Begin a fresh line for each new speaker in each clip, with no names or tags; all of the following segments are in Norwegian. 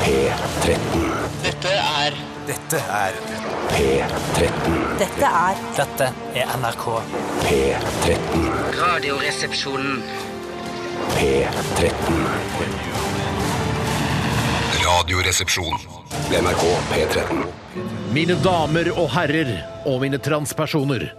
P13.
Dette er
Dette er
P13.
Dette er
Dette er NRK.
P13.
Radioresepsjonen.
P13.
Radioresepsjon.
NRK P13.
Mine damer og herrer og mine transpersoner.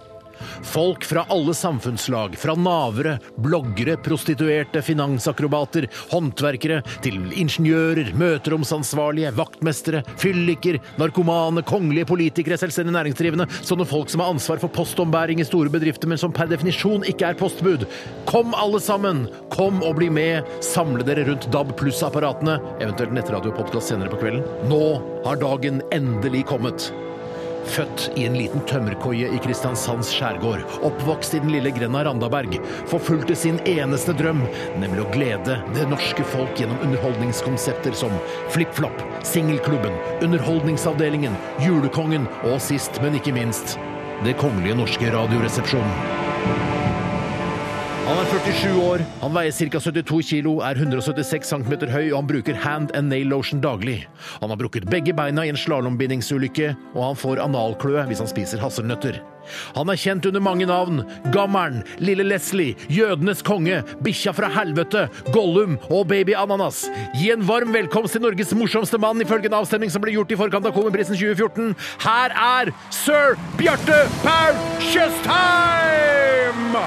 Folk fra alle samfunnslag, fra navere, bloggere, prostituerte, finansakrobater, håndverkere, til ingeniører, møteromsansvarlige, vaktmestere, fylliker, narkomane, kongelige politikere, selvstendig næringsdrivende, sånne folk som har ansvar for postombæring i store bedrifter, men som per definisjon ikke er postbud. Kom alle sammen! Kom og bli med! Samle dere rundt DAB pluss-apparatene, eventuelt nettradiopodkast senere på kvelden. Nå har dagen endelig kommet. Født i en liten tømmerkoie i Kristiansands skjærgård, oppvokst i den lille grenda Randaberg, forfulgte sin eneste drøm, nemlig å glede det norske folk gjennom underholdningskonsepter som FlippFlopp, Singelklubben, Underholdningsavdelingen, Julekongen og sist, men ikke minst, Det kongelige norske radioresepsjonen. Han er 47 år, han veier ca. 72 kilo, er 176 cm høy og han bruker hand and nail lotion daglig. Han har brukket begge beina i en slalåmbindingsulykke, og han får analkløe hvis han spiser hasselnøtter. Han er kjent under mange navn. Gammeren, Lille Leslie, Jødenes konge, Bikkja fra helvete, Gollum og Baby Ananas. Gi en varm velkomst til Norges morsomste mann ifølge en avstemning som ble gjort i forkant av Komiprisen 2014. Her er sir Bjarte Paul Tjøstheim!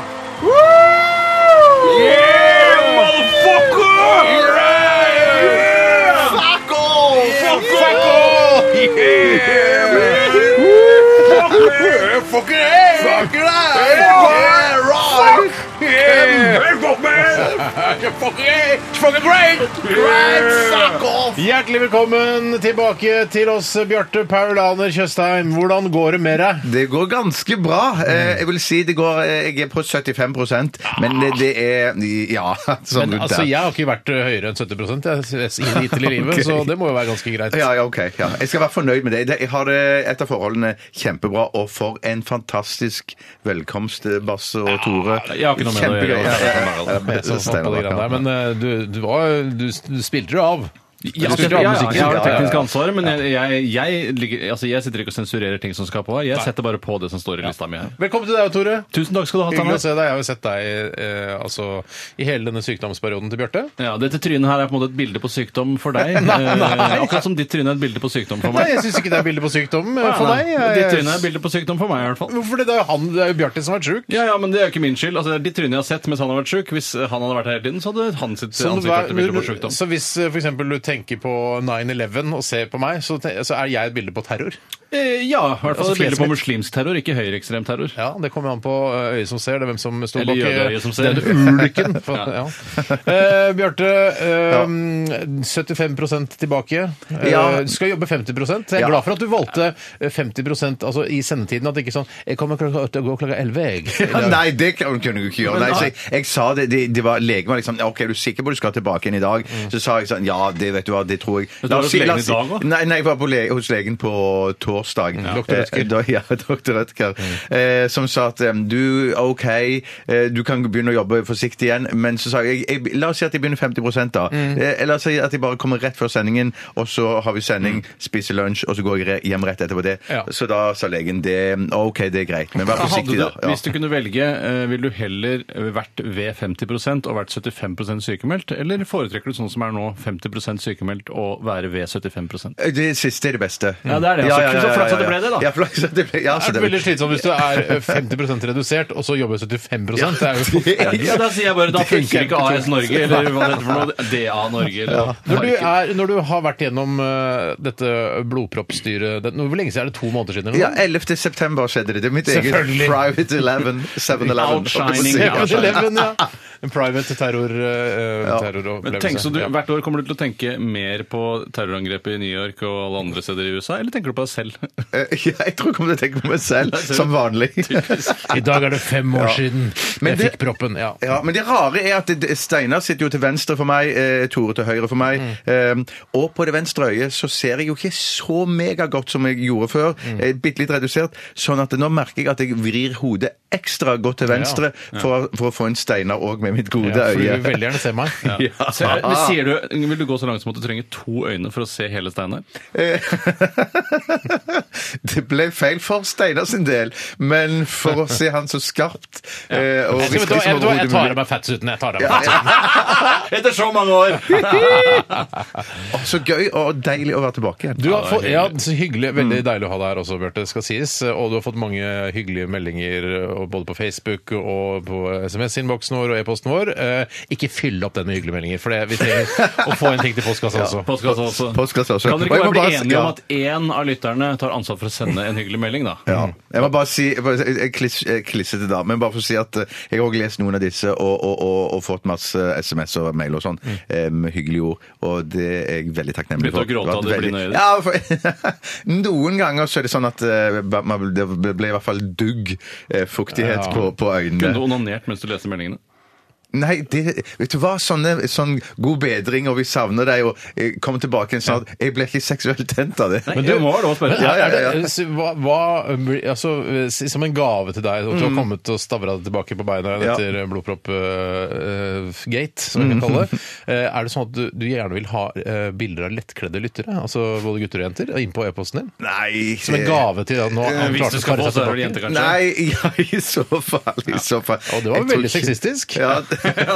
Hjertelig velkommen tilbake til oss, Bjarte Paul Aner Tjøstheim. Hvordan går det med deg?
Det går ganske bra. Eh, Jeg vil si det går Jeg er på 75 men det- det er Ja, sånn
Men
rundt
altså,
der.
Jeg har ikke vært eh, høyere enn 70 jeg, s- hittil i livet,
Ok.
så det må jo være ganske greit.
Ja, ja, ok. Ja. Jeg skal være fornøyd med det. Det- Jeg har det etter forholdene kjempebra, og for en fantastisk velkomst, eh, Basse og Tore.
jeg har ikke noe med det å
Kjempegøy.
gjøre.
Ja, ja, ja.
Jeg så fatt på de greiene sånn der,
Ja.
Men eh, du, du, var, du, du spilte jo av.
Ja,
Du spilte
ja,
av
ja,
musikken.
jeg har det
Ja, ja, ja.
tekniske ansvaret, men jeg, jeg, jeg, ligger- altså, jeg sitter ikke og sensurerer ting som skal på her. Jeg setter bare på det som står i lista mi. her.
Velkommen til deg, Tore.
Tusen takk skal du ha,
Hyggelig å
Tanne.
se deg. Jeg har jo sett deg eh, altså, i hele denne sykdomsperioden til Bjarte.
Ja, dette trynet her er på en måte et bilde på sykdom for deg. Eh, Akkurat som ditt tryne er et bilde på sykdom for
Nei,
meg.
jeg syns ikke det er bilde på sykdom eh, for
Nei,
deg.
nei, Ditt tryne er et
Jeg-
bilde på sykdom for meg, i hvert fall.
Hvorfor det? Det er jo han, det er jo Bjarte som har vært sjuk.
Ja, ja, men det er jo ikke min skyld. Altså, det er ditt tryne jeg har sett mens han har vært sjuk. Hvis eh, han hadde vært her hele tiden, så hadde han sitt
Så,
ansikt vært et bilde på sykdom.
så hvis eh, for eksempel du tenker på 9-11 og ser på meg, så, te- så er jeg et bilde på terror.
Eh, Ja, i hvert fall
Altså,
et bilde på
klessmitt.
muslimsk terror, ikke høyreekstrem terror.
Ja, Det kommer an på ø, øyet som ser, det er hvem som sto
Eller
bak ø,
jødeøyet som ser.
den ulykken. For, ja.
Ja.
Eh, Bjarte, ø, 75 tilbake. Eh,
Ja.
Du skal jobbe 50 Jeg er
Ja.
glad for at du valgte ø, 50 altså i sendetiden. At det ikke er sånn 'Jeg kommer klokka åtte og går klokka elleve', jeg.
Ja, nei, det kan- hun kunne jo ikke gjøre. Nei, så jeg, jeg sa det, det, det var Legen var liksom ja, OK, er du sikker på at du skal tilbake igjen i dag? Så sa jeg sånn Ja, det vet du hva, det tror jeg.
Mm. Men du var hos legen i dag også? Mm.
Nei, nei, jeg var på le hos legen på torsdag.
Dr. Rødtger.
Eh, da- Ja, doktor Rødtger. Eh, som sa at eh, du, OK, eh, du kan begynne å jobbe forsiktig igjen. Men så sa jeg, jeg La oss si at jeg begynner 50 da.
Mm.
Eh, la oss si at jeg bare kommer rett før sendingen, og så har vi
Mm.
sending, spiser lunsj, og så går jeg re- hjem rett etterpå det.
Ja.
Så da sa legen det OK, det er greit, men vær
Hadde
forsiktig,
du,
da. Ja.
Hvis du kunne velge, eh, ville du heller eh, vært ved 50 og vært 75 sykemeldt, eller foretrekker du sånn som er nå, 50 sykemeldt og være ved 75
Eh, Det siste er det beste.
Ja, det er det. Så- så flaks at det ble det, da.
Ja, flaks at det ble ja, så
Det er veldig slitsomt hvis du er ø, 50 redusert, og så jobber 75 Det er jo
Ja, da sier jeg bare da funker ikke AS Norge, eller hva det heter for noe. DA Norge, eller
Når du, er, når du har vært gjennom ø, dette blodproppstyret det- nå, Hvor lenge siden er det? To måneder siden? eller noe?
Ja, 11. september skjedde det. Det er mitt eget
Selvfølgelig.
Private 11. 7-Eleven.
Outshining,
Ja,
ja.
outshining.
11, ja. En private terror, eh, terroropplevelse.
Men tenk, så du,
Ja.
Hvert år kommer du til å tenke mer på terrorangrepet i New York og alle andre steder i USA, eller tenker du på deg selv?
Eh, ja, Jeg tror jeg kommer til å tenke på meg selv, som vanlig.
I dag er det fem år siden
Men
jeg
det-
fikk proppen. Ja.
Ja, Men det rare er at det- Steinar sitter jo til venstre for meg, eh, Tore til høyre for meg.
Mm.
Eh, og på det venstre øyet så ser jeg jo ikke så megagodt som jeg gjorde før.
Mm.
Eh, Bitte litt redusert. Sånn at nå merker jeg at jeg vrir hodet ekstra godt til venstre For, for å få en Steinar òg med mitt gode
Ja,
Du vil
øye.
veldig gjerne se meg.
Ja.
Så, eh, men sier du, vil du gå så langt som at du trenger to øyne for å se hele Steinar?
Det ble feil for Steinar sin del, men for å se han så skarpt eh, og
Jeg, vet du
riktig
hva,
som
jeg, vet du hva, jeg
overhodet
tar
mulig.
av meg fatsuiten. Jeg tar av meg.
Etter så mange år!
Å, Så gøy og deilig å være tilbake igjen.
Du har fått, ja, så hyggelig,
Mm.
Veldig deilig å ha deg her også, Bjarte. skal sies. Og du har fått mange hyggelige meldinger og både på Facebook og på SMS-innboksen vår og e-posten vår. Eh, ikke fyll opp den med hyggelige meldinger, for det, vi trenger å få en ting til postkassa også.
Postkassa også.
Postkassa også.
Kan
Og
dere ikke
jeg må
bare bli
bare-
enige om
ja.
at én av lytterne tar ansvar for å sende en hyggelig melding, da?
Ja. Mm. Jeg må bare si jeg bare- jeg kliss- jeg klissete da, men bare for å si at eh, jeg har også lest noen av disse og, og, og, og fått masse eh, SMS og mail og sånn
Mm.
eh, med hyggelige ord, og det er jeg veldig takknemlig
Begynte å
for.
gråte
Det
av
var
det blinde øyet ditt?
Ja, for, noen ganger så er det sånn at eh, ba- man- det ble i hvert fall dugg eh, fuktighet
Ja.
på, på
Kunne du
øynene.
onanert mens du leste meldingene?
Nei, det, vet du hva? Sånne, sånn god bedring, og vi savner deg, og eh, kom tilbake igjen snart. Jeg ble ikke seksuelt tent av det.
Nei, det må være lov å spørre.
Ja, ja, ja, ja.
Er det- Eh, så Hva, hva, blir- altså, si- som en gave til deg, at du har kommet og stavra deg tilbake på beina igjen
Ja.
etter blodpropp-gate, som vi kan kalle det. Eh, Er det sånn at du, du gjerne vil ha eh, bilder av lettkledde lyttere, altså både gutter og jenter, inn på e-posten din?
Nei eh,
Som en gave til at nå han klarte å
Hvis du skal
skare
få,
seg
så er det vel
tilbake.
jente, kanskje?
Nei, ja, i så fall. I så fall.
Og det var
Jeg tror
veldig
ikke-
sexistisk.
Ja.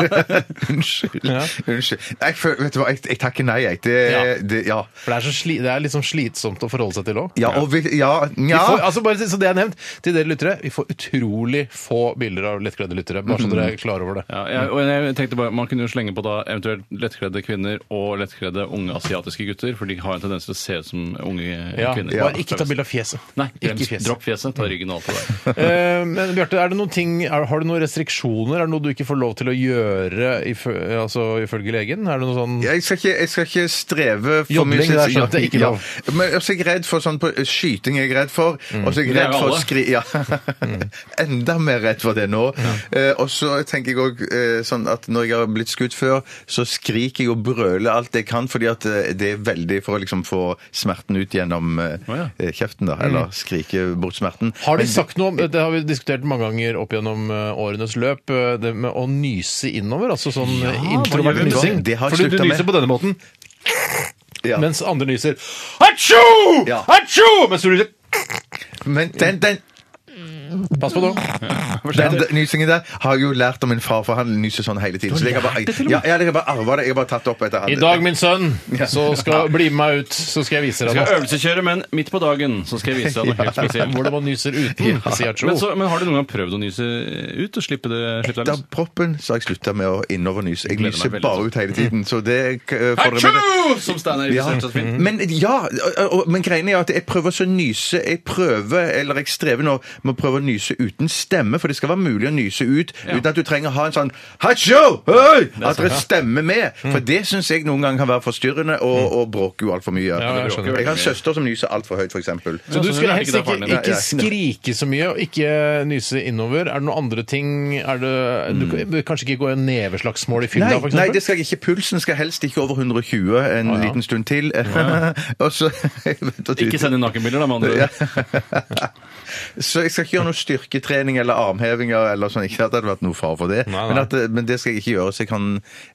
unnskyld. Unnskyld. Jeg føler, vet du hva, jeg, jeg takker nei, jeg. Det,
Ja.
det, ja.
For det er, så sli, det er litt sånn slitsomt å forholde seg til òg.
Ja, og vi, ja,
Vi
nja.
får, altså bare så det er nevnt, til dere lyttere, vi får utrolig få bilder av lettkledde lyttere. Bare så dere er klar over det.
Ja, jeg, og jeg tenkte bare, Man kunne jo slenge på da eventuelt lettkledde kvinner og lettkledde unge asiatiske gutter, for de har en tendens til å se ut som unge
Ja,
kvinner.
Bare ikke ta bilde av fjeset.
Nei,
ikke
brems,
fjeset.
dropp fjeset. Ta ryggen og alt det der.
Eh, men Bjarte, er det noen ting, er, har du noen restriksjoner? Er det noe du ikke får lov til å gjøre ifø, altså, ifølge legen? Er det noe sånn
Jeg skal, ikke, jeg skal ikke streve for
Jodling,
mye.
det er sånn at det er ikke lov. Mm.
Ja. Men også er jeg redd for sånn på, skyting er jeg redd for. Og så er jeg
Det er
redd for
alle.
skri... Ja. Enda mer redd for det nå. Eh, og så tenker jeg òg eh, sånn at når jeg har blitt skutt før, så skriker jeg og brøler alt jeg kan, fordi at eh, det er veldig for å liksom få smerten ut gjennom eh,
Å, ja.
eh, kjeften, da. Eller skrike bort smerten.
Mm. Har de
Men-
sagt noe om eh, Det har vi diskutert mange ganger opp gjennom eh, årenes løp. eh, Det med å nyse innover, altså sånn ja,
gjør vi
introvert
med
nysing.
det? Det har jeg
Fordi du
sluttet med.
nyser på denne måten,
Ja.
mens andre nyser Hatsjo!
Ja.
Hatsjo! Mens du nyser
Men den, den,
Pass på nå.
Den d- nysingen der har jeg jo lært om min far, for han nyser sånn hele tiden. Så jeg har bare, ja, ja, jeg har bare arva det. Jeg har bare tatt det opp etter han.
I dag, min sønn, så skal bli med meg ut, så skal jeg vise deg
Skal
noe.
øvelseskjøre, men midt på dagen så skal jeg vise deg noe helt spesielt.
Hvordan man nyser uten, sier
Men,
Hatsjo.
så, men har du noen gang prøvd å nyse ut og slippe det slippe deg
Da
løs?
proppen så har jeg slutta med å innovernyse. Jeg
Gleder meg
nyser
veldig
bare
til.
ut hele tiden. Så det eh, får dere med.
Hatsjo! Som Steinar
Ja. Mm-hmm.
illustrerer så fint.
Men ja, og- og, men greien er at jeg prøver så å nyse Jeg prøver, eller jeg strever nå med å prøve å nyse uten stemme, for det skal være mulig å nyse ut uten at du trenger å ha en sånn Hatsjo! Hei! At det er stemme med.
Mm.
For det syns jeg noen ganger kan være forstyrrende, og, og bråker jo altfor mye.
Ja, jeg skjønner.
jeg har en søster som nyser altfor høyt, f.eks.
Så du
Ja, så
skal
hun er
helst
ikke der,
ikke,
faren din.
Nei,
ikke
jeg
skrike så mye og ikke nyse innover. Er det noen andre ting er det, Du kan- kanskje ikke gå i neveslagsmål i fylla,
Mm. Nei,
for
nei,
eksempel?
det skal jeg ikke. Pulsen skal helst ikke over 120 en liten stund til. Og så,
Ikke send inn nakenbilder, da, med andre ord.
så jeg skal ikke gjøre noe styrketrening eller armhevinger eller sånn. Ikke at det hadde vært noe fare for det,
Nei, nei.
Men, at, eh, men det skal jeg ikke gjøre. Så jeg kan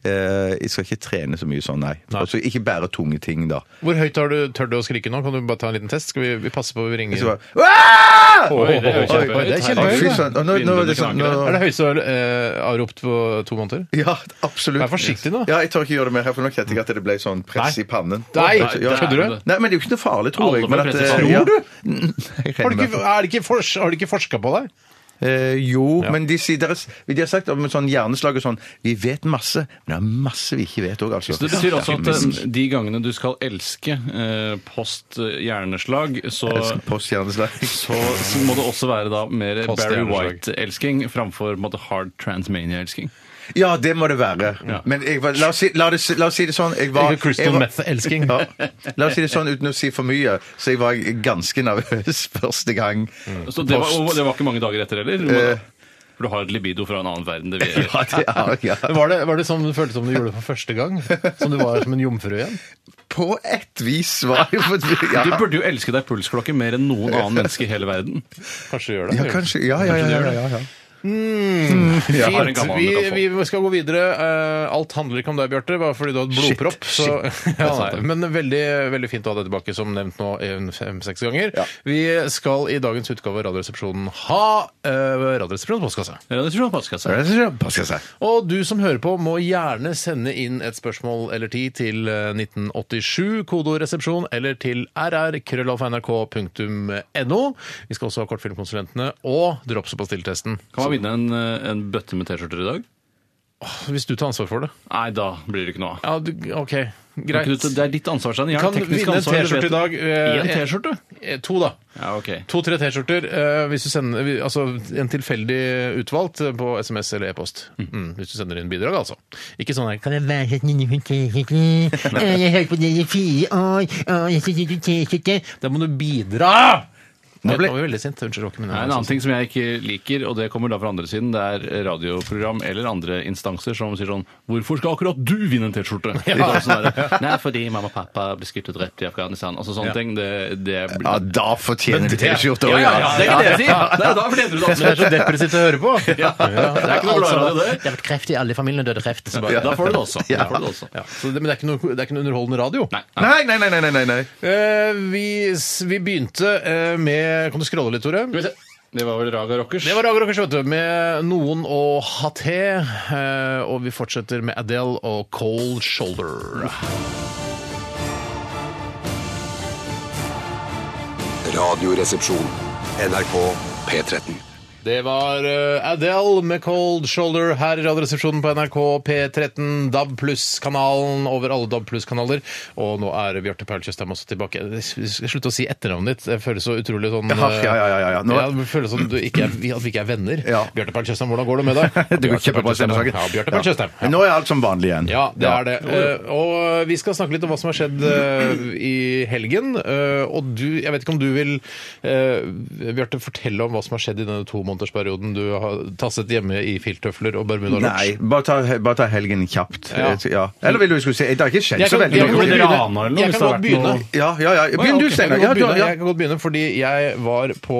eh, Jeg skal ikke trene så mye sånn, nei. Og så ikke bære tunge ting, da.
Hvor høyt har du tør du å skrike nå? Kan du bare ta en liten test? Skal vi, vi passe på vi ringer?
Så bare Aah!
Oi, det er
Oi,
jo kjempehøyt.
oi,
Det er
Å,
kjempehøyt.
Fy søren. Å, Nå, nå, er det sånn, nå,
Er det høyeste du har eh, avropt på to måneder?
ja, absolutt.
Vær forsiktig nå.
Ja, jeg tør ikke gjøre det mer, her, for nå kjente jeg at det ble sånn press
Nei.
i pannen.
Nei,
Nei,
ja, kødder du?
Nei, men det er jo ikke noe farlig, tror
Alle
jeg. Men
får
at,
press i
eh,
pannen.
ja.
Tror du?
Jeg
Har
regner
du
med
ikke, er det ikke fors, har de ikke forska på deg?
Eh, jo, men de, sier- deres, de har sagt om sånn hjerneslag og sånn Vi vet masse, men det er masse vi ikke vet òg, altså.
Så det betyr også at
Filmisk.
eh, de gangene du skal elske eh, post eh, hjerneslag, så
Elsker Posthjerneslag.
så, så må det også være da mer
Post
Barry
hjerneslag.
White-elsking framfor på en måte, hard transmania-elsking.
Ja, det må det være. Men jeg var, la, oss si, la, det, la oss si det sånn jeg var,
Ikke Crystal
jeg var-
meth-elsking.
Ja, la oss si det sånn uten å si for mye, så jeg var ganske nervøs første gang.
Så det var,
Post.
og det var ikke mange dager etter heller? Du må-
Eh.
For du har et libido fra en annen verden. Det vi
Ja, det er, ja.
Var det, var det som det føltes som du gjorde det for første gang? Som du var som en jomfru igjen?
På et vis var jeg ja.
Du burde jo elske deg pulsklokke mer enn noen annen menneske i hele verden.
Kanskje du gjør det?
ja, kanskje. Ja, ja, ja. ja, ja, ja. Ja,
har en
Fint.
gammel
Vi,
mikrofon.
vi skal gå videre. Eh, Alt handler ikke om deg, Bjarte, bare fordi du har et
Shit,
blodpropp. Så, ja, nei, men veldig, veldig fint å ha deg tilbake, som nevnt nå en fem-seks ganger.
Ja.
Vi skal i dagens utgave av Radioresepsjonen ha eh, Radioresepsjonens postkasse.
Ja, det tror jeg faktisk jeg sa.
Pass seg.
Og du som hører på, må gjerne sende inn et spørsmål eller ti til eh, 1987, kodoresepsjon, eller til rr.krøllalfa.nrk.no. Vi skal også ha Kortfilmkonsulentene og Drops på stilltesten.
Kan man vinne en, eh, en bøtte med T-skjorter i dag?
Hvis du tar ansvar for det.
Nei, da blir det ikke noe av.
Ja, du, OK.
Kan
Greit.
ikke du- Det er ditt ansvar, Stein. Jeg har
Kan
det tekniske
vinne en
ansvaret,
T-skjorte
vet
i dag.
du.
eh,
I en T-skjorte?
eh, To, da.
Ja, ok.
To-tre T-skjorter eh, hvis du sender vi- altså, en tilfeldig utvalgt eh, på SMS eller e-post. Mm, hvis du sender inn bidrag, altså. Ikke sånn her
Kan det være at noen får T-skjorte? Å,
Eh,
Jeg hørte på dere i fire år, og jeg synes du T-skjorte.
Da må du bidra! Nå
ble-
ble jeg veldig sint. Unnskyld, Rocky. Men
Nei, En annen ting som jeg ikke liker, og det kommer da fra andre siden, det er radioprogram eller andre instanser som sier sånn 'Hvorfor skal akkurat du vinne en T-skjorte?' Det er også Sånn der, Nei, fordi mamma og pappa ble skutt og drept i Afghanistan. Altså sånne ting. Det, det blir
Ja, da fortjener du T-skjorte
ja,
òg,
ja, ja, det er ikke det jeg sier! Nei, da fortjener du det.
Det er så depressivt å høre på!
Ja, det er ikke noe
Altså,
bra radio,
det har vært kreft i alle familiene, døde kreft.
det. Da får du det også. Da får du det også.
Ja, så det, men det er, ikke noe, det er ikke noe underholdende radio.
Nei. nei.
Nei, nei, nei, nei, nei, nei.
Eh, vi, s- vi begynte eh, med Kan du scrolle litt, Tore?
Skal vi se. Det var vel Raga Rockers.
Det var Raga Rockers, vet du, med noen og Haté. eh, Og vi fortsetter med Adele og Cold Shoulder.
Radioresepsjon. NRK P13.
Det var eh, Adele med Cold Shoulder her i Radioresepsjonen på NRK P13, DAB pluss-kanalen over alle DAB pluss-kanaler. Og nå er Bjarte Paul Tjøstheim også tilbake. Slutt å si etternavnet ditt. Det føles så utrolig sånn eh,
Ja, ja, ja, ja, ja. Nå-
Ja, det føles som du ikke er, at vi ikke er venner.
Ja.
Bjarte Paul Tjøstheim, hvordan går det med deg?
Det går
Bjarte Paul
kjempebra
Tjøstheim.
stemmesaken.
Ja, Bjarte Paul Tjøstheim. Ja.
Nå er alt som vanlig igjen.
Ja, det er det. Eh, og vi skal snakke litt om hva som har skjedd eh, i helgen. Eh, og du, jeg vet ikke om du vil, eh, Bjarte, fortelle om hva som har skjedd i denne tomånedersperioden du har tasset hjemme i filttøfler og bermuda
Nei, bare ta, bare ta helgen kjapt. Eh,
Ja.
Ja. Eller vil du skulle si Det har ikke skjedd
Jeg
så
kan-
veldig
jeg kan
Blir
mye.
det
begynne.
Rana eller noe?
Jeg
hvis
kan godt
det har vært noe-
begynne.
Ja, ja, ja. Begynn du,
Jeg
Steinar.
kan,
Ja,
godt
du-
begynne,
ja.
jeg kan godt begynne, fordi jeg var på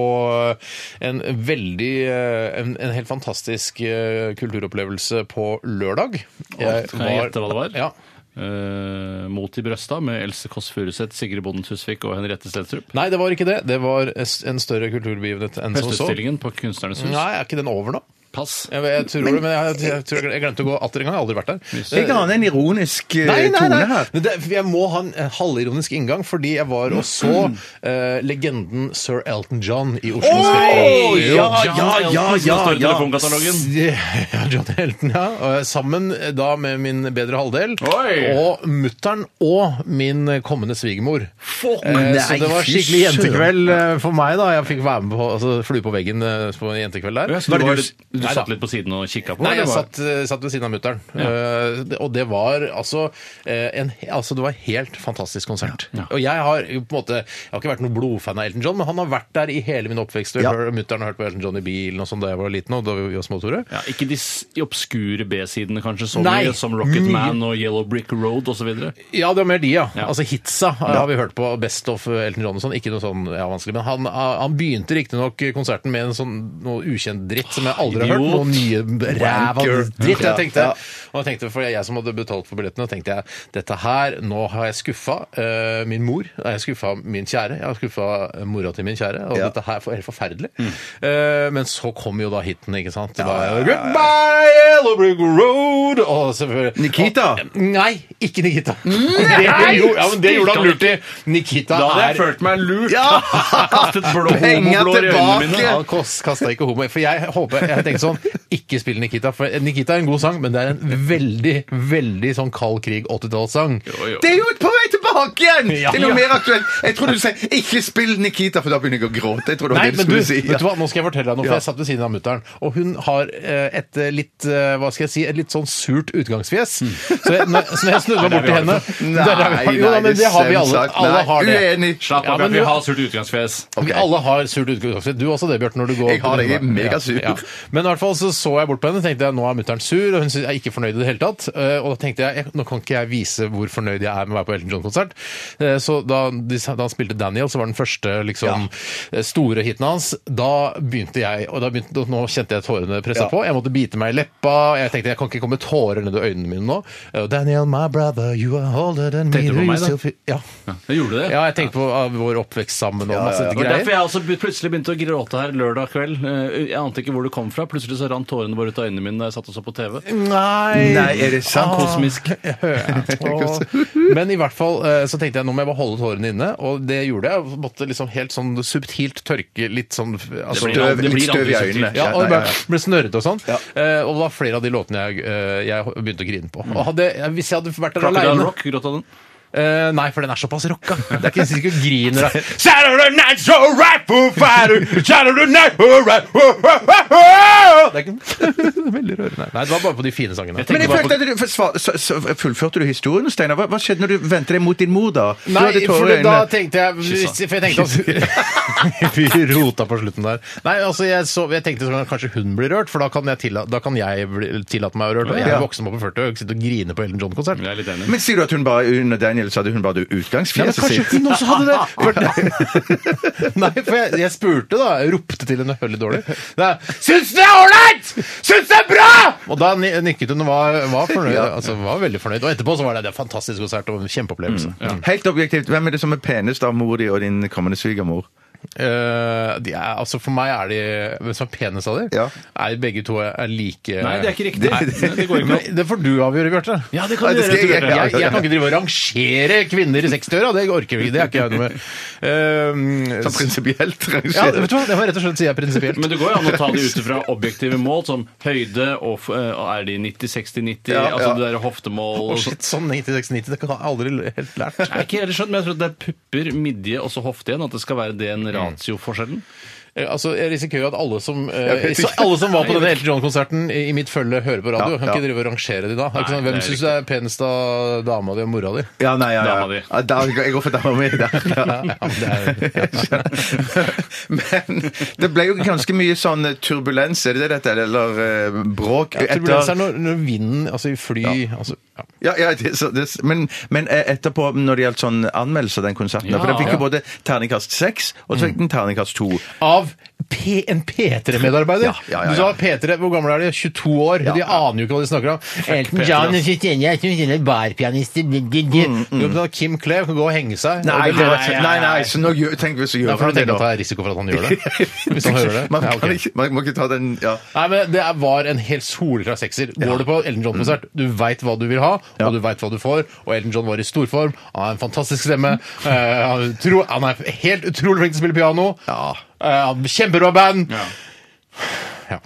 en veldig eh, En, en helt fantastisk eh, kulturopplevelse på lørdag.
Kan jeg gjette hva det var?
Ja.
Eh, Mot i brøsta med Else Kåss Furuseth, Sigrid Bonden Tusvik og Henriette Stenstrup.
Nei, det var ikke det. Det var en større kulturbegivenhet enn som så.
Høstutstillingen på Kunstnernes hus.
Nei, er ikke den over nå?
Pass.
Jeg, jeg tror det, men jeg, jeg, tror jeg glemte å gå atter en gang. Jeg har aldri vært der. Eh,
Jeg aner en ironisk eh,
Nei, nei,
tone
nei.
her.
Men det, jeg må ha en eh, halvironisk inngang, fordi jeg var og så eh, legenden sir Elton John i Oslo.
Oi!
Spektrum.
Ja, ja,
Elton,
ja,
som
ja,
står i
ja.
telefonkatalogen.
Ja, John Elton, ja. Og Sammen eh, da med min bedre halvdel.
Oi!
Og mutter'n og min kommende svigermor.
Fuck,
Eh,
nei,
så det var
fy
skikkelig
søren.
jentekveld eh, for meg, da. Jeg fikk være med på altså, flue på veggen eh, på en jentekveld der.
Så du,
Var
var,
det
litt- du
Nei da.
satt litt på siden og kikka på?
Nei,
eller
jeg
var-
satt, eh, satt ved siden av mutter'n. Eh, det- og det var altså eh, en, he- Altså, det var en helt fantastisk konsert. Og jeg har jo på en måte Jeg har ikke vært noen blodfan av Elton John, men han har vært der i hele min oppvekst.
Ja.
Ja. Mutter'n har hørt på Elton John i bilen og sånn da jeg var liten, og da vi var små, Tore.
Ja, ikke de s- obskure B-sidene kanskje så
Nei,
mye som Rocket
mye-
Man og Yellow Brick Road osv.
Ja, det var mer de, ja.
Ja.
Altså hitsa eh, har vi hørt på. Best of eh, Elton John og sånn. Ikke noe sånn ja, vanskelig. Men han, eh, han begynte riktignok konserten med en sånn noe ukjent dritt som jeg aldri har hørt.
Idiot.
Noe nye ræva
Wanker.
dritt.
Ja,
Jeg tenkte,
ja.
og jeg tenkte, for jeg som hadde betalt for billettene, tenkte jeg dette her, nå har jeg skuffa eh, min mor. Nei, Jeg har skuffa min kjære. Jeg har skuffa mora til min kjære. Og
Ja. Mm.
dette her er helt forferdelig. Eh, men så kom jo da hiten, ikke sant. Det var,
ja, ja, ja.
Goodbye, Yellow Brick Road! Og selvfølgelig
Nikita!
Nei, ikke Nikita. Det, jo, ja, men det gjorde Mm, han lurt i. Nikita er
meg lurt!
Ja!
Kastet blå
Penga
homoblår i øynene
tilbake!
mine.
han kost- kasta ikke homo. For jeg håper, jeg tenkte sånn Ikke spill Nikita. For Nikita er en god sang, men det er en veldig, veldig sånn kald krig 80-tallssang.
Det er jo på vei tilbake igjen!
Ja.
Til noe mer aktuelt. Jeg trodde du sa 'ikke spill Nikita', for da begynner jeg å gråte. Jeg trodde det var
Nei,
det
men du,
skulle si.
vet du hva, nå skal jeg fortelle deg noe, for
Ja.
jeg satt ved siden av mutter'n. Og hun har eh, et eh, litt eh, hva skal jeg si, et litt sånn surt utgangsfjes. Så, jeg, når, så når jeg snudde meg bort til henne
Nei,
der er vi- Jo da,
nei,
men det har vi alle.
selvsagt.
Alle
Nei,
har det.
Uenig.
Slapp
Ja,
av,
men
vi
du-
har surt utgangsfjes.
Ok.
Vi alle har surt utgangsfjes. Du også det, Bjørten, når du går
Jeg har det, jeg er megasur.
Men i hvert fall så så jeg bort på henne og tenkte jeg, nå er mutter'n sur, og hun sy- er ikke fornøyd i det hele tatt. Eh, Og da tenkte jeg, jeg nå kan ikke jeg vise hvor fornøyd jeg er med å være på Elton John-konsert, klart. Eh, Så da, de, sa- da han spilte Daniel, så var den første liksom, eh, store hiten hans, da begynte jeg og da begynte, da- Nå kjente jeg tårene pressa på. Jeg måtte bite meg i leppa. Jeg tenkte jeg kan ikke komme tårer ned i øynene mine nå. Eh, Daniel, my brother, you are older than me.
Tenkte du på
you
meg, da?
still feel- Ja.
Jeg gjorde det.
ja, jeg tenkte på ah, vår oppvekst sammen og masse
Det var derfor
greier.
jeg også be- plutselig begynte å gråte her lørdag kveld. Eh, Jeg ante ikke hvor det kom fra. Plutselig så rant tårene bare ut av øynene mine da jeg satt og så på TV.
Nei!
Nei, er det sant?
Ah.
Kosmisk.
Åh. Men i hvert fall eh, så tenkte jeg nå må jeg bare holde tårene inne, og det gjorde jeg. Jeg Måtte liksom helt sånn subtilt tørke litt sånn altså,
blir
støv.
Støv,
Det blir
litt støv i
aldri
øynene.
subtilt.
Ja, og
nei,
det
ja,
ble,
ja.
ble snørrete og sånn. Eh, og det var flere av de låtene jeg, eh, jeg begynte å grine på. Og hadde, jeg- hvis jeg hadde vært der
Crocodile
aleine
Rock, gråt av den.
Eh, nei, for den er såpass rocka. Det er ikke sikkert du griner av Saturday night, so right, Foo Fighters. Saturday night, all right, ho, ho, ho, ho. Det er ikke veldig rørende. Nei, det var bare på de fine sangene.
Men jeg følte at du forsvar, så, så fullførte du historien, Steinar. Hva, hva skjedde når du vendte deg mot din mor, da? Du
Nei,
hadde tårer
for
i
da
øynene.
tenkte jeg hvis, For jeg tenkte at Vi rota på slutten der. Nei, altså jeg, så, jeg tenkte sånn, at kanskje hun blir rørt, for da kan jeg, tilla, da kan jeg bli, tillate meg å røre. Og jeg er
Ja.
voksen og på 40 og jeg sitter og griner på Ellen John-konsert.
Jeg er litt enig.
Men sier du at hun bare under Daniel så hadde hun bare det
Ja, men
utgangsfjeset
kanskje
sitt?
hun også hadde det! For, nei, for jeg, jeg spurte, da. Jeg ropte til henne veldig dårlig. Nei, 'Syns det er ålreit! Syns det er bra!' Og da ni- nikket hun og var, var fornøyd. Altså, var veldig fornøyd. Og etterpå så var det, det er en fantastisk konsert og en kjempeopplevelse.
Helt objektivt, hvem er det som er penest av mor di og din kommende svigermor?
Eh, de er, altså for meg er de Hvem som er penest av de?
Ja.
Er begge to er like
Nei, det er ikke riktig. Nei, det går ikke
Men det får du avgjøre, Bjarte.
Ja,
Nei,
det kan du
det
gjøre.
skal jeg-
Tore.
ja,
Jeg, jeg kan ikke drive og rangere kvinner i 60-åra. Det orker vi ikke. Det er ikke jeg noe med. Eh,
Sånn prinsipielt,
ja,
rangert.
vet du hva? Det var rett og slett sier jeg prinsipielt.
Men det går jo an å ta det ut fra objektive mål, som høyde og f- eh, og er de 90, 60, 90,
Ja,
altså
ja.
det der hoftemål
Å,
og sånt.
shit, sånn 96-90, det kan jeg aldri helt lært.
Jeg er ikke helt skjønt, men jeg tror det er pupper, midje og så hofte igjen. At det skal være den ratioforskjellen.
Mm.
Eh, Altså, Jeg risikerer jo at alle som, eh,
Jeg vet
så,
ikke.
alle som var på denne Elton John-konserten i i mitt følge, hører på radio.
Ja,
Kan ikke
ja.
drive og rangere de da. Er det ikke
Nei,
sånn,
det er
Hvem syns du er penest av dama di og mora di?
Ja, nei, ja,
Dama
ja.
di.
ja da, jeg går for dama mi der. Ja. Men det ble jo ganske mye sånn turbulens, er det det dette, er, eller eh, bråk?
Ja,
etter-
turbulens er når, når vinden altså i fly altså, ja.
Ja, ja det, så, det, men, men eh, etterpå, når det gjaldt sånn anmeldelse av den konserten da, For den fikk jo både terningkast 6 og så fikk
Mm.
den terningkast 2.
Av P en P3-medarbeider!
Ja, ja, ja, ja.
Du sa P3, Hvor gamle er de? 22 år? De aner jo ikke hva de snakker om.
Elton John
altså.
jeg synes jeg er som en barpianist.
Jo, men da Kim Klev kan gå og henge seg.
Mm, Nei,
Og det-
det var, nei, nei, så nå gjør, tenk hvis du
Ja,
gjør
for
han
du
det,
tenker at det
da.
er risiko for at han gjør det? Hvis han hører det?
Man,
Ja,
kan
ok.
ikke, man må ikke ta den ja.
Nei, men Det er- var en helt soleklar sekser. Går du på Elton John-konsert, du veit hva du vil ha, og du veit hva du får. Og Elton John var i storform. Han har en fantastisk stemme. eh, han, er utro, han er helt utrolig flink til å spille piano.
Ja.
Eh, han er Kjempebra band.
Ja.
Ja.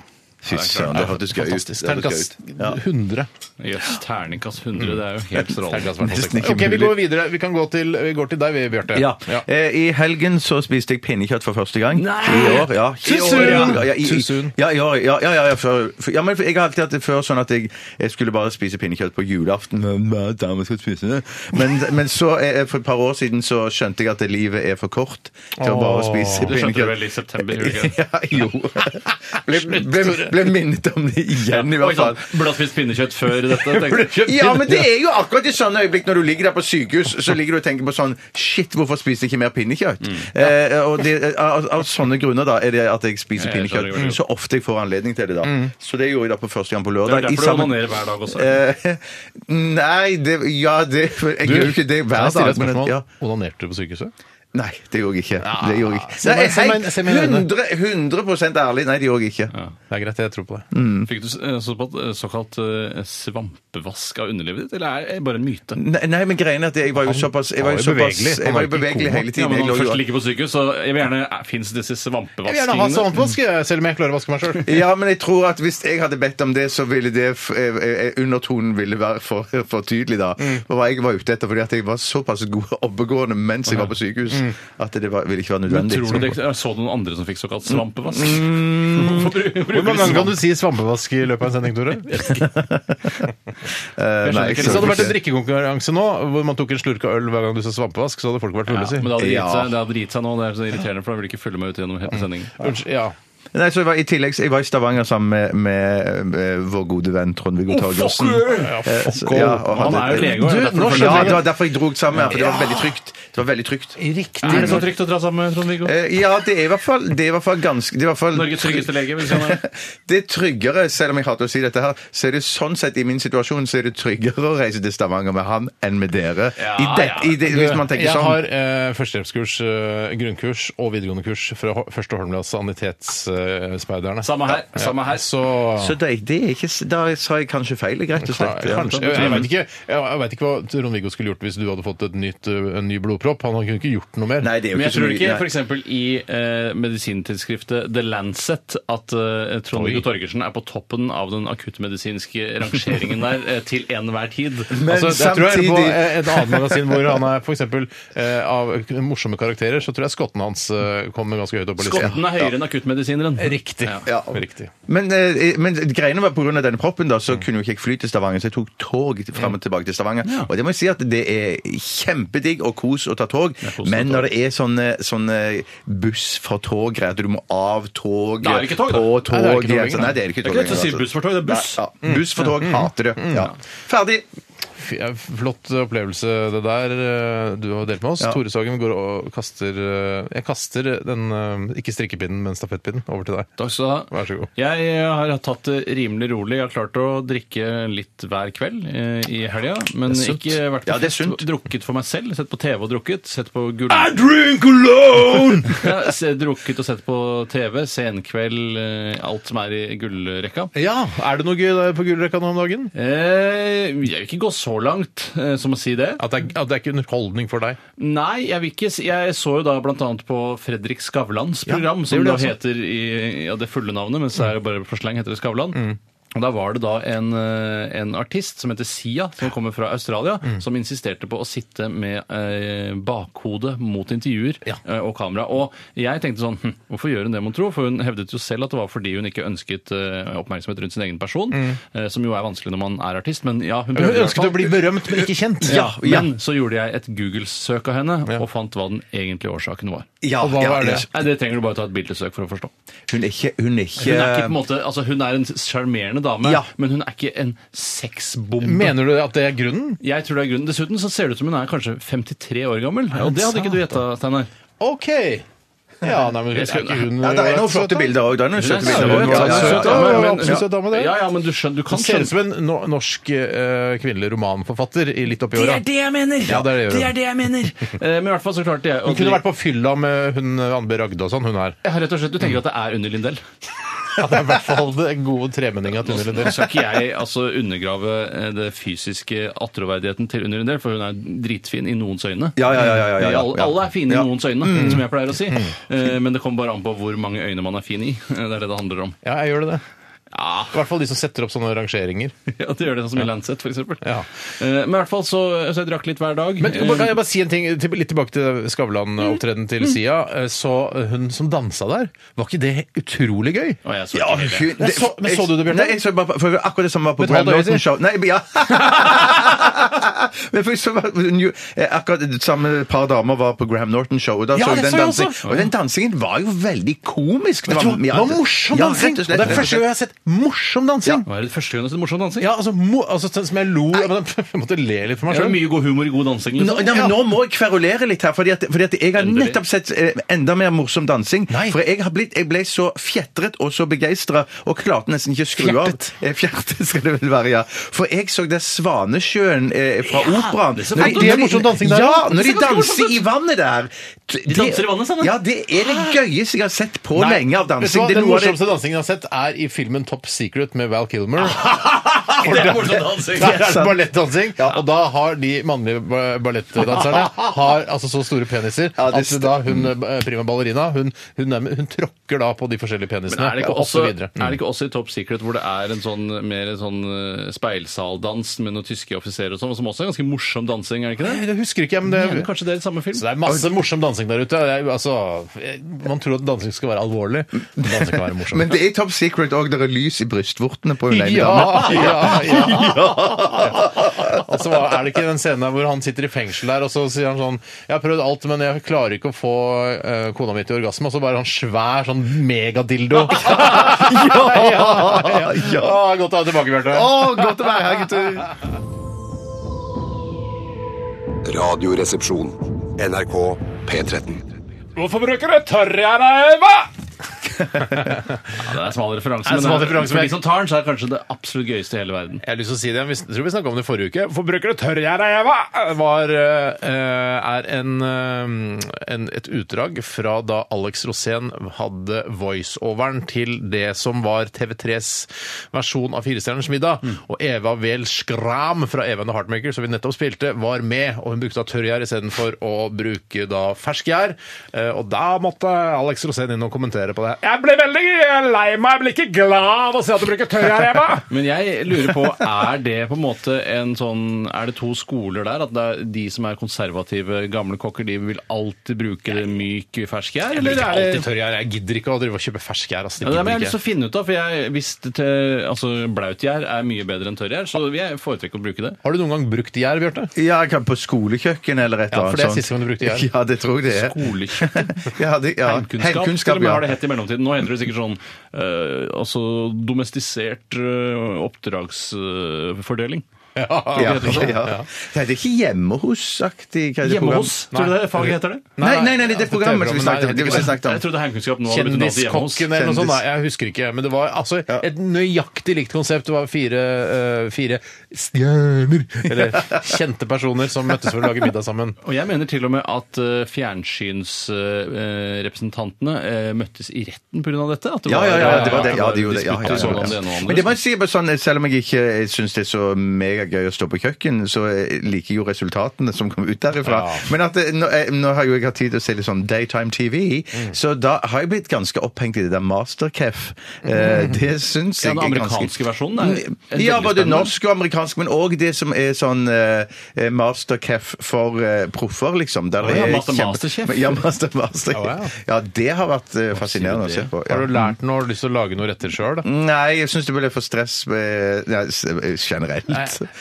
Fy søren, det hørtes gøy ut.
Fantastisk.
Det hørtes
Terningkast
gøy ut.
100.
Jøs, terningkast
Mm.
100, det er jo helt
Terningkast
strålende.
var
Nesten
fantastisk.
ikke
Ok, Vi
mulig.
går videre. Vi kan gå til, vi går til deg, vi, Bjarte.
Ja.
Ja.
Eh, I helgen så spiste jeg pinnekjøtt for første gang.
Nei!
I år, ja. I
Too soon!
år, ja. Ja, i,
Too soon.
i, ja, i år, ja, ja, ja, ja, før, for, ja, men jeg har alltid hatt det før sånn at jeg, jeg skulle bare spise pinnekjøtt på julaften. Men, hva da, man skal spise det. Men, men så, eh, for et par år siden, så skjønte jeg at livet er for kort til å bare spise
Du skjønte det
pinnekjøtt.
vel i september? gjorde du ikke det?
Ja, jo. Ble, ble, ble minnet om det igjen, i
Oi sånn.
hvert
sann,
fall.
burde ha spist pinnekjøtt før dette. tenkte jeg.
Ja, men det er jo akkurat i sånne øyeblikk når du ligger der på sykehus, så ligger du og tenker på sånn Shit, hvorfor spiser jeg ikke mer pinnekjøtt? Eh, og det, av, av sånne grunner da er det at jeg spiser
Ja, jeg skjønner
pinnekjøtt så ofte jeg får anledning til det. da
Mm.
Så det gjorde jeg da på første gang på
Det er
lørdag. i
derfor du
sammen-
onanerer hver dag også.
Eh, Nei, det Ja, det Jeg
Du,
gjør jo ikke det
kan
hver
jeg stille
dag.
et
Men,
spørsmål?
ja.
Onanerte du på sykehuset?
Nei, det gjorde jeg ikke. Det gjorde jeg ikke.
Se meg-
Nei,
se meg-
helt
se meg i øynene.
100, 100 ærlig, nei, det gjorde jeg ikke.
Det er greit, jeg tror på det.
Mm.
Fikk du s- eh, såkalt, eh, såkalt eh, svampevask av underlivet ditt, eller er det bare en myte?
Nei, nei, men greien er at jeg var jo såpass Jeg var jo
han var
såpass-
jo bevegelig.
jeg var jo
Han var ikke i
bevegelig
koma.
hele
Ja,
tiden.
men
Jeg lå
når man
jo-
først ligger på sykehus, så jeg vil gjerne Fins disse
Jeg vil gjerne ha
sånn.
svampevaskingene?
svampvask, jeg, selv om jeg klarer å vaske meg sjøl.
Ja, men jeg tror at hvis jeg hadde bedt om det, så ville det f- eh, eh, undertonen ville være for, for tydelig da.
Mm.
For hva jeg var ute etter, fordi at jeg var såpass god og oppegående mens jeg var på sykehus, at det var, ville ikke være
Mm. Men
nødvendig.
tror du det, jeg så noen andre som fikk såkalt
Mm.
svampevask? Hvorfor bru-
Hvor
bruker
mange ganger
du
kan
sånn.
svamp?
du si svampevask i løpet av en sending, Tore?
Eh, nei, jeg
Hvis det hadde
tror
vært en
ikke.
drikkekonkurranse nå, hvor man tok en slurk av øl hver gang du sa svampevask, så hadde folk vært fulle,
Ja,
si.
men det hadde gitt
Ja.
seg, det hadde gitt seg nå, det er så irriterende, for da vil de ikke følge meg ut gjennom hele sendingen.
Unnskyld, ja.
Nei, så jeg var, I tillegg jeg var i Stavanger sammen med, med, med vår gode venn Trond-Viggo Torgersen. Eh,
Ja, fuck all. Han er jo lege. og er
Du, nå
derfor følger
skjønner
Ja,
jeg-
det var derfor jeg dro sammen. her, For det var veldig trygt. Det var veldig trygt.
Riktig.
Er det så trygt å dra sammen med Trond-Viggo?
Eh, Ja, det er i hvert fall, det er i hvert fall ganske det er i hvert fall,
Norges tryggeste lege, hvis han er
Det er tryggere, selv om jeg hater å si dette her, så er det sånn sett i min situasjon så er det tryggere å reise til Stavanger med han enn med dere.
Ja,
I det, i det, hvis man tenker
jeg
sånn.
har eh, førstehjelpskurs, eh, grunnkurs og videregående kurs fra Ho- Første Holmlands sanitetsspeiderne. Eh, speiderne.
Samme her.
Ja,
Samme her.
Så,
Så det, det er ikke, s- da sa jeg kanskje feil, rett og slett. Ja.
Kanskje. Jeg, jeg veit ikke, jeg, jeg vet ikke hva Trond-Viggo skulle gjort hvis du hadde fått et nytt, eh, en ny blodpropp. Han kunne ikke gjort noe mer.
Nei, det er jo
Men jeg
ikke så
tror
mye.
ikke
nei.
f.eks. i eh, medisintilskriftet The Lancet at eh, Trond-Viggo Torgersen er på toppen av den akuttmedisinske rangeringen der eh, til enhver tid.
Men
altså, jeg tror jeg er på
samtidig-
eh, et annet magasin hvor han er for eksempel, eh, av morsomme karakterer, så tror jeg skotten hans eh, kommer ganske høyt opp på listen.
Skotten er høyere enn akuttmedisineren.
Riktig.
Ja.
Riktig.
Men, eh, men greiene var pga. denne proppen, da, så kunne jo ikke jeg fly til Stavanger, så jeg tok tog fram og tilbake til Stavanger. Og det må jeg si at det er kjempedigg og kos å ta tog,
kos å ta
men
tog.
når det er sånne, sånne buss for tog-greier, at du må av tog,
Da er det ikke tog, da.
på
Nei, det er
tog
ikke tog
ja,
lenger.
så- Nei, det er det ikke
Det
tog.
er ikke lett å
lenger,
si
altså.
buss for tog, det er buss. Mm.
Nei, ja. Buss for tog hater det. Ja. Ferdig!
Fy- eh, Flott opplevelse det der eh, du har delt med oss.
Ja.
Tore Sagen går og kaster eh, Jeg kaster den, eh, ikke strikkepinnen, men stafettpinnen over til deg.
Takk skal du ha.
Vær så god.
Jeg eh, har tatt det rimelig rolig. Jeg har klart å drikke litt hver kveld eh, i helga. Men
Det er sunt.
ikke vært
Ja, det er sunt.
drukket for meg selv. Sett på TV og drukket. Sett på gull...
I drink alone!
Ja, se, drukket og sett på TV. Senkveld. eh, Alt som er i gullrekka.
Ja, Er det noe gøy der på gullrekka nå om dagen?
Eh, jeg vil ikke gå så langt eh, som å si det.
At det, er, at det er ikke underholdning for deg?
Nei, jeg vil ikke si Jeg så jo da blant annet på Fredrik Skavlans program,
det
som
gjorde
da
jeg også.
heter i, ja, det fulle navnet, men så er det bare på slang heter det Skavlan.
Mm.
Og Da var det da en, eh, en artist som heter Sia, som kommer fra Australia,
Mm.
som insisterte på å sitte med eh, bakhodet mot intervjuer eh, og kamera. Og jeg tenkte sånn hm, Hvorfor gjør hun det, mon tro? For hun hevdet jo selv at det var fordi hun ikke ønsket eh, oppmerksomhet rundt sin egen person,
Mm.
eh, som jo er vanskelig når man er artist, men ja, hun prøvde i hvert fall.
bli berømt, men ikke kjent.
Ja, men så gjorde jeg et Google-søk av henne og fant hva den egentlige årsaken var.
Ja,
Og hva
ja,
var det?
ja.
Nei, Det trenger du bare ta et bildesøk for å forstå.
Hun er ikke Hun er
Hun er,
Eh,
ikke på en
ikke
måte, altså hun er en sjarmerende dame,
Ja.
men hun er ikke en sexbombe.
Mener du at det er grunnen?
Jeg tror det er grunnen. Dessuten så ser det ut som hun er kanskje 53 år gammel. Og det hadde ikke du gjetta, Steinar.
OK! Ja, nei, men er
skal-
ikke hun eh,
ja, Det er noen flotte bilder òg. Det er noen søte
søt,
bilder
ja,
også. altså. Ja, ja,
Søt
ja,
dame,
ja.
men- absolutt søt dame, det.
Ja, ja, men du skjønner, du kan
Hun ser ut
skjønne
som en no- norsk eh, kvinnelig romanforfatter i litt oppi åra.
det jeg mener!
Ja, det er det jeg gjør.
jeg mener! Eh, Men i hvert fall så klarte jeg å
Hun kunne
bli-
vært på fylla med hun eh, Anne B. Ragde og sånn, hun her.
Ja, Rett og slett, Du tenker at det er Unni Lindell?
Ja, det er i hvert fall den gode tremenninga til Unni
Nå
Lindell.
skal ikke jeg altså, undergrave eh, det fysiske attråverdigheten til Unni Lindell, for hun er dritfin i noens øyne. Eh,
Ja, ja, ja, ja, ja, ja.
Alle, alle er fine
Ja. Mm.
i noens øyne, som jeg pleier å si. Eh, Men det kommer bare an på hvor mange øyne man er fin i. Eh, Det er det det handler om.
Ja, jeg gjør det.
Ja,
I hvert fall de som setter opp sånne rangeringer.
ja det gjør det sånn som i Lancet, f.eks.
Ja.
Men i hvert fall så, så jeg drakk litt hver dag.
Men
Mm.
Eh,
kan jeg bare si en ting, til- litt tilbake til Skavlan-opptredenen til Sia. Eh, Så eh, hun som dansa der, var ikke det utrolig gøy?
og jeg så
Ja, hun,
ikke hele.
Men så- men så du det, Bjørte?
Nei, jeg så bare, for akkurat det samme var på
Men et halvt
Graham
øye
Norton
til.
Show. Nei, ja. men for jeg så, bare- hun jo- eh, akkurat det samme par damer var på Graham Norton Show, og da
Ja,
så jeg
det
den
så jeg
dansingen.
også.
Og den dansingen var jo veldig komisk.
Det var, det
ja,
var morsom
ja, rett og
dansing! Og
slett.
det er første gang jeg har sett morsom dansing!
Var det første gang du har sett morsom dansing?
Ja, altså, mo, altså sånn som jeg lo jeg, måtte- jeg måtte le litt for meg
Er det
sjøl.
mye god humor i god dansing?
Nå,
Liksom?
nei, men nå må jeg kverulere litt her, fordi, at, fordi at jeg har
Endelig.
nettopp sett eh, enda mer morsom dansing.
Nei.
For jeg, har blitt, jeg ble så fjetret og så begeistra og klarte nesten ikke å skru av.
Fjertet.
Eh, Fjertet skal det vel være, ja. For jeg så det Svanesjøen eh, fra operaen.
det er så
Når
flott.
de-
Det er
morsom dansing der,
Ja,
ja.
når de
Det ser ganske morsomt
danser
ut.
i vannet der. De
danser i vannet, sa du? Ah.
Ja, det er det gøyeste jeg har sett på
Nei,
lenge av
vet du
dansing.
hva?
Det er
Den
noe av det-
morsomste dansingen jeg har sett, er i filmen Top Secret med Val Kilmer.
Ah,
For
Det er
der-
morsom dansing.
Der er det ballettdansing, og da har de mannlige ba- ballettdanserne har altså så store peniser
Ja, det
at
st-
da hun eh, prima ballerina hun, hun, er, hun tråkker da på de forskjellige penisene.
Men er det, ikke
og hopper
også,
videre.
er det ikke også i Top Secret hvor det er en sånn mer en sånn eh, speilsaldans med noen tyske offiserer og sånn, som også er ganske morsom dansing, er det ikke det?
Jeg husker ikke, men det,
Mener kanskje det er i samme film?
så det er masse morsom dansing dansing der ute. og Jeg, altså, jeg- man tror at dansing skal være alvorlig, men dansing kan være morsomt.
Men det er top secret òg. Det er lys i brystvortene på hun
Ja,
ene dama.
ja, ja. Og så var- er det ikke den scenen der hvor han sitter i fengsel der, og så sier han sånn Jeg har prøvd alt, men jeg klarer ikke å få eh, kona mi til orgasme. Og så bare han svær sånn megadildo. ja, ja, ja. Å, Godt å ha deg tilbake, Bjarte.
Å, godt å være her, gutter!
Radioresepsjon. NRK P13.
Hvorfor bruker du tørrjernøyva?
Ja, det er en smal referanse,
Det er en
men
smal
det-
referanse,
for
men-
de som tar den, så er det kanskje det absolutt gøyeste i hele verden.
Jeg har lyst til å si det, vi jeg tror vi snakka om det forrige uke. Forbrukere tør jeg deg, Eva! Var, eh, er en, eh, en, et utdrag fra da Alex Rosén hadde voiceoveren til det som var TV3s versjon av Firestjerners middag. Og Eva Vel Skram fra Eva and the Heartmaker, som vi nettopp spilte, var med. Og hun brukte da tørrgjær istedenfor å bruke da ferskgjær. Eh, Og da måtte Alex Rosén inn og kommentere på det. Jeg blir veldig lei meg, jeg blir ikke glad av å se at du bruker tørrgjær, Eva!
Men jeg lurer på, er det på en måte en sånn Er det to skoler der? At det er de som er konservative, gamle kokker, de vil alltid bruke det myk ferskgjær?
Jeg
Eller
bruker
er
alltid
det
tørrgjær. Jeg gidder ikke å drive og kjøpe ferskgjær. Altså,
ja,
det
det er, men jeg har
gidder jeg
lyst til å
ikke.
finne ut av, for jeg visste til, altså Blautgjær er mye bedre enn tørrgjær, så jeg foretrekker å bruke det.
Har du noen gang brukt gjær, Bjarte?
Ja, jeg kan på skolekjøkken eller et
Ja,
eller annet
for det er
sånt.
siste gang du brukte gjær.
Ja, det tror jeg det er.
Skolekjøkken?
Ja, det, ja.
Heimkunnskap,
Heimkunnskap,
til og med
ja.
har det hett i mellomtiden. Nå heter det sikkert sånn eh, altså domestisert eh, oppdragsfordeling.
Ja,
det heter det.
ja. Det heter ikke hjemme hos-aktig hva er det
Hjemme
program?
hos, tror du det faget heter det?
Nei, nei, nei, det er
altså,
programmet som vi snakket om.
TV-programmet, nei, det
Det vi
heter
snakket om.
Jeg trodde heimkunnskap nå hadde blitt navnet hjemme hos.
Kjendiskokken eller noe
Kjendis.
sånt. Nei, jeg husker ikke. Men det var altså et nøyaktig likt konsept. Det var fire, eh, fire stjerner, eller kjente personer, som møttes for å lage middag sammen.
Og jeg mener til og med at eh, fjernsynsrepresentantene eh, møttes i retten pga. dette. At det
Ja, ja, ja, det var det. Ja, de gjorde det. Ja, ja,
disputter sånn om det
ja,
ene og
ja.
andre.
Men det må jeg si, bare sånn, selv om jeg ikke syns det er så megagøy å stå på kjøkken, så eh, liker jeg jo resultatene som kom ut derifra.
Ja.
Men at, eh, nå, eh, nå har jo jeg hatt tid til å se litt sånn daytime TV,
Mm.
så da har jeg blitt ganske opphengt i det der Masterchef. Eh, Det syns
Mm. Ja,
jeg
den
er Mm,
amerikanske versjonen er en
Ja,
veldig
både
spennende.
norsk og amerikansk, men òg det som er sånn eh, eh, Masterchef for eh, proffer, liksom. Der
ja,
det er
Master-
kjempe-
Masterchef.
Ja, Master Master.
Ja, ja.
Ja, det har vært eh, fascinerende å se på. Ja.
Har du lært noe? Har du lyst til å lage noe retter sjøl?
Nei, jeg syns det ble for stress eh, nei, s- eh, generelt.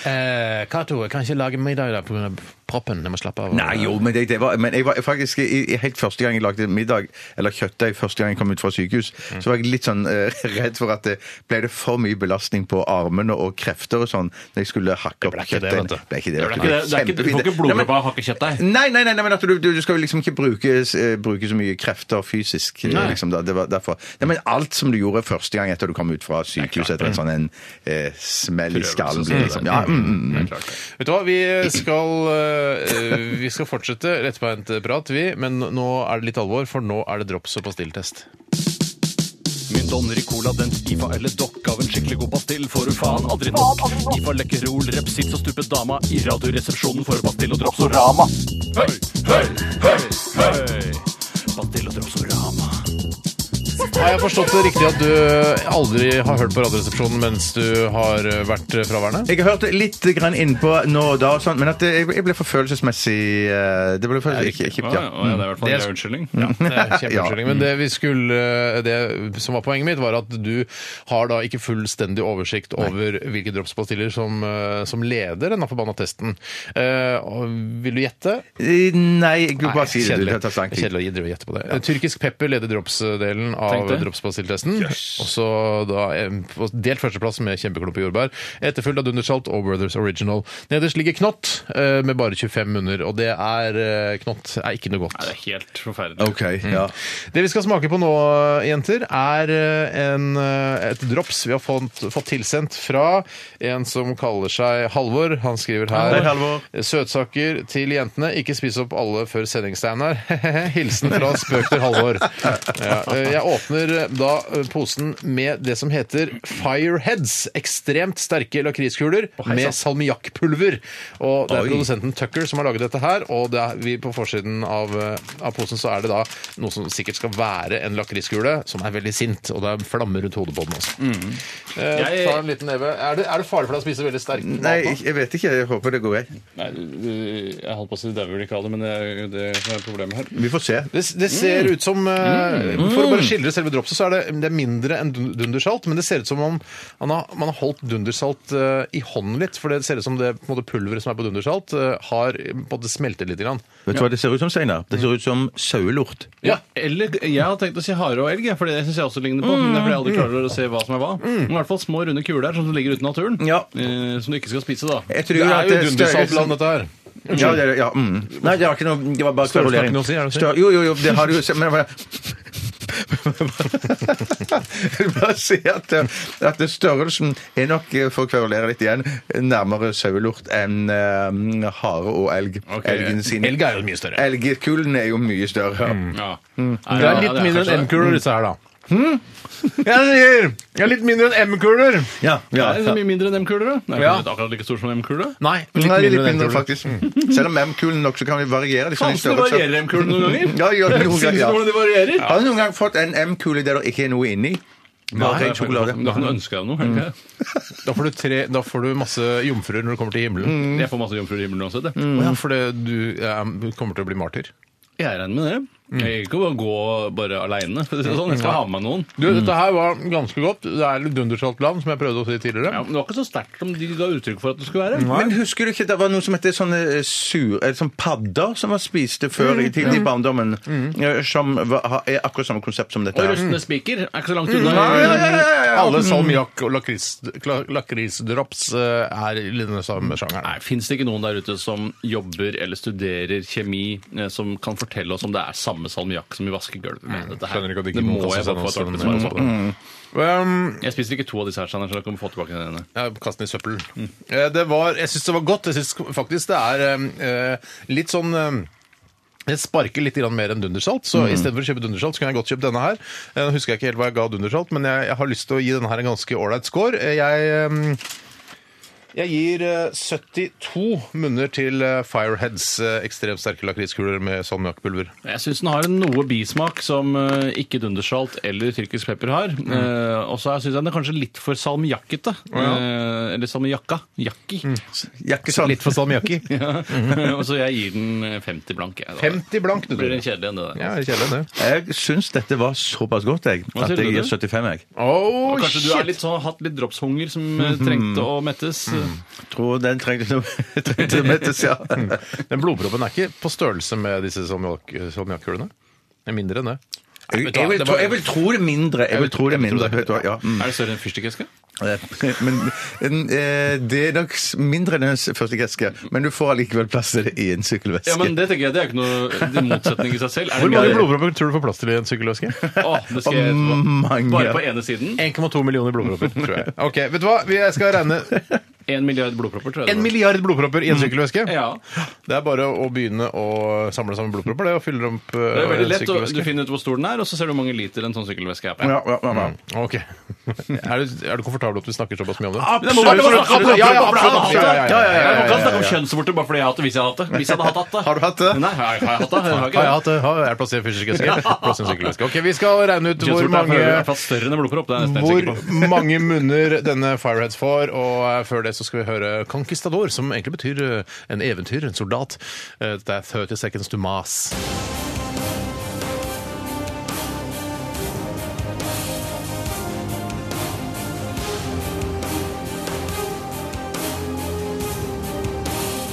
Eh, Cato, jeg kan ikke lage middag i dag pga. proppen. Jeg må slappe av.
Nei, jo, men, det, det var, men jeg var faktisk i, i helt første gang jeg lagde middag, eller kjøttdeig, første gang jeg kom ut fra sykehus, så var jeg litt sånn eh, redd for at det ble det for mye belastning på armene og krefter og sånn når jeg skulle hakke opp
ble ikke det,
kjøttdeigen.
vet du.
ble ikke det,
Det
vet
er ikke det. Det er ikke, du får ikke
Kjempefint. Nei, men-
blodpropp av hakkekjøttdeig.
Nei, nei, nei, nei, men at du, du, du skal jo liksom ikke bruke, eh, bruke så mye krefter fysisk. eh, Liksom, da. Det var derfor. Nei, men alt som du gjorde første gang etter du kom ut fra sykehuset etter en sånn en eh, smell i skallen blir liksom, ja, mm, mm, mm.
Vet du hva, vi skal, eh, vi skal fortsette rettbeint prat, vi. Men nå er det litt alvor, for nå er det drops og pastilltest.
Min Don Ricola, den IFA eller dokk av en skikkelig god pastill får du faen aldri nok. IFA Lekkerol, Repsils og stupet dama i Radioresepsjonen får du pastill og Dropsorama. Høy, høy, høy, høy. Pastill og Dropsorama.
Har jeg forstått det riktig at du aldri har hørt på Radioresepsjonen mens du har eh, vært fraværende?
Jeg har hørt litt grann innpå nå og da, og sånn, men at det, jeg ble for følelsesmessig eh, Det ble for ikke, ikke,
Ja,
ja.
ja, det er i hvert fall
Det
en
er-
unnskyldning.
Det er kjempeunnskyldning, men det, vi skulle, eh, det som var poenget mitt, var at du har da ikke fullstendig oversikt over hvilke dropspastiller som, eh, som leder denne forbanna testen. Eh, og vil du gjette?
Eh, Nei, jeg vil bare
Nei,
si det. du,
kjedelig.
Det tar så lang tid.
Kjedelig å drive og gjette på det. Tyrkisk pepper leder drops-delen
Tenk
av
det.
dropspastilltesten. Og så da em, på delt førsteplass med kjempeklump i jordbær. Etterfulgt av Dundersalt og Brothers Original. Nederst ligger Knott eh, med bare 25 munner, og det er eh, Knott er ikke noe
Nei, det
godt.
er helt forferdelig.
Ok,
Mm.
ja.
Det vi skal smake på nå, jenter, er eh, en, eh, et drops vi har fått, fått tilsendt fra en som kaller seg Halvor. Han skriver her
Hei, Halvor.
Søtsaker til jentene. Ikke spis opp alle før sending, Steinar. Hilsen fra spøk til Halvor. Ja, eh, jeg åpner åpner da posen med det som heter Fireheads. Ekstremt sterke lakriskuler med salmiakkpulver. Og det er produsenten Tucker som har laget dette her. Og det er, vi på forsiden av, eh, av posen så er det da noe som sikkert skal være en lakriskule, som er veldig sint. Og det er flammer rundt hodet på den også. Eh,
Jeg-
tar en liten neve. Er det, er det farlig for deg å spise veldig sterk mat?
Nei,
nå?
jeg vet ikke. Jeg håper det går greit.
Nei, jeg holdt på å si dauer vel ikke av det, men det er det som er problemet her.
Vi får se.
Det, det ser ut som eh, For å bare skildre selve dropset, så er det, det er mindre enn dun- dundersalt. Men det ser ut som om man har, man har holdt dundersalt eh, i hånden litt. For det ser ut som det på en måte, pulveret som er på dundersalt, eh, har eh, på en måte smeltet litt. Grann.
Vet du hva det ser ut som, Steinar? Det ser ut som sauelort.
Ja, eller Jeg hadde tenkt å si hare og elg, for det syns jeg også ligner på. Men det er fordi jeg
Mm.
aldri klarer å se hva som er hva. Men i hvert fall små, runde kuler sånn som ligger ute i naturen.
Ja.
Eh, som du ikke skal spise, da.
Jeg tror
Det er jo
at
dundersaltland, dette her.
Ja, det, ja, mm. Nei, det var ikke noe Det var bare
Størrelsen har
kverulering.
ikke noe å si, er det det?
Stør- Jo, jo, jo, det har du jo Men jeg bare- jeg vil bare si at, eh, at det størrelsen er nok, eh, for å kverulere litt igjen, nærmere sauelort enn eh, hare og elg.
Ok.
Elgen sin.
Elg er Mm. jo mye større.
Elgkulene er jo mye større.
Ja.
Mm.
Det er litt mindre enn M-kuler, disse her, da. Jeg sier jeg er litt mindre enn M-kuler.
Ja, ja.
Er det så mye mindre enn M-kuler, da? Nei,
Ja.
men det er akkurat like stor som M-kuler?
Nei,
Nei,
litt
litt
mindre enn
mindre,
M-kuler.
faktisk. Selv om M-kulen nokså kan variere. Liksom, i
Fasen, det
størrelse.
varierer M-kulene noen ganger.
Ja, ja,
Det
noen
er sinnssykt
ganger, ja.
hvordan de varierer.
Har du noen gang fått en M-kule der det ikke er noe inni? Bare ren sjokolade.
Da kan du ønske deg noe. er det ikke?
Da får, du tre, da får du masse jomfruer når du kommer til himmelen.
Mm.
Jeg får masse jomfruer i himmelen uansett. jeg.
Å Ja, for det, du eh, kommer til å bli martyr.
Jeg regner med det.
Mm.
Jeg gir ikke å gå bare aleine. for å si det Sånn. Jeg skal ha med noen.
Du, Dette her var ganske godt. Det er litt dundersalt land, som jeg prøvde å si tidligere.
Ja, men det var ikke så sterkt som de ga uttrykk for at det skulle være.
Men husker du ikke det var noe som heter sånne eh, sur, eller sånn padder som man spiste før
Mm,
i tiden i barndommen? eh, Som var, har- er akkurat samme konsept som dette
Og
her.
rustne spiker er ikke så
Mm.
langt unna.
Alle
Mm.
salmiakk og lakris- kla- lakrisdrops eh, er i den samme sjangeren.
Nei, Fins det ikke noen der ute som jobber eller studerer kjemi, eh, som kan fortelle oss om det er samme salmiakk som vi vasker gulvet med? dette
Mm.
her?
skjønner ikke at
det,
ikke noen
må
kan
jeg
sende
få få
oss
et ordentlig
en-
svar på.
Um,
Jeg spiser ikke to av disse her, Steinar, så jeg kommer få tilbake den ene.
jeg kaster den i søppel. Eh, Det var, jeg syns det var godt. Jeg syns faktisk det er um, eh, litt sånn um, det sparker litt grann mer enn dundersalt, så i
Mm.
stedet istedenfor å kjøpe dundersalt, så kunne jeg godt kjøpt denne her. Eh, Nå husker jeg ikke helt hva jeg ga dundersalt, men jeg, jeg har lyst til å gi denne her en ganske ålreit score. Eh, Jeg, um, jeg gir eh, 72 munner til eh, Fireheads eh, ekstremt sterke lakriskuler med salmiakkpulver.
Jeg syns den har en noe bismak som eh, ikke dundersalt eller tyrkisk pepper har.
Mm.
Eh, og så syns jeg den er kanskje litt for salmiakkete. Eh, eller salmiakka. Jakki.
Mm.
sånn.
Jakkesand.
Litt for salmiakki. Mm.
og så jeg gir den eh, 50 blank. Jeg, da.
50 blank, du.
Det blir en kjedelig en, det der.
Ja, det er kjedelig, det.
Jeg syns dette var såpass godt, jeg,
Hva
at
sier du,
jeg gir
du?
75, jeg.
Oh,
Og kanskje du er litt sånn, har hatt litt dropshunger som eh, trengte å mettes.
Tror den trengte noe trengte mettes,
Mm.
ja.
Den blodproppen er ikke på størrelse med disse salmiakk- salmiakkulene? Det er mindre enn det.
Jeg, jeg, vil tro, jeg vil tro det mindre. Jeg vil tro det mindre. Vet du hva, ja. Mm.
Er det større enn fyrstikkeske?
Men eh, det er nok s- mindre enn en s- første greske, men du får allikevel plass til det i en sykkelveske.
Ja, men det tenker jeg, det er ikke noe det er motsetning i seg selv. Er
Hvor
det
mange
mer-
blodpropper tror du får plass til i en sykkelveske?
Å, det skal jeg etterpå.
Mange.
Bare på ene siden.
1,2 millioner blodpropper, tror jeg. Ok, vet du hva? Vi- Jeg skal regne
En milliard blodpropper, tror jeg. det
en
var.
milliard blodpropper i en sykkelveske.
Ja.
Det er bare å begynne å samle sammen blodpropper det, og fylle opp eh,
Det er veldig
en
lett, og du
sykkelveske.
finner ut hvor stor den er, og så ser du hvor mange liter en sånn sykkelveske er på.
Ja, ja, ja, ja.
Ok. Er du, er du komfortabel at vi snakker såpass mye om det?
Men det må være lov å snakke om det.
Ja, ja, absolutt, absolutt. Ja, ja, ja, ja, ja,
Jeg kan
ja, ja,
ikke
ja.
snakke om kjønnsvorter bare fordi jeg har hatt det. Hvis jeg hadde hatt det. Hvis jeg hadde hatt det.
Har du hatt det?
Nei, har jeg
Har jeg
har jeg hatt det? Jeg har ikke det.
hatt det? Har jeg plassert fysisk eske? Plass i en sykkelveske. Ok, vi skal regne ut hvor
Kjønnsvorter
mange
er for øvrig i hvert fall større enn en blodpropp. Det er jeg nesten helt sikker på.
hvor mange munner denne Fireheads får. Og eh, før det så skal vi høre Conquistador, som egentlig betyr eh, en eventyr, en soldat. Eh, Det er 30 Seconds to Mas.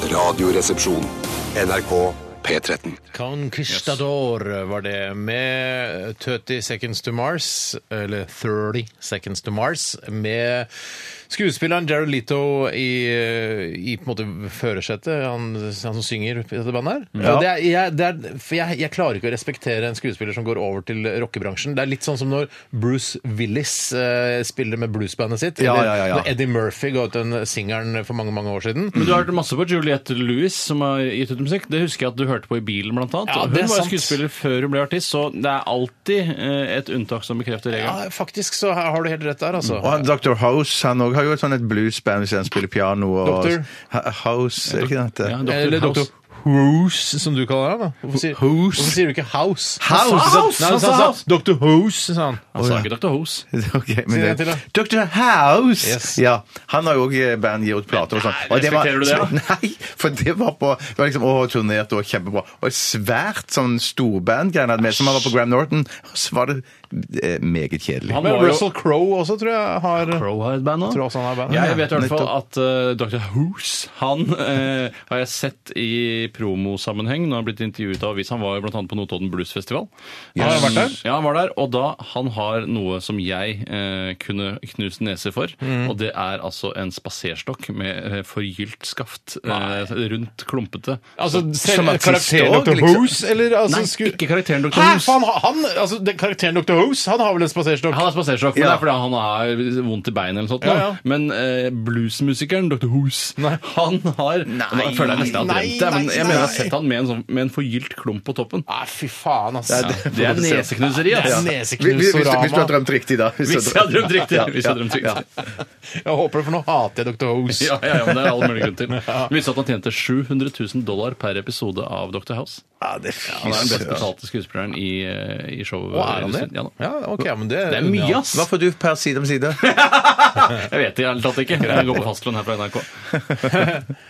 Radioresepsjon. NRK P13.
Conquistador var det, med 30 Seconds to Mars, eller 30 Seconds to Mars, med Skuespilleren Jared Leto i, i på en måte førersetet, han, han som synger i dette bandet her. Og det er, jeg, det er, for jeg, jeg klarer ikke å respektere en skuespiller som går over til rockebransjen. Det er litt sånn som når Bruce Willis eh, spiller med bluesbandet sitt.
Ja, ja,
eller
ja, ja. Mm.
Når Eddie Murphy ga ut den singelen for mange, mange år siden.
Men du har hørt masse på Juliette Lewis, som har gitt ut musikk. Det husker jeg at du hørte på i bilen, blant annet.
Ja,
Og
det er
hun var jo
sant.
skuespiller før hun ble artist, så det er alltid eh, et unntak som bekrefter regelen.
Ja, faktisk så har du helt rett der, altså.
Og han, Dr. House han også har jo et sånn et bluesband hvis han spiller piano. Og
Dr.
Ha- House, er det ikke det?
Ja,
han heter?
Dr.
Eller Dr.
House.
House, som du kaller han. da. Hvorfor sier,
House?
hvorfor sier du ikke House?
House!
Han sa Ah, House! Nei, han sa,
Han sa
han sa Dr. House, sa han.
Han sa ikke Dr. Hose.
Ok, men
Si det
det,
til, da.
Dr. House!
Yes.
Ja, han har jo òg band, gir ut plater og sånn.
Nei,
Og var-
respekterer du det,
Nei, for det var på det var liksom, Å, turnert og kjempebra. Og et svært sånn storband han hadde med, som han var på Graham Norton. Og så var det eh, meget kjedelig.
Han
Men
var jo-
Russell Crowe også, tror jeg, har
Crow har et band nå.
Tror også han har band.
Ja, jeg vet i hvert fall at eh, Dr. Hoose han eh, har jeg sett i promosammenheng når han har blitt intervjuet av avis. Han var jo bl.a. på Notodden Bluesfestival.
Har han vært der?
Ja, han var der. Og da han har noe som jeg eh, kunne knust nese for,
Mm.
og det er altså en spaserstokk med eh, forgylt skaft, eh, rundt, klumpete.
Altså, selv
Som artist
karakteren
også,
Dr.
liksom.
Hoose, eller altså,
Nei,
sku-
ikke karakteren Dr.
Hæ,
Hoose.
faen, han, altså, den karakteren Dr. Hoose, han har vel en spaserstokk?
Han er spasersjokk, men
Ja.
det er fordi han har vondt i beinet eller noe sånt.
Ja,
da.
ja.
Men eh, bluesmusikeren Dr. Hoos, han har Nå føler jeg nesten at
nei,
jeg har dremt det, men
nei,
jeg mener jeg
nei.
har sett han med en, sånn, med en forgylt klump på toppen.
Nei, fy faen, ass.
Det er, det er neseknuseri,
Det
ass.
er
Hvis, hvis, hvis, du- hvis du har
Neseknusorama.
drømt riktig, da. Hvis du har
Hvis jeg hadde drømt riktig.
Ja,
Hvis jeg
ja,
hadde drømt
ja.
riktig.
Jeg håper det, for nå hater jeg Dr. Hoose.
Ja, ja, ja, men det er all mulig grunn til. Det viste at han tjente 700 000 dollar per episode av Dr. House.
Ja, det er
Han er den best
fy
betalte skuespilleren i, eh, i showet.
Å, er han det?
Ja, da.
Ja, ok, men det,
det er mye, ass!
Hva får du per side om side?
Jeg vet det i hele tatt ikke. Jeg går på fastlønn her fra NRK.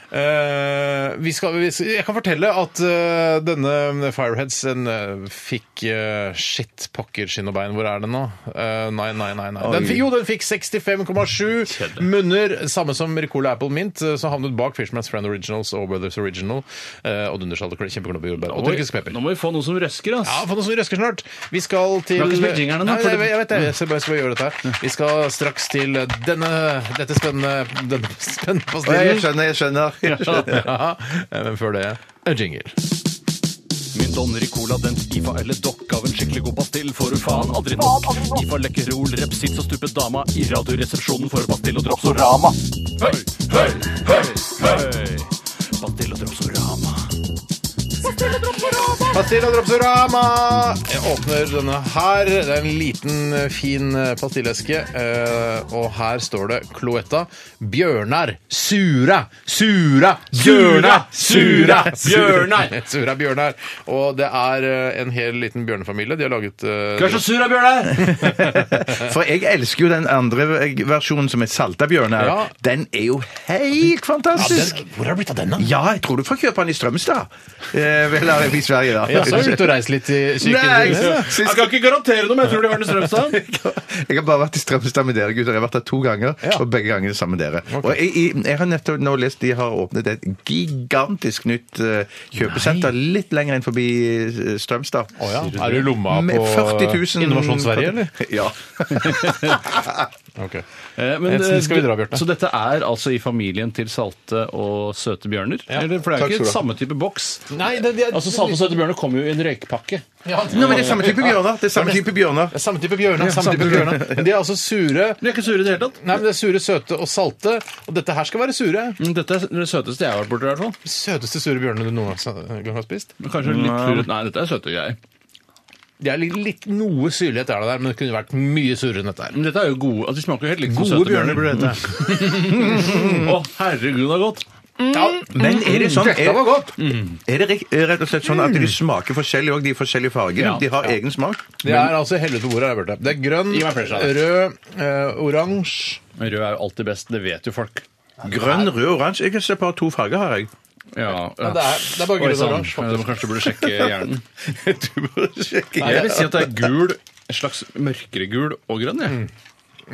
Eh, vi skal, vi, jeg kan fortelle at eh, denne Fireheads en, eh, fikk eh, Shit, pokker, skinn og bein, hvor er den nå? Eh, nei, nei, nei. nei. Den,
Oi.
fikk- jo, den fikk 65,7 munner, samme som Ricola Apple Mint, eh, som havnet bak Fishman's Friend Originals og Brothers Original. eh, og Dundersalt og kjempeknoppe jordbær. Og tyrkisk pepper.
Nå må vi få noe som røsker, ass.
Ja, få noe som røsker snart. Vi skal til
Du har ikke spilt jingeren ennå,
Nei,
for
jeg,
det-
jeg vet det. Jeg skal bare, skal bare gjøre dette. her. Vi skal straks til denne, dette spennende, denne spennende
Å,
pastillen.
Jeg skjønner, jeg skjønner. Jeg skjønner.
Ja, men før det er jingle.
Min Don Ricola, den IFA eller dokk av en skikkelig god pastill får du faen aldri nok. IFA Lekkerol, Repsits og Stupe Dama i Radioresepsjonen får du pastill og Dropsorama. Høy, høy, høy, høy! Pastill og Dropsorama.
Pastilla Dropsorama! Jeg åpner denne her. Det er en liten, eh, fin pastilleske. eh, Og her står det Cloetta. Bjørnar. Sura! Sura! Bjørnar! Sura!
Bjørnar!
Sura Bjørnar. Og det er eh, en hel liten bjørnefamilie. De har laget eh,
Du er så sur, da, Bjørnar!
For jeg elsker jo den andre versjonen som er salta bjørn her.
Ja.
Den er jo helt fantastisk!
den, hvor har det blitt av den, da?
Ja, jeg tror du får kjøpe den i Strømstad. Eh, vel, eller i Sverige, da.
Ja, så er du ute og reist litt i
Nei,
sykehuset.
jeg syns-
kan ikke garantere noe, men jeg tror det var den Strømstad.
jeg har bare vært i Strømstad med dere, gutter. Jeg har vært der to ganger,
Ja.
og begge gangene sammen med dere. Og jeg, jeg, jeg har nettopp nå lest de har åpnet et gigantisk nytt eh, kjøpesenter litt lenger inn forbi eh, Strømstad.
Å ja. Er du i lomma
Med
på
40 000
Innovasjon Sverige, eller?
Ja.
Ok.
Eh, Men,
Eh, så skal vi dra, Bjørte.
Så dette er altså i familien til salte og søte bjørner? Eller, for det
Takk
er jo
skal du
ikke
ha.
samme type boks.
Nei, det, det,
Altså, Salte og søte bjørner kommer jo i en røykpakke.
Nå, men det er samme type bjørner. Det er samme type bjørner.
Det er Samme type bjørner. Samme type bjørner. Men de er altså sure.
De er ikke sure i det hele tatt.
Nei, men det er sure, søte og salte. Og dette her skal være sure.
Men Mm, Dette er det søteste jeg har vært borti, i hvert fall.
Søteste sure bjørnene du noen gang har spist.
Men Kanskje litt surere. Nei, dette er søte greier.
Det er litt, litt noe syrlighet er det der, men det kunne vært mye surere enn dette her.
Men dette er jo gode altså, De smaker jo helt likt som
Søte
søte bjørner.
burde det hete.
Å, herregud, det er godt.
Ja,
Men er det sånn
dette
er,
var godt!
er det rett- rett og slett sånn at de smaker forskjellig òg, de forskjellige fargene?
Ja.
De har egen smak?
Det er altså helvete på bordet. har jeg hørt det. Det er grønn,
Gi meg flere, sa jeg.
rød, eh, oransje
Men Rød er jo alltid best. Det vet jo folk.
Grønn, rød, oransje. Jeg kan se på to farger, har jeg.
Ja, sånn.
det er- det er bare grønn og oransje, faktisk.
Du må kanskje burde sjekke hjernen.
Du burde sjekke.
Nei, jeg vil si at det er gul, en slags mørkere gul og grønn. jeg.
Mm.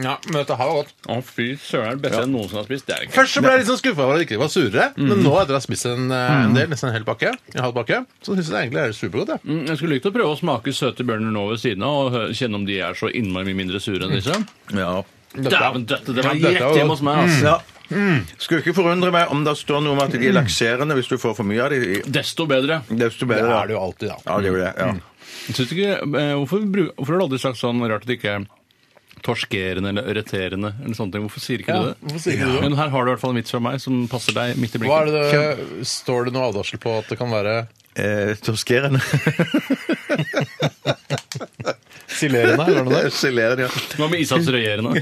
Ja, men dette her var godt.
Å, fy søren. Det beste jeg noensinne har spist. Det er det ikke.
Først så ble jeg litt sånn skuffa over at det ikke var surere, men nå etter å ha spist en, eh, en del, nesten en hel pakke, en halv pakke, så syns jeg det egentlig er supergodt. jeg.
Mm, Jeg skulle likt å prøve å smake søte bjørner nå ved siden av og hø- kjenne om de er så innmari mye mindre sure enn disse.
Ja.
Dæven døtte! Det var
Mm. Ja, dette Mm.
rett
var-
hjemme hos meg, altså.
Mm. Ja. Skulle ikke forundre meg om det står noe om at de er lakserende hvis du får for mye av de.
Desto bedre.
Desto
Det
bedre.
er det jo alltid, da.
Ja, det er jo det. Ja.
Syns du ikke, eh, hvorfor, bru- hvorfor har du aldri sagt sånn rart at det ikke er torskerende eller irriterende eller sånne ting? Hvorfor sier ikke
Ja,
du det?
hvorfor sier ikke du det?
Men her har du i hvert fall en vits fra meg som passer deg midt i
Hva er
blinken.
det, det- står det noe advarsel på at det kan være
Eh, torskerende.
silerende? eller noe der?
Gelerende, ja.
Hva med Isaks regjerende?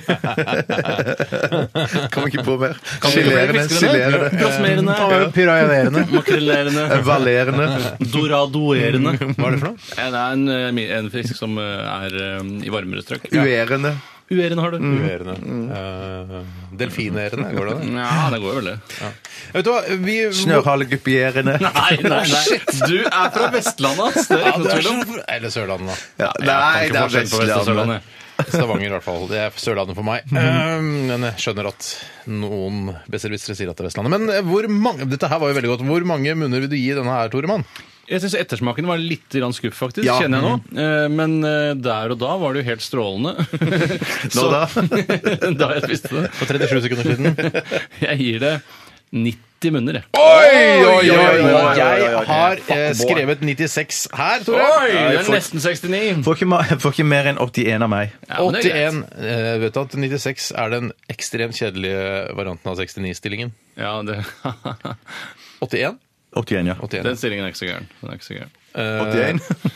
Kom ikke på mer.
Kan vi-
Gelerende,
Fiskerende?
silerende,
Brasmerende?
Pyraiderende.
Makrellerende?
valerende.
Doradoerende?
Hva er det for noe?
Ja, Det er en, eh, mi- en fisk som eh, er eh, i varmere strøk.
Uerende.
Uerende har du.
Uerende. Eh, delfinerende, går det an?
Ja, det går jo vel, det.
Vet du hva, vi
Snørhalegupierende.
Nei, nei, nei. Du er fra Vestlandet, ass! Det er
Ja, det
ikke noe
er
tvil om.
så- Eller Sørlandet, da.
Ja,
Jeg
nei,
kan
det
ikke
er
forskjell på Vest- og
Vestlandet.
Sørlandet.
Stavanger, i hvert fall. Det er Sørlandet for
Mhm.
meg. Eh, Men jeg skjønner at noen besserwissere sier at det er Vestlandet. Men eh, hvor mange dette her var jo veldig godt. Hvor mange munner vil du gi denne her, Toremann?
Jeg syns ettersmaken var litt grann skuff, faktisk.
Ja. Mm.
Kjenner jeg nå. Eh, Men eh, der og da var det jo helt strålende.
Nå da?
da jeg spiste det.
For 37 sekunder siden.
Jeg gir det 90 munner, jeg.
Oi, oi,
oi, oi, oi, oi.
Jeg har eh, skrevet 96 her, Tore.
Det
Ja,
er
for-
nesten 69.
Får ikke, ma- får ikke mer enn 81 av meg.
Ja, men det er greit.
81. Eh, vet du at 96 er den ekstremt kjedelige varianten av 69-stillingen?
Ja, det,
81?
81, ja.
81.
den stillingen er ikke så gæren. Den er ikke så gæren.
Eh,
81.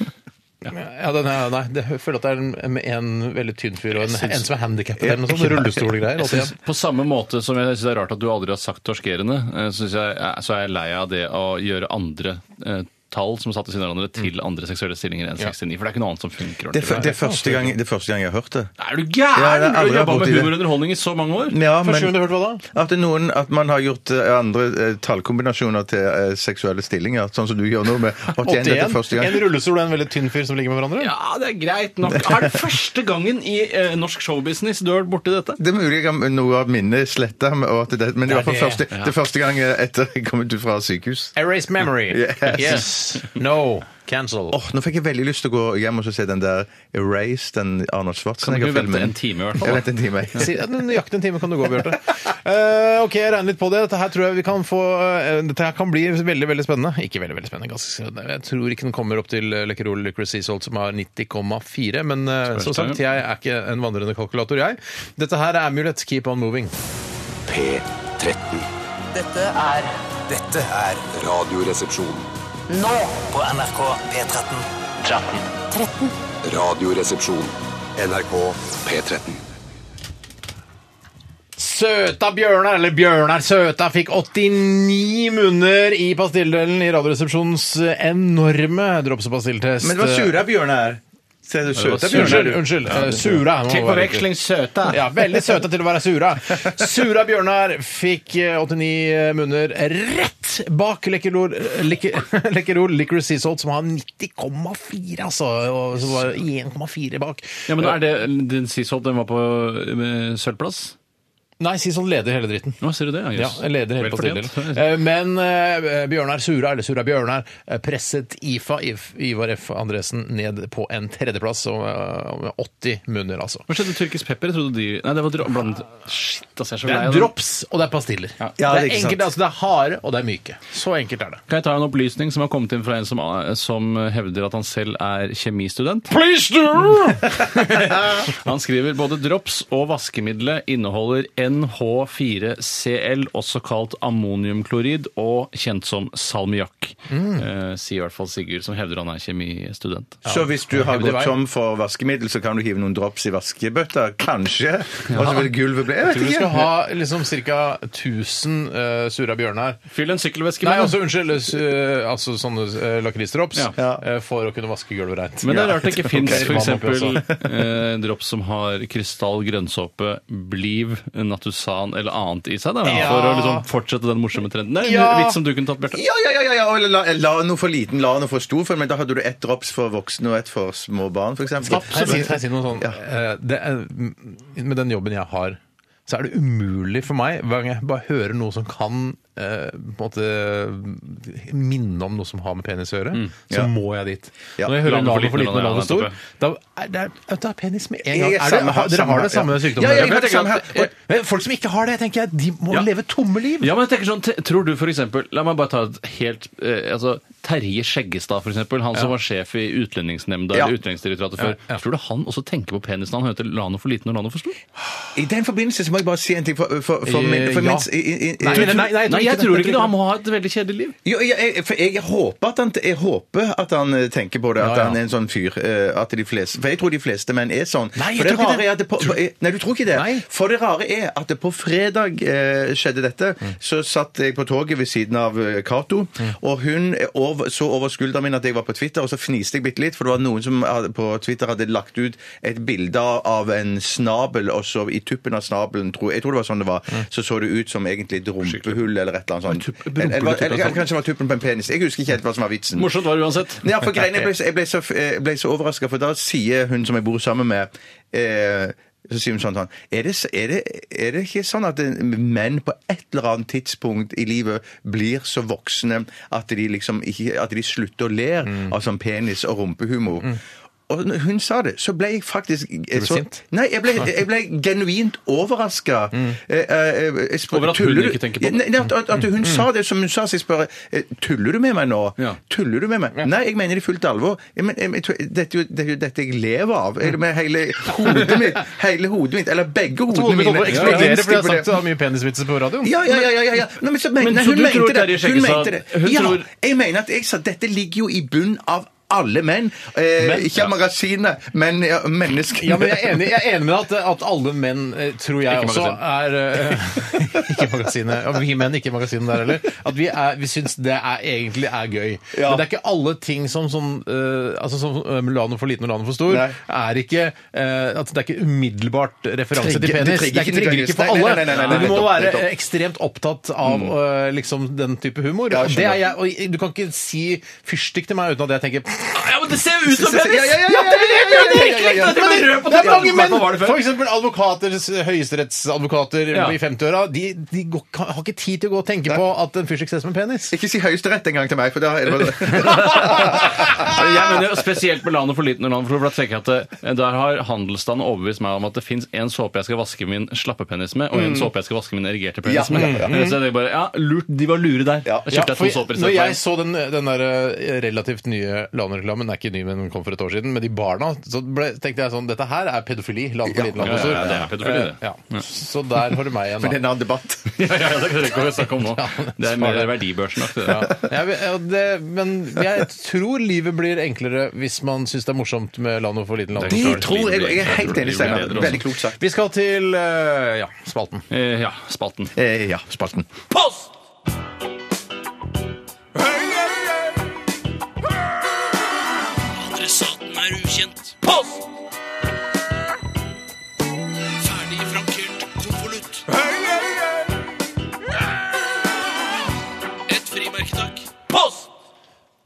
ja, den er, nei, det, jeg føler at det er en, med en veldig tynn fyr og en,
syns-
en som er handikappet eller noe sånt. Rullestolgreier.
Jeg
81.
synes, på samme måte som jeg synes det er rart at du aldri har sagt torskerende, eh, synes jeg, eh, så er jeg lei av det å gjøre andre eh, tall som er satt ved siden av hverandre til andre seksuelle stillinger enn 69. For det er ikke noe annet som funker.
Mm. Det, er fø-
ordentlig.
det, er første gang, det er første gang jeg har hørt det.
er du
Ja, jeg har
gæren? Du
aldri
har jobba
vært borti
med
det.
humor og underholdning i så mange år.
Ja,
Første gang du
men
hørte hva da?
at, det er noen, at man har gjort eh, andre eh, tallkombinasjoner til eh, seksuelle stillinger, sånn som du gjør nå med 81. Dette er
81.
første gang.
En rullestol og en veldig tynn fyr som ligger med hverandre?
Ja, det er greit nok. Er det første gangen i eh, norsk showbusiness du har vært borti dette?
Det er mulig jeg har noe av minnet sletta, men det er i hvert fall
det-
første, det er første gang eh, etter jeg kom ut fra sykehus.
Erase memory.
Yes.
No. Cancel.
Åh, Nå fikk jeg veldig lyst til å gå hjem og så se den der Erase, den Arnold
Kan du ikke vente
Schwarzenegger-filmen.
en time i hvert
Jeg
fall?
venter en time.
Si- ja, Nøyaktig en time kan du gå, Bjarte. Eh, ok, jeg regner litt på det. Dette her tror jeg vi kan få eh, Dette her kan bli veldig veldig spennende. Ikke veldig veldig spennende, ganske spennende. Jeg tror ikke den kommer opp til eh, Lekkerol Licorice Sea Salt, som har 90,4, men eh, som sagt, jeg er ikke en vandrende kalkulator, jeg. Dette her er Amulet Keep On Moving.
P13.
Dette er
Dette er
Radioresepsjon.
nå på NRK P13.
Radioresepsjon. NRK P13.
Søta Bjørnar, eller Bjørnar Søta, fikk 89 munner i pastilledelen i Radioresepsjonens enorme dropsepastilltest.
Men det var sura bjørnet her. Ser du søte
sura.
bjørner?
Unnskyld. unnskyld. Eh, Sura. må være
Til
riktig.
forveksling søte.
Ja, veldig søte til å være sura. Sura Bjørnar fikk eh, 89 munner rett bak Lekkerol Licorice Sea Salt, som har 90,4, altså. Og så var det 1,4 bak.
Ja, men er det, den Sishold, den var på eh, sølvplass?
Eh, Nei, Sea Salt leder hele dritten.
Nå ser du det, ja,
Ja,
jøss.
leder hele
Vel fortjent.
pastillen. Eh, Men eh, Bjørnar Sura, eller Sura Bjørnar, eh, presset IFA, If- Ivar F. Andresen, ned på en tredjeplass, og eh, med 80 munner, altså.
Hva skjedde med tyrkisk pepper? Jeg trodde de Nei, det var dro... bland... Shit, altså, jeg er så
Det
lei
er
av det.
drops, og det er pastiller.
Ja,
det
det
er
er ikke
enkelt,
sant.
altså. Det er harde, og det er myke. Så enkelt er det.
Kan jeg ta en opplysning som har kommet inn fra en som, eh, som hevder at han selv er kjemistudent?
Please do!
Han skriver både drops og vaskemiddelet inneholder NH4Cl, også kalt ammoniumklorid, og kjent som salmiakk.
Mm.
Eh, sier i hvert fall Sigurd, som hevder han er kjemistudent.
Så hvis du har
det var-
gått tom for vaskemiddel, så kan du hive noen drops i vaskebøtta? Kanskje? Og så vil gulvet bli Jeg vet
Tror du skal
ikke.
ha liksom ca. 1000 eh, sura bjørnar
Fyll en sykkelveske
Nei,
med
altså,
det.
unnskyld. eh, altså sånne eh, lakrisdrops
Ja.
eh, for å kunne vaske gulvet reint.
Men det er rart det ikke fins
Ok, vann oppi
f.eks. Eh, drops som har krystall, grønnsåpe, bliv, nattusan eller annet i seg, da,
Ja.
for å liksom fortsette den morsomme trenden. Det er en
Ja.
vits som du kunne tatt, Bjarte.
Ja, ja, ja, ja, ja. eller La, la noe for liten, la noe for stor, for, men da hadde du ett drops for voksne og ett for små barn, f.eks.
Kan jeg si- kan jeg si noe sånn? Eh, det er, med den jobben jeg har, så er det umulig for meg hver gang jeg bare hører noe som kan eh, på en måte minne om noe som har med penis å gjøre, så må jeg dit.
Ja.
Når jeg hører
Landet
laget for
for
liten og
liten,
laget stor,
ja,
da er det, er, det er penis med en
Jeg
gang.
er
Er det,
samme her,
har, dere
samme
har det
her,
samme
ja.
sykdommen?
Ja, ja,
dere?
jeg
Men jeg
tenker
tenker
samme her.
at- men folk som ikke har det, tenker jeg, de må
Ja.
leve tomme liv.
Ja, men jeg tenker sånn, t- tror du for eksempel, La meg bare ta et helt eh, altså, Terje Skjeggestad, for eksempel. Han som var sjef i Utlendingsnemnda
Ja.
eller Utlendingsdirektoratet før. Tror du han også tenker på penisen han heter Lano for liten og Lano for stor?
I den forbindelse så må jeg bare si en ting for, for, for, min, for
Eh, ja.
min i- i- i-
Nei,
Du-
nei, nei, jeg tror
Nei,
ikke
jeg
det.
tror ikke det. Han må ha et veldig kjedelig liv.
Jo, jeg, jeg, for jeg, håper at han, jeg håper at han eh, tenker på det, at
Ja, ja.
han er en sånn fyr. eh, At de fleste, for jeg tror de fleste menn er sånn.
Nei, jeg
for det
tror ikke
rare
det.
er at det på, på, nei, du tror ikke det?
Nei.
For det rare er at det på fredag eh, skjedde dette. Så satt jeg på toget ved siden av eh, Cato, og hun eh, over, så over skulderen min at jeg var på Twitter, og så fniste jeg bitte litt, for det var noen som hadde, på Twitter hadde lagt ut et bilde av en snabel, og så i tuppen av snabelen, tror, jeg tror det var sånn det var, så så det ut som egentlig et rumpehull eller et eller annet sånt.
rumpehull,
Eller- eller-
tuppen av
eller- Kanskje det var tuppen på en penis. Jeg husker ikke helt hva som var vitsen.
Morsomt var det uansett.
Ja, for greiene, jeg ble, så- jeg ble så, jeg ble så overraska, for da sier hun som jeg bor sammen med eh, så sier hun sånn sånn er det, s- er, det, er det ikke sånn at eh, menn på et eller annet tidspunkt i livet blir så voksne at de liksom ikke At de slutter å le
Mm.
av sånn penis- og rumpehumor? Og når hun sa det, så ble jeg faktisk Ble
du sint?
Nei, jeg ble, jeg ble genuint Eh, overraska.
Mm. Over at hun ikke tenker på det?
Nei, at, at, at hun sa det som hun sa, så jeg spør eh, Tuller du med meg nå?
Mm. Ja.
Tuller du med meg? Nei, jeg mener det i fullt alvor. Jeg, men, jeg, jeg, tror- dette, er jo- det er jo dette jeg lever av. Eller med hele hodet mitt. Hele hodet mitt. Eller begge hodene
Hodet mitt
mine.
kommer til å eksplodere fordi jeg har
Ja,
sagt så mye penisvitser på radioen.
ja, ja, ja, ja, ja. Nå, men så men,
Men
nei,
så
hun
du
mente
tror
det.
Terje
Hun
Skjeggestad-
mente det.
hun
Ja,
tror-
jeg mener at jeg sa dette ligger jo i bunnen av alle menn. Eh,
Men-
ikke av magasinet, men ja, menneskene.
Ja, men jeg er enig, jeg er enig med deg at, at alle menn, eh, tror jeg
Ikke
også, er eh, Ikke magasinet. Ja, vi menn, ikke magasinet der heller. At vi, er- vi syns det er, egentlig er gøy.
Ja.
Men det er ikke alle ting som sånn eh, altså som eh, Milano for liten og Milano for stor
Nei.
er ikke eh, at Det er ikke umiddelbart referanse
Trigger-
til penis.
det
Det
trigger
er
ikke
ikke, trigger
nødvendigvis.
ikke for
Nei, nei,
alle.
nei, nei, nei, nei,
Men du må
nettopp,
være
nettopp. Mm.
ekstremt opptatt av eh, liksom den type humor.
Ja, jeg
og det er
skjønner.
jeg, og du kan ikke si fyrstikk til meg uten at jeg tenker
Ja, men det ser jo ut som
Ja, ja, ja, ja, ja, ja, ja, ja, ja, ja.
men det,
rød på
det er
tennene.
mange menn!
Hva var det for?
For eksempel advokater, høyesterettsadvokater
Ja.
i 50-åra. De, de går, kan, har ikke tid til å gå og tenke på at en fyrstikk ser ut som en penis.
Ikke si Høyesterett engang til meg, for da er det
Ja, Altså, Jeg mener jo spesielt med landet for liten og landet for stor, for da tenker jeg at det, der har handelsstanden overbevist meg om at det fins en såpe jeg skal vaske min slappe penis med, og en såpe jeg skal vaske min erigerte penis med. Eh, Så jeg tenker bare, ja, lurt, de var lure der. Da
Ja,
kjøpte jeg
for
to såper i
når
stedet for
jeg
en.
så den, den der eh, relativt nye Lano-reklamen, den er ikke ny, men den kom for et år siden, med de barna, så ble, tenkte jeg sånn Dette her er pedofili. Lano for liten, Lano for
Ja, ja, ja, det er
stor.
pedofili, det.
Eh, ja. Så der har du meg igjen,
en
da.
annen debatt.
Ja, ja, ja, det kan vi ikke snakke om nå. Det er mer verdibørsen. akkurat.
Jeg, vil- ja, det, men jeg tror livet blir enklere hvis man syns det er morsomt med Lano for liten, Lano for
Det
stor.
tror jeg. Jeg er helt enig, Steinar.
Jeg tror det blir bedre altså. også.
Veldig klokt sagt.
Vi skal til eh, ja, spalten.
Eh, Ja, spalten.
Eh, ja, spalten.
Adressaten er ukjent. Post! Ferdig frankert konvolutt. Et frimerke, takk. Post!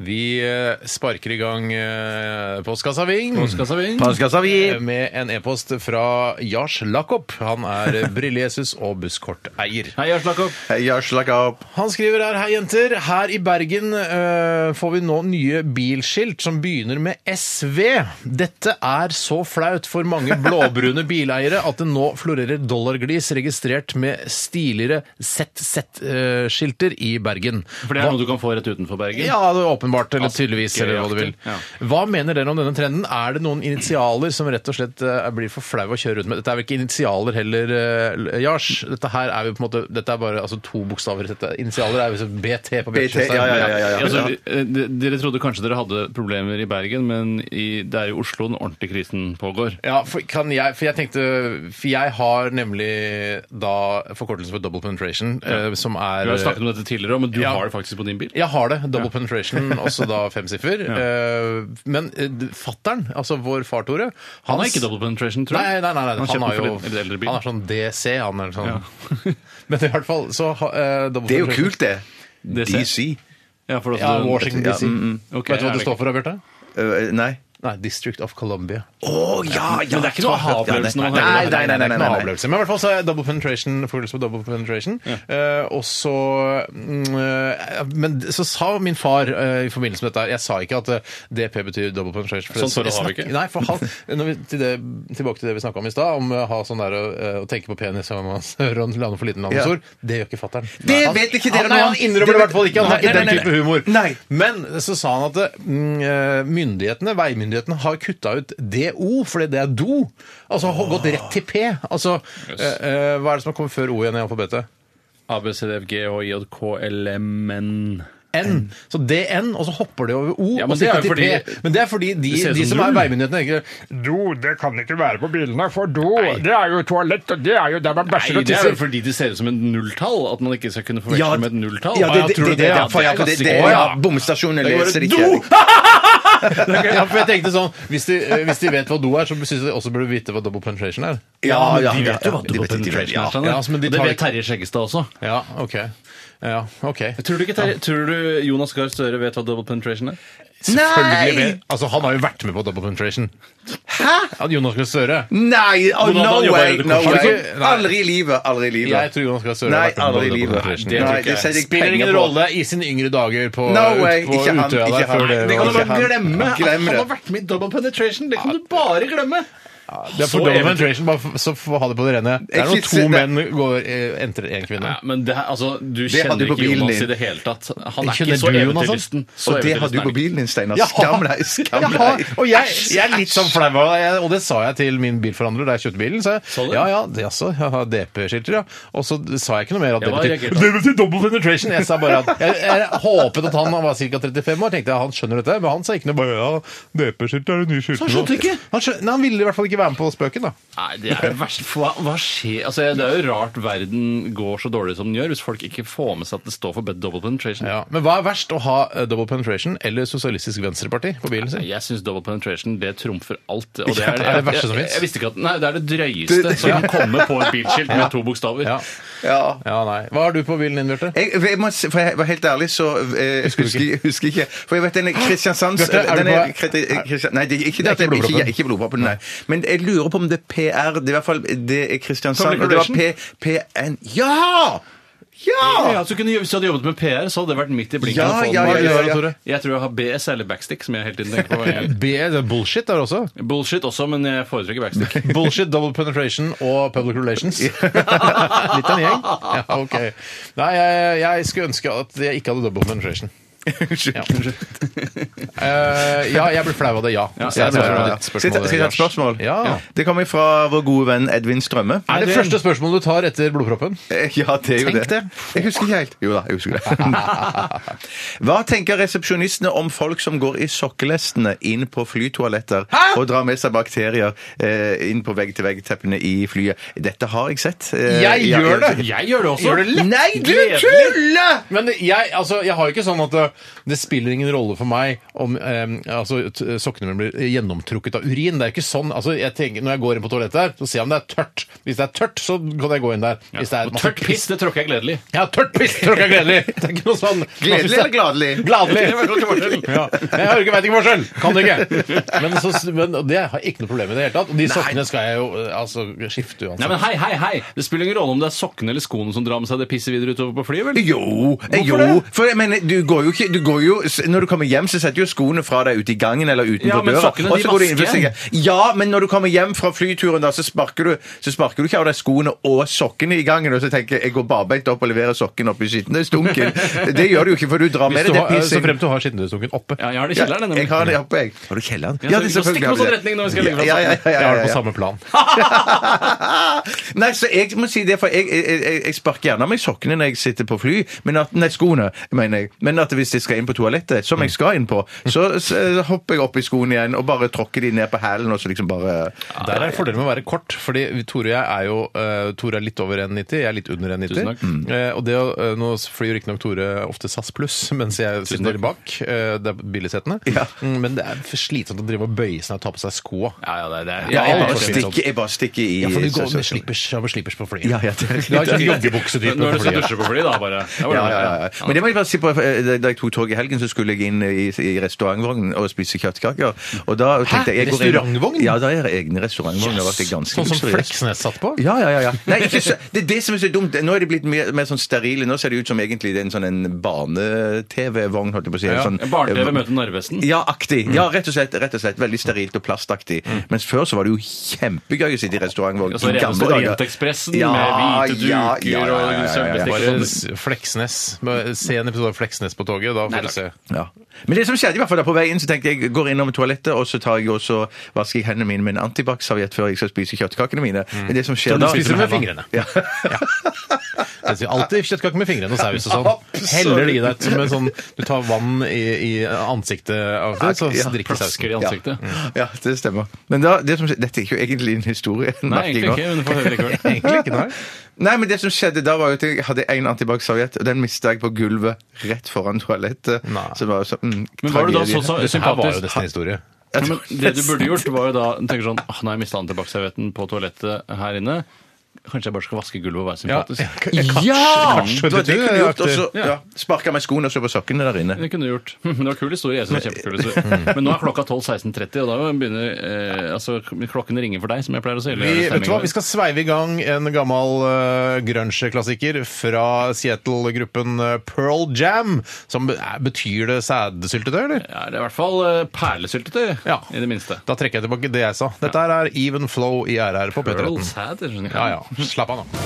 Vi eh, sparker i gang eh, Postkassa Ving eh, med en e-post fra Jars Lakopp. Han er eh, brillejesus og busskorteier.
Hei, Lars Jakob.
Hei, ja, slakk av.
Han skriver her, hei jenter, her i Bergen eh, får vi nå nye bilskilt som begynner med SV. Dette er så flaut for mange blåbrune bileiere at det nå florerer dollarglis registrert med stiligere ZZ-skilter i Bergen.
For det er noe du kan få rett utenfor Bergen.
Ja, det er åpenbart, eller tydeligvis,
ikke
eller hva du vil.
riktig, Altså, ja.
Hva mener dere om denne trenden? Er det noen initialer som rett og slett eh, blir for flau å kjøre rundt med? Dette er vel ikke initialer heller, eh, Lars? Dette her er jo på en måte, dette er bare altså, to bokstaver. Dette. Initialer er jo så BT på
BT, ja, ja, ja, ja, ja.
Altså, eh, de- dere trodde kanskje dere hadde problemer i Bergen, men i, det er i Oslo den ordentlige krisen pågår.
Ja, for, kan jeg, for jeg tenkte For jeg har nemlig da forkortelsen for double penetration, eh, som er
Vi har jo snakket om dette tidligere, også, men du
Ja.
har det faktisk på din bil.
Jeg har det. Double penetration, også da fem siffer. Eh, Men fattern, altså vår far Tore
Han
hans-
har ikke double penetration, tror
Nei,
jeg.
nei, nei, nei. Han,
kjøper
har jo
for en eldre bil.
Han er sånn DC, han er sånn. Men i hvert fall så ha- eh, double
Det er jo
penetration.
kult, det.
DC.
DC.
Ja, for altså,
Ja,
du-
Washington DC.
mm, Ok,
Vet du
er
hva det
det
står for, Bjarte?
Øh, nei.
Nei, District of Columbia.
Å ja, ja!
Men det er ikke noe aha-opplevelse når man
Nei,
Nei,
nei,
hører det.
nei, nei, det er ikke noe
nei.
avløpelse. Men i hvert fall så er double penetration fokus på double penetration. Eh, og så mm, eh, Men så sa min far eh, i forbindelse med dette her Jeg sa ikke at eh, DP betyr double penetration.
Sånn forhold har vi
jeg
ikke.
snakker- Nei, for han, når vi, til det, tilbake til det vi snakka om i stad, om eh, å ha sånn der eh, å tenke på penis og man lander for liten landingsord. Det gjør ikke fatter'n.
Det vet ikke dere
han, nei,
nå.
han innrømmer
Det
det i
vet-
hvert fall ikke. Han
Nei,
har ikke
nei,
den
nei,
type humor.
Nei.
Men så sa han at mm, eh, myndighetene, veimyndighetene har kutta ut DO fordi det er do. Altså har gått rett til P. Altså, eh, eh, Hva er det som har kommet før O igjen i alfabetet?
ABCDFGHJKLMN
N. Så DN, og så hopper det over O.
Ja, men
og så
det er
ikke
jo
til
fordi-
P. men det er fordi de,
ser ut
de
som
som er
null.
veimyndighetene, ikke Do, det kan ikke være på bilene, for do Det er jo toalett, og det er jo der man
Nei, det er vel fordi de ser ut som et nulltall, at man ikke skal kunne forveksle
Ja,
med et nulltall.
Ja, det, det,
tror
det,
du
det,
Ja,
for- ja, for det, det,
klassiker.
ja, bomstasjonene leser ikke.
ja, for jeg tenkte sånn, hvis de, eh, hvis de vet hva do er, så syns jeg de også burde vite hva double penetration er.
Ja, ja,
De
ja,
vet jo
ja,
hva
de
double
vet ikke, de vet-
penetration
ja.
er. skjønner du.
Ja, altså, men de
Og det
tar
vet
ikke-
Terje Skjeggestad også.
Ja, OK. Ja, ok.
Tror du ikke Terje, tror du Jonas Gahr Støre vet hva double penetration er?
Selvfølgelig
Nei!
vet- Altså, han har jo vært med på Double Penetration. Hæ? Jonas Gahr Støre.
Nei! Oh,
Hvordan
no
jobber
way!
dere
No
kortslutning?
way.
Ikke- nei.
Aldri i livet. Aldri i
Jeg
livet.
tror Jonas Gahr Støre
Nei,
har vært med på
aldri i
Double
livet.
Penetration.
Det tror
Nei,
ikke
det
jeg.
setter jeg
Spiller ingen
penger på.
rolle i sine yngre dager på,
No
ut-
way,
på
ikke han,
Utøya der
ikke han.
før det
Det
var
kan du bare
han.
glemme at Glem han det. har
vært med i double penetration! Det kan du bare glemme!
Det er for
Så
Double
eventyr.
Penetration, bare for- så få ha det på det rene. Det er
Jeg
når
synes
to
det-
menn går, eh, entrer én
Ja,
kvinne.
men det, her- altså, du
Det hadde
kjenner
du på
ikke Jonas
bilen din.
i det hele tatt. Han er
Kjenner
ikke så
du Jonas,
eventyrlysten. Så
Og det har
eventyrlysten
du
er
på
han ikke.
bilen din, Steinar. Skam deg! Skam deg!
og jeg, jeg er litt sånn flau, og jeg- og det sa jeg til min bilforhandler da jeg kjøpte bilen. Så
Sa
jeg,
du?
ja, ja, det også, jeg har DP-skilter, ja. Og så sa jeg ikke noe mer at det
Ja, hva
betyr,
reagerte
det betyr double penetration. Jeg sa bare at jeg, jeg håpet at han var ca. 35 år, tenkte jeg han skjønner dette, men han sa ikke noe bare ja, DP-skilter er det nye skilter.
Så han skjønte
nå.
ikke?
Han, skjøn- nei, han ville i hvert fall ikke være med på spøken, da.
Nei, det er det verste. For Hva, hva skjer? Altså, det er jo rart verden går så dårlig som den gjør, hvis folk ikke får med seg at det står for double penetration.
Ja. Men hva er verst, å ha eh, double penetration eller Sosialistisk Venstreparti på bilen sin?
Jeg syns double penetration det trumfer alt. Og det
Ja,
er,
det er det verste som
jeg,
finnes.
jeg visste ikke at, nei, det er det drøyeste som kan komme på et bilskilt med to bokstaver.
Ja.
Ja.
ja, nei. Hva har du på bilen din, Bjarte?
Jeg, jeg må, si- for jeg var helt ærlig, så eh,
Husker
husker,
du ikke?
jeg- husker jeg ikke. For jeg vet denne Kristiansands
Bjarte, er du
denne,
på-
Kreti- Kristian, Nei, det er ikke,
Det er ikke
ikke,
blodproppen.
ikke, ikke blodproppen. Nei. Men jeg lurer på om det er PR. Det er i hvert fall det er Kristiansand.
Public
Og det var P,
relation?
PN Ja!
Ja,
Ja!
altså, kunne, Hvis du hadde jobbet med PR, så hadde det vært midt i blinken.
Ja,
å få den.
ja, ja, ja, ja.
Tore. Jeg tror jeg har BS eller backstick, som jeg hele tiden tenker på.
B, det er bullshit der også.
Bullshit også, men jeg foretrekker backstick.
Bullshit, double penetration og public relations. Litt av en gjeng. Ja, ok. Nei, jeg, jeg skulle ønske at jeg ikke hadde double penetration.
Unnskyld.
Eh, ja, jeg ble flau av det, ja.
Ja,
Så jeg
jeg
svarer
ble flau
på
av
ditt
Skal jeg ta- skal jeg ta et
Lars.
spørsmål?
Ja.
Det kommer fra vår gode venn Edvin Strømme.
Er det første spørsmålet du tar etter blodproppen?
Eh, Ja, det er jo
Tenk
det.
det.
Jeg husker ikke helt. Jo da, jeg husker det. Hva tenker resepsjonistene om folk som går i sokkelestene inn på flytoaletter og drar med seg bakterier eh, inn på vegg-til-vegg-teppene i flyet? Dette har jeg sett. Eh,
Jeg
ja,
gjør det!
Jeg gjør det også!
Gjør det lett.
Nei, du
Gledelig.
tuller!
Men det- jeg, altså, jeg har jo ikke sånn at det, det spiller ingen rolle for meg om eh, altså, t- sokkene mine blir gjennomtrukket av urin. Det er jo ikke sånn. Altså, jeg tenker, når jeg går inn på toalettet her, så ser jeg om det er tørt. Hvis det er tørt, så kan jeg gå inn der. Hvis det er
Og tørt piss, det tråkker jeg gledelig.
Ja, tørt piss tråkker jeg gledelig. Det er ikke noe sånn
Gledelig eller gladelig?
Gladelig.
Det var ikke forskjell.
Ja. Jeg hører ikke, vet ikke forskjell. Kan det ikke. Men, så, men og det har jeg ikke noe problem med i det hele tatt. Og de sokkene skal jeg jo eh, altså, skifte uansett.
Nei, men hei, hei, hei! Det spiller ingen rolle om det er sokkene eller skoene som drar med seg det pisset videre utover på flyet, vel?
Jo, eh, jo. For jeg mener, du går jo ikke du går jo, s- Når du kommer hjem, så setter jo skoene fra deg ute i gangen eller utenfor
Ja, men
døra.
sokkene,
og
de
så går du inn
vasker
for seg. Ja, men når du kommer hjem fra flyturen, da, så sparker du Så sparker du ikke av deg skoene og sokkene i gangen. Og så tenker jeg jeg går barbeint opp og leverer sokken opp i skittentøysdunken. Det gjør du jo ikke, for du drar
Hvis
med
du
deg det
har, eh, så
pisset.
fremt du har skittentøysdunken oppe.
Ja, jeg har det i
Ja,
kjelleren.
jeg har det oppe, jeg. Har du kjelleren?
Ja, så vi kan stikke på sånn retning når vi skal legge fra
ja, ja, ja, ja,
Jeg har
ja,
det på
ja.
samme plan.
Nei, så jeg må si det, for jeg, jeg, jeg, jeg sparker gjerne av meg sokkene når jeg sitter på fly, men at, nei, skoene, mener jeg. Men at hvis jeg skal inn på toalettet, som jeg skal inn på, så, så hopper jeg opp i skoene igjen og bare tråkker de ned på hælen, og så liksom bare
Der er fordelen med å være kort, fordi vi- Tore og jeg er jo eh, Tore er litt over 1,90, jeg er litt under 1,90.
Tusen takk. Mm.
Eh, og det, å, eh, nå flyr riktignok Tore ofte SAS pluss, mens jeg sitter
takk.
bak. eh, det er billigsetene.
Ja.
Mm, men det er for slitsomt å drive og bøye seg og ta på seg skoa.
Ja, ja, det er det. er-
Ja,
Ja,
jeg
ja,
bare
ja.
stikker, jeg bare stikker i
Ja, for du går med
sø- sø-
slippers, ja, med slippers på flyet.
Ja, ja, det er
Du har ikke sånn
riktig.
joggebuksetype på
Når du skal
flyet.
dusje på flyet, da bare. Ja,
Ja, ja, ja, ja. Men det må jeg bare si på eh, da jeg tok tog i helgen, så skulle jeg inn i, i restaurantvognen og spise kjøttkaker. Og da tenkte jeg, jeg går inn-
Restaurantvogn?
Ja, da er det egne restaurantvogner. Yes. Ganske
Sånn som
luksuriøst.
Fleksnes satt på?
Ja, ja, ja. ja. Nei, ikke så, det er det som er så dumt. Nå er de blitt mer, mer sånn sterile. Nå ser det ut som egentlig det er en sånn en barne-TV-vogn, holdt jeg på å si.
Ja,
sånn,
Barne-TV møter Narvesen.
Ja, aktig. Ja, rett og slett. rett og slett Veldig sterilt og plastaktig. Mens før så var det jo kjempegøy å sitte i restaurantvogn.
Og så
i gamle
Revestad
dager.
Orientekspressen
Ja,
med hvite
ja,
duker
ja, ja, ja, ja,
og
ja.
sølvbestikk.
Bare
og sånn.
s- Fleksnes. Bare Se en episode av Fleksnes på toget, da får du se.
Ja. Men det som skjedde i hvert fall da på vei inn, så tenkte jeg jeg går innom toalettet, og så tar jeg også, vasker jeg hendene mine med en antibac-serviett før jeg skal spise kjøttkakene mine. Men det som skjer
Som du
da
spiser med fingrene.
Ja.
Jeg sier alltid kjøttkaker med fingrene og saus og sånn.
Absolutt.
Heller de deg som en sånn Du tar vann i, i ansiktet, av det, så
Ja,
drikker sausen.
Plasker i ansiktet.
ja, det stemmer. Men da, det som, skjedde- dette er ikke egentlig en historie.
Nei,
merker jeg
egentlig
nå.
ikke, men du får høre likevel.
Egentlig ikke, nei.
Nei, men det som skjedde da var jo at jeg hadde en antibac-serviett, og den mistet jeg på gulvet rett foran toalettet.
Nei.
Så det var jo sånn, mm,
Men var du da så
tragedie.
så
Dette her var jo
sympatisk?
nesten historie.
Ja, men det du burde gjort, var jo da tenke sånn «Åh, Nå har jeg mista antibac-servietten på toalettet her inne. Kanskje jeg bare skal vaske gulvet og være sympatisk?
Ja!
Det var det jeg kunne gjort, og så ja, sparket meg skoene og så på sokkene der inne.
Det kunne du gjort. Det var kul historie. jeg synes det var kjempekul historie. Men nå er klokka 12.16.30, og da begynner eh, altså, klokken ringer for deg, som jeg pleier å si. eller
Vi, vet du hva?
stemningen.
vi skal sveive i gang en gammel uh, grunge-klassiker fra Seattle-gruppen eh, Pearl Jam. Som be- eh, betyr det sædsyltetøy, eller?
ja, det er i hvert fall eh, perlesyltetøy,
Ja.
i det minste.
Da trekker jeg tilbake det jeg sa. Dette her er Even Flow i RR på
Pearl
P13.
Sad, skjønner jeg.
sånn, Ja, ja. Slapp av nå.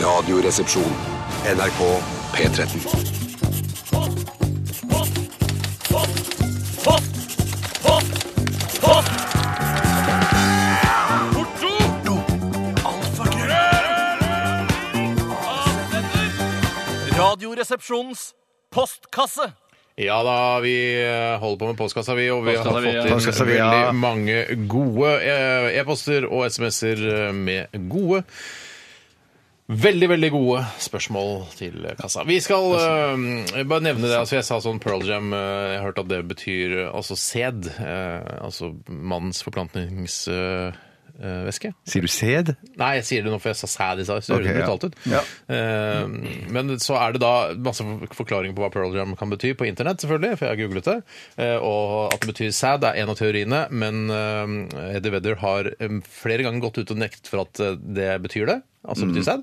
Radioresepsjon. NRK P13.
Radioresepsjonens postkasse.
Ja da, vi eh, holder på med postkassa, vi. Og vi har
Postkassa, vi, ja.
fått
Postkassa,
inn
vi, ja.
veldig mange gode eh, e-poster og SMS-er eh, med gode Veldig veldig gode spørsmål til kassa. Vi skal eh, bare nevne det. altså Jeg sa sånn Pearl Jam eh, Jeg har hørt at det betyr eh, altså sæd. eh, altså mannens forplantningsvæske.
Sier du sæd?
Nei, jeg sier det nå, for jeg sa sæd i stad. så
Ok,
høres det
ja.
brutalt ut.
Ja.
Eh, men så er det da masse forklaringer på hva Pearl Jam kan bety på internett, selvfølgelig, for jeg har googlet det. Eh, og at det betyr sæd, er en av teoriene, men eh, Eddie Vedder har eh, flere ganger gått ut og nektet for at eh, det betyr det. Altså
Mm.
betyr sæd.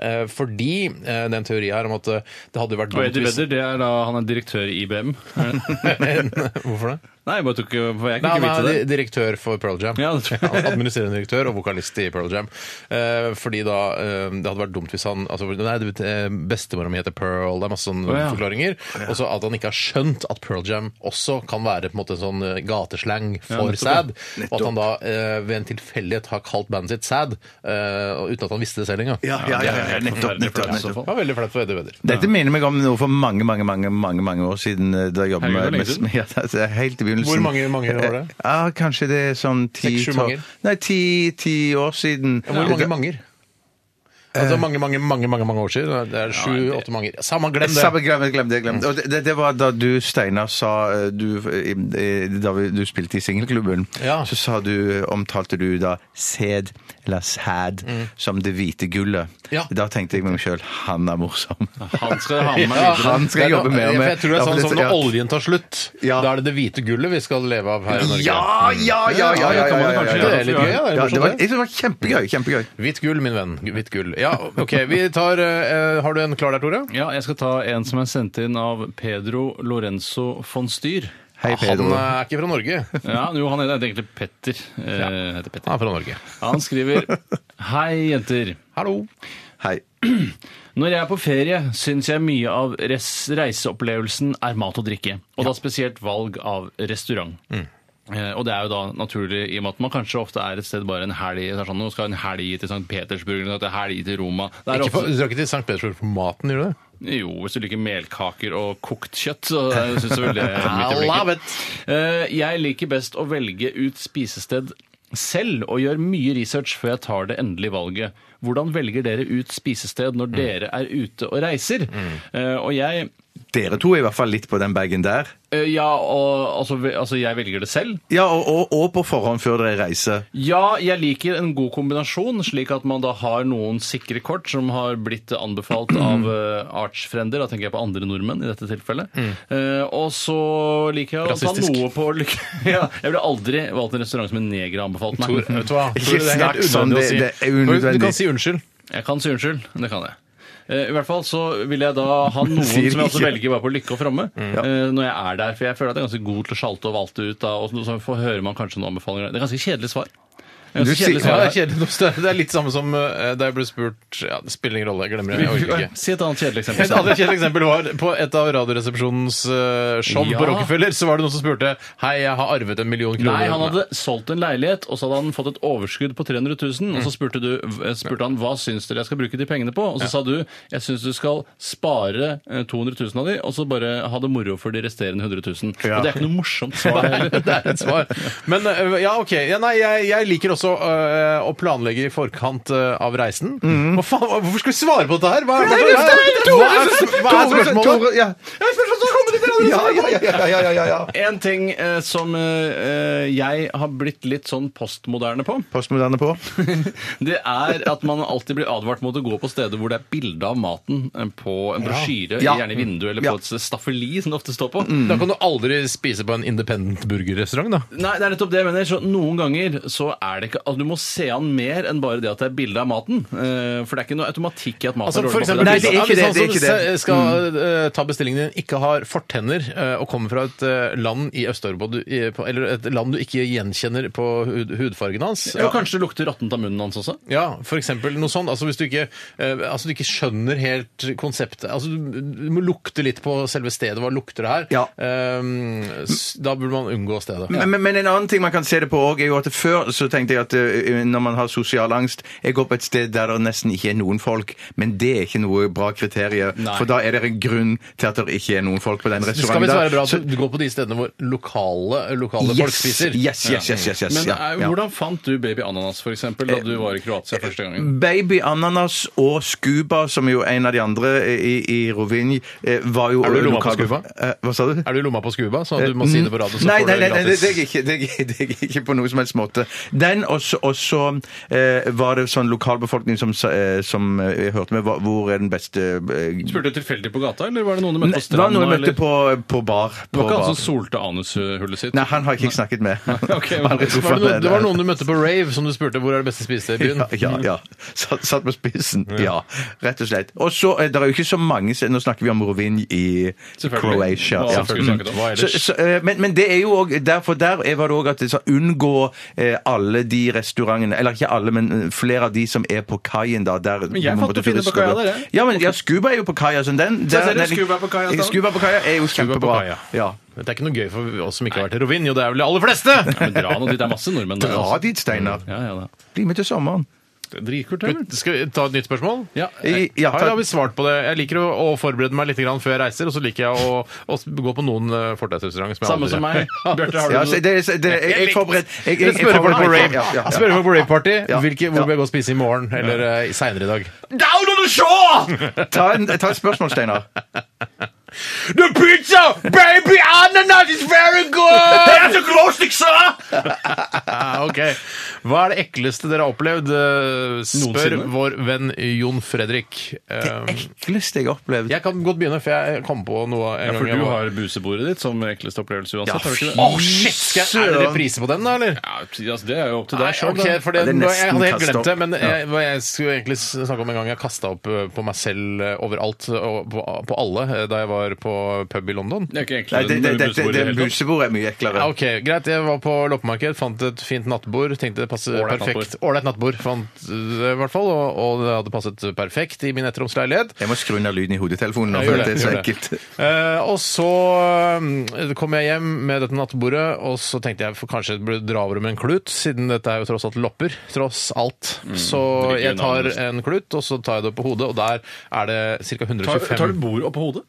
Eh, fordi eh, det er en teori her om at eh, det hadde jo vært
Og
dumt
Eddie
hvis-
Vedder, det er da han er direktør i IBM. Er det-
Hvorfor det?
Nei, jeg bare tok, eh, for jeg
Nei,
kunne
han
ikke
er
vite det.
di- direktør for Pearl Jam.
Ja, det tror jeg.
Han er Administrerende direktør og vokalist i Pearl Jam. Eh, fordi da eh, Det hadde vært dumt hvis han altså, Nei, det vet- eh, bestemora mi heter Pearl. Det er masse sånne
Å, ja.
forklaringer. Og så at han ikke har skjønt at Pearl Jam også kan være på en måte sånn eh, gateslang for sæd. Og at han da eh, ved en tilfeldighet har kalt bandet sitt Sad, eh, og uten at han visste det selv engang.
Ja, ja, ja, ja,
helt
nettopp,
forferdelig
nettopp,
for deg i så
nettopp.
fall.
Det var veldig flaut for Eddie Vedder.
Dette minner meg om noe for mange mange, mange, mange, mange år siden. eh, Da jeg jobbet
Herregud,
med,
hvor lenge
med,
siden?
ja, det er helt i begynnelsen.
Hvor mange- mange var det?
Eh, Ja, Kanskje det er sånn ti
Seks, sju
tolv-
mange?
Nei, ti, ti år siden.
Hvor mange
Da-
manger? Altså mange, mange, mange mange, mange år siden. Det er sju-åtte manger. Samme, glem det! Mm.
Samme, glem det, glem det. glem det. Og det- det, det var da du, Steinar, sa eh, du, eh, eh, Da vi- du spilte i singelklubben,
Ja.
så sa du, omtalte du da sæd, eller sæd, som det hvite gullet.
Mm. Ja.
Da tenkte jeg med meg sjøl han er morsom.
Han skal ha med meg
Ja,
videre.
han skal jeg
Det er
jobbe
noe-
mer med.
for Jeg tror
Ja,
det er
for
sånn
det-
som når
ja.
oljen tar slutt,
Ja.
da er det det hvite gullet vi skal leve av her i Norge.
Ja, ja, ja! ja, ja, ja, ja, ja,
Det er litt gøy, ja. Det er
Ja, det var,
morsomt, det.
jeg synes det var kjempegøy. kjempegøy.
Hvitt gull, min venn. Hvitt gull. Ja, ok, vi tar, eh, Har du en klar der, Tore?
Ja, jeg skal ta en som er sendt inn av Pedro Lorenzo von Styr.
Hei, Pedro.
Han eh, er ikke fra Norge.
Ja, jo, han heter egentlig Petter. Eh, heter Petter.
Han er fra Norge.
Han skriver Hei, jenter.
Hallo.
Hei.
Når jeg er på ferie, syns jeg mye av res reiseopplevelsen er mat og drikke. Og da spesielt valg av restaurant. Eh, og det er jo da naturlig i og med at man kanskje ofte er et sted bare en helg. så er det Sånn, nå skal jeg en helg til St. Petersburg, eller en helg til Roma. Det er
Ikke for,
ofte,
du drar ikke til St. Petersburg for maten, gjør du det?
jo, hvis du liker melkaker og kokt kjøtt, så syns jeg vel det er midt i blinken. Eh, Jeg liker best å velge ut spisested selv og gjør mye research før jeg tar det endelige valget. Hvordan velger dere ut spisested når dere er ute og reiser? Eh, Og jeg
Dere to er i hvert fall litt på den bagen der.
Eh, Ja, og altså, ve- altså jeg velger det selv.
Ja, og, og, og på forhånd før dere reiser.
Ja, jeg liker en god kombinasjon, slik at man da har noen sikre kort som har blitt anbefalt av eh, artsfrender, da tenker jeg på andre nordmenn i dette tilfellet. Eh, og så liker jeg å ta
Mm. Rasistisk.
noe på lykke... ja, jeg ville aldri valgt en restaurant som en neger har anbefalt
Tor,
meg.
vet du hva? Tor,
Ikke
det er helt
snakk sånn, det-
unødvendig å si.
det er unødvendig.
Du kan si unnskyld.
Jeg kan si unnskyld, det kan jeg. Eh, I hvert fall så vil jeg da ha noen som
Sier
jeg også
ikke.
velger bare på lykke og fromme,
Mm.
eh, når jeg er der. For jeg føler at jeg er ganske god til å sjalte og valte ut, da, og så får- hører man kanskje noen anbefalinger. Det er ganske kjedelig svar. Det er
Du
ganske
sier-
kjedelig
Ja,
svar.
det er kjedelig. noe større. Det er litt samme som eh, da jeg ble spurt ja, Det spiller ingen rolle, jeg glemmer det. Jeg orker ikke.
Si et annet kjedelig eksempel.
Et annet kjedelig eksempel var på et av Radioresepsjonens eh, show
Ja.
på Rockefeller. Så var det noen som spurte Hei, jeg har arvet en million kroner.
Nei, han hadde solgt en leilighet, og så hadde han fått et overskudd på 300 000. Og så spurte, du, eh, spurte han hva syns dere jeg skal bruke de pengene på. Og så sa du jeg syns du skal spare eh, 200 000 av de, og så bare ha det moro for de resterende 100 000. Og det er ikke noe morsomt svar heller.
det er et svar. Men øh, ja, OK. Ja, nei, jeg, jeg liker også øh, å planlegge i forkant øh, av reisen.
Mhm.
Hva faen, hva- hvorfor skal vi svare på dette her? Hva, hva, hva, hva, hva, er- hva er spørsmålet?
Tore, ja. Ja, ja, ja, ja, ja, ja, ja, ja.
En ting eh, som eh, eh, jeg har blitt litt sånn postmoderne på,
Postmoderne på.
det er at man alltid blir advart mot å gå på steder hvor det er bilde av maten eh, på en brosjyre,
Ja.
gjerne i vinduet eller
Ja.
på et staffeli, som det ofte står på.
Da kan du aldri spise på en independent burgerrestaurant, da.
Nei, det er nettopp det jeg mener. Så noen ganger så er det ikke altså, Du må se an mer enn bare det at det er bilde av maten. Eh, for det er ikke noe automatikk i at maten
Altså,
er
for
dårlig.
eksempel,
Nei,
mat.
det er
hvis-
ikke
hvis
det,
han
det Mm. er
som
ikke det.
se- skal øh, ta bestillingen din, ikke har fortenner øh, og kommer fra et øh, land i Øst-Europa du- i- på- Eller et land du ikke gjenkjenner på hud, hudfargen hans
Ja. Og kanskje det lukter råttent av munnen hans også.
Ja, for eksempel noe sånt. Altså hvis du ikke, eh, altså du ikke skjønner helt konseptet altså du, du må lukte litt på selve stedet. Hva lukter det her?
Ja.
Eh, s- da burde man unngå stedet.
Men, men- men en annen ting man kan se det på òg, er jo at før så tenkte jeg at eh, når man har sosial angst Jeg går på et sted der det nesten ikke er noen folk, men det er ikke noe bra kriterium. For da er det en grunn til at det ikke er noen folk på den
Det skal visst være
restauranten.
bra
Så-
at du går på de stedene hvor lokale, lokale folk
Yes,
spiser.
yes, yes, yes, yes, yes,
Men
ja,
eh,
ja.
hvordan fant du Baby Ananas for eksempel,
Eh,
da du var i Kroatia første gangen?
Baby Ananas og Scuba, som er jo en av de andre i, i Rovinj, eh, var jo
Er du i lomma på
lokal-
Scuba?
Eh, Hva sa du?
Er du i lomma på Scuba, sånn
Eh,
at du må si det på radio?
Eh,
Så
mm. nei,
får
nei,
du
nei,
det
nei, det
gratis?
er jeg ikke, det er jeg- det er jeg ikke på noen som helst måte. Den, og så- og så eh, var det sånn lokalbefolkning som, sa- eh, som eh, jeg hørte med, hva- hvor er den beste eh,
Spurte du tilfeldig på gata, eller var det noen du
Nei,
møtte på
Det var
stranda?
noe jeg møtte
eller-
på, på bar.
Det
På
var ikke
bar.
han som solte anushullet sitt?
Nei, han har jeg ikke snakket med.
Ok, men-
Aldri
Var
truffet
det, noen,
han.
det var noen du møtte på rave som du spurte hvor er det beste spisestedet i byen.
Ja, ja, ja. Satt, satt på spissen. Ja, rett og slett. Og så, eh, Det er jo ikke så mange steder- Nå snakker vi om Rovinj i
Selvfølgelig.
Croatia.
Hva
ja.
skulle vi snakket om? Hva
Så,
ellers?
så, eh, men, men det er jo òg derfor der er- var det òg at det sa unngå eh, alle de restaurantene Eller ikke alle, men eh, flere av de som er på kaien, da. Der men
jeg fant jo fine på kaia der, jeg.
Ja, men ja, Scuba er jo på kaia. Sånn, den,
ser du,
den-
Scuba er på kaia, da.
Scuba på kaia er jo
på
kjempebra.
kaia.
Ja.
Det er ikke noe gøy for oss som ikke har vært i Rovinjo, det er vel de aller fleste!
Nei, men dra nå dit, det er masse nordmenn der.
Dra
altså.
dit, Steinar.
Ja, ja, da.
Bli med til sommeren.
Dritkult, det, vel?
Skal vi ta et nytt spørsmål?
Ja,
I-
Ja,
Ja,
her har
takk.
vi svart på det. Jeg liker å, å forberede meg litt grann før jeg reiser, og så liker jeg å, å gå på noen eh, fortausrestauranter. jeg
Samme
aldri-
som meg. Bjarte, har du
Ja,
noe?
så det, det, jeg, jeg forberedte jeg, jeg,
Jeg spør folk på
forberedte-
rave
ja, ja, ja.
Spør folk på rave-party.
Ja.
Hvilke- Hvor vil jeg gå og spise i morgen eller uh, seinere i dag?
Down on the shore!
Ta, en, ta et spørsmål, Steinar.
The pizza, baby ananas is very good! Det er så gråstig, sir!
Ah, ok. Hva er det ekleste dere har opplevd? Eh, Spør
Noensinne?
vår venn Jon Fredrik. Eh,
Ekleste jeg har opplevd.
jeg kan godt begynne, for jeg kom på noe. en
Ja,
gang
for
jeg
du
var-
har busebordet ditt som ekleste opplevelse uansett, har du ikke det?
Å, shit! Skal, er det reprise på den, da, eller?
Ja, altså, det er jo opp til
Nei,
deg sjøl,
ok, for det,
Ja, det er
nå- jeg
nesten
hadde helt
kastet
glemt det,
opp.
men jeg, hva jeg skulle egentlig s- snakke om en gang jeg kasta opp eh, på meg selv eh, overalt og på, på alle eh, da jeg var på pub i London.
Det er ikke
Nei,
enklere
det, det,
enn
det, det,
busebordet i det
det
hele tatt.
busebordet er mye eklere.
Ja, ok, Greit, jeg var på loppemarked, fant et fint nattbord. Tenkte det passer
Ålreit
perfekt. Ålreit nattbord, fant det i hvert fall, og, og det hadde passet perfekt i min etteromsleilighet.
Jeg må skru ned lyden i hodetelefonen. nå,
Ja,
for
gjør
det er så
gjør
ekkelt.
Eh, og så eh, kom jeg hjem med dette nattbordet, og så tenkte jeg for kanskje jeg burde dra over med en klut, siden dette er jo tross alt lopper. Tross alt.
Mm,
så
det ligger
jeg
en
tar
annen-
en klut, og så tar jeg det på hodet, og der er det ca. 125
bordet opp på hodet?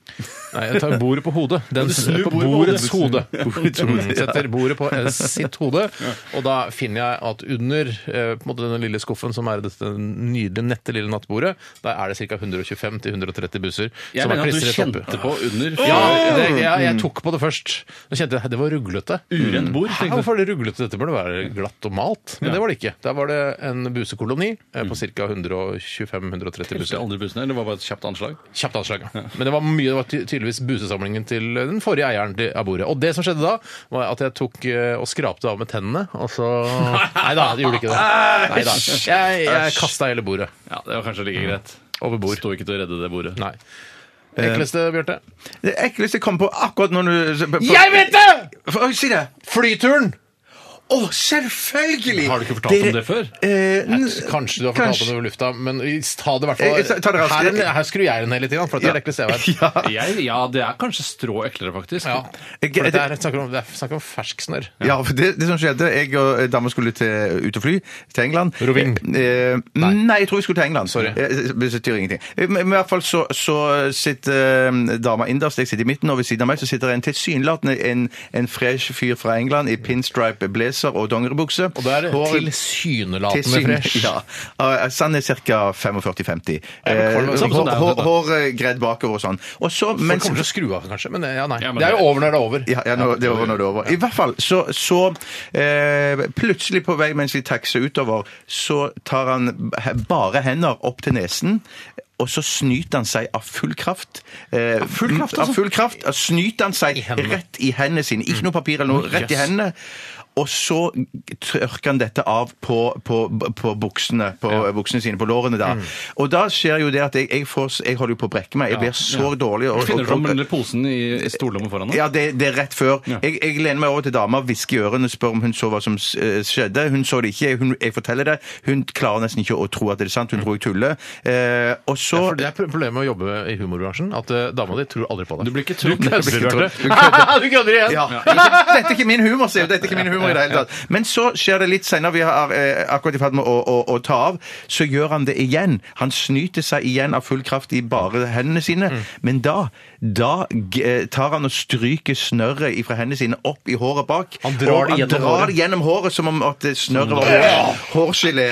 Nei, jeg tar bordet på hodet. Den
Du snur
på
bordet på
bordets
hodet.
hode. Mm, Setter bordet på eh, sitt episode. Og da finner jeg at under eh, på en måte denne lille skuffen som er dette nydelige, nette lille nattbordet, der er det ca. 125-130 busser
Jeg
som er
mener at du
klistret opp.
kjente på under
Ja, det, jeg, jeg tok på det først. Da kjente jeg det var ruglete.
urent bord.
Ja,
tenkte jeg.
Hvorfor er det ruglete? Dette burde være glatt og malt. Men det var det ikke. Der var det en busekoloni eh, på ca. 125-130
Husker jeg
buser.
aldri bussene, eller det var bare et kjapt anslag.
Kjapt anslag. ja. Men det var mye, det var ty- tydeligvis busesamlingen til den forrige eieren til- av bordet. Og det som skjedde da, var at jeg tok eh, og skrapte av med tennene, og så Nei da, det gjorde ikke det. Neida. Jeg, jeg kasta hele bordet
Ja, Det var kanskje like greit.
over bord.
Sto ikke til å redde det bordet.
Nei. Ekleste, Bjarte?
Det ekleste jeg kom på akkurat når du på-
vet det!
For- Oi, Si det!
Flyturen!
Å, selvfølgelig!
Har du ikke fortalt om det før?
Eh, n-
Kanskje du har fortalt
Kanskje.
om det over lufta, men ta det i hvert
Jeg- jeg tar det
fall
raskt.
Her, er den- her skrur jeg den hele tiden, for det er det ekleste jeg vet.
ja.
Jeg, ja, det er kanskje strå eklere, faktisk.
Ja.
Jeg-
For det er snakk om, det er snakk om fersksnørr.
Ja, for det, det som skjedde Jeg og dama skulle til, ut og fly til England.
Roving.
Eh, nei. jeg tror vi skulle til England.
Sorry.
Eh, Det betyr ingenting. Eh, Men men i hvert fall så, så sitter eh, dama innerst, jeg sitter i midten, og ved siden av meg så sitter en tilsynelatende en, en fresh fyr fra England i pinstripe blazer og dongeribukse.
Og det er
Hår-
tilsynelatende
tilsyn-
fresh.
Ja. Eh, Han er ca. 45-50.
Ja, men Kolberg-
Eh,
Samson er jo
hår-
det, da.
Hår eh, gredd bakover og sånn. Og så,
Men
mens-
kommer til å skru av, kanskje. Men eh, ja, nei.
Ja,
det
men
er
det-
jo over når det er over.
ja, ja nå, det er over når det er over. I hvert fall så, så eh, Plutselig på vei mens vi taxer utover, så tar han he- bare hender opp til nesen. Og så snyter han seg av full kraft. Eh,
full kraft, altså?
Av full kraft. eh, Snyter han seg
I hendene. Mm.
rett i hendene sine. Ikke noe papir eller noe. Rett i hendene. Og så tørker han dette av på, på, på buksene på buksene sine, på lårene
Mm.
da. Og da skjer jo det at jeg, jeg, får, s- jeg holder jo på å brekke meg. Jeg blir så dårlig. Og,
Finner du
og-
fram under posen i, i stollommen foran deg?
ja, det, det er rett før.
Ja.
Jeg, jeg lener meg over til dama, hvisker i ørene, spør om hun så hva som s- eh, skjedde. Hun så det ikke, hun, jeg forteller det. Hun klarer nesten ikke å tro at det er sant, hun tror jeg tuller. Eh, og så...
For det er problemet med å jobbe i humorbransjen, at eh, dama di tror aldri på deg.
Du blir ikke trodd.
Du
blir ikke
kødder,
trodd. Du
Bjarte. Du kødder igjen!
Ja. Dette er ikke min humor, sier du. Dette er ikke min humor i det hele tatt. Men så skjer det litt senere, vi har eh, akkurat i ferd med å, å, å ta av, så gjør han det igjen. Han snyter seg igjen av full kraft i bare hendene sine.
Mm.
Men da, da g- eh, tar han og stryker snørret ifra hendene sine opp i håret bak.
Han
og
drar det
han
gjennom
drar
håret.
det gjennom håret som om at det snørret var hår, hårgelé.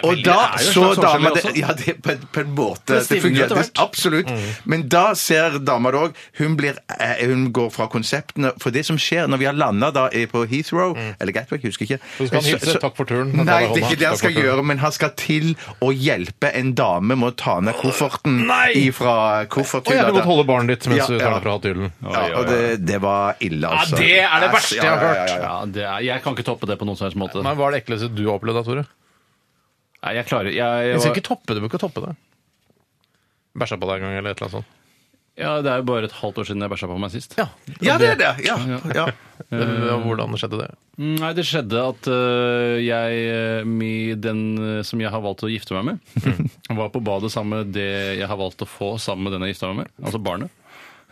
Og da
Mm. det er jo
så
en slags
dama
hårgelé
det
også.
Ja, det er på, en- på en måte. Det,
stivner
fungerer.
etter hvert. Mm.
Det- Absolutt. Men da ser dama det òg. Hun, blir- eh, hun går fra konseptene. For det som skjer når vi har landa da eh, på Heathrow, eller Gatwick, husker ikke Eh,
Så Mm. skal han
Så-
hilse,
så-
takk for turen. Han tar
Nei,
deg i
det er
hånda.
ikke det han
Takk for
skal
turen.
gjøre, men han skal til å hjelpe en dame med å ta ned kofferten ifra
Og
kofferthylla.
gjerne godt holde barnet ditt mens
Ja,
du tar
ja.
deg fra hatthyllen.
Ja, og det, det var ille, altså.
det er det verste jeg har
Ja, ja,
hørt.
ja, ja.
Ja, det er, jeg kan ikke toppe det på noen som helst måte.
Men hva er det ekleste du har opplevd da, Tore?
Nei, jeg klarer jeg,
Jeg
jeg,
skal ikke toppe det. Du bør ikke toppe det. Bæsja på deg en gang, eller et eller annet sånt.
ja, Det er jo bare et halvt år siden jeg bæsja på meg sist.
Ja, det er det. Ja. ja.
Eh, Hvordan skjedde det?
Mm, Nei, det skjedde at øh, jeg, øh, mi, den øh, som jeg har valgt å gifte meg med,
Mm.
var på badet sammen med det jeg har valgt å få sammen med den jeg gifta meg med, altså barnet.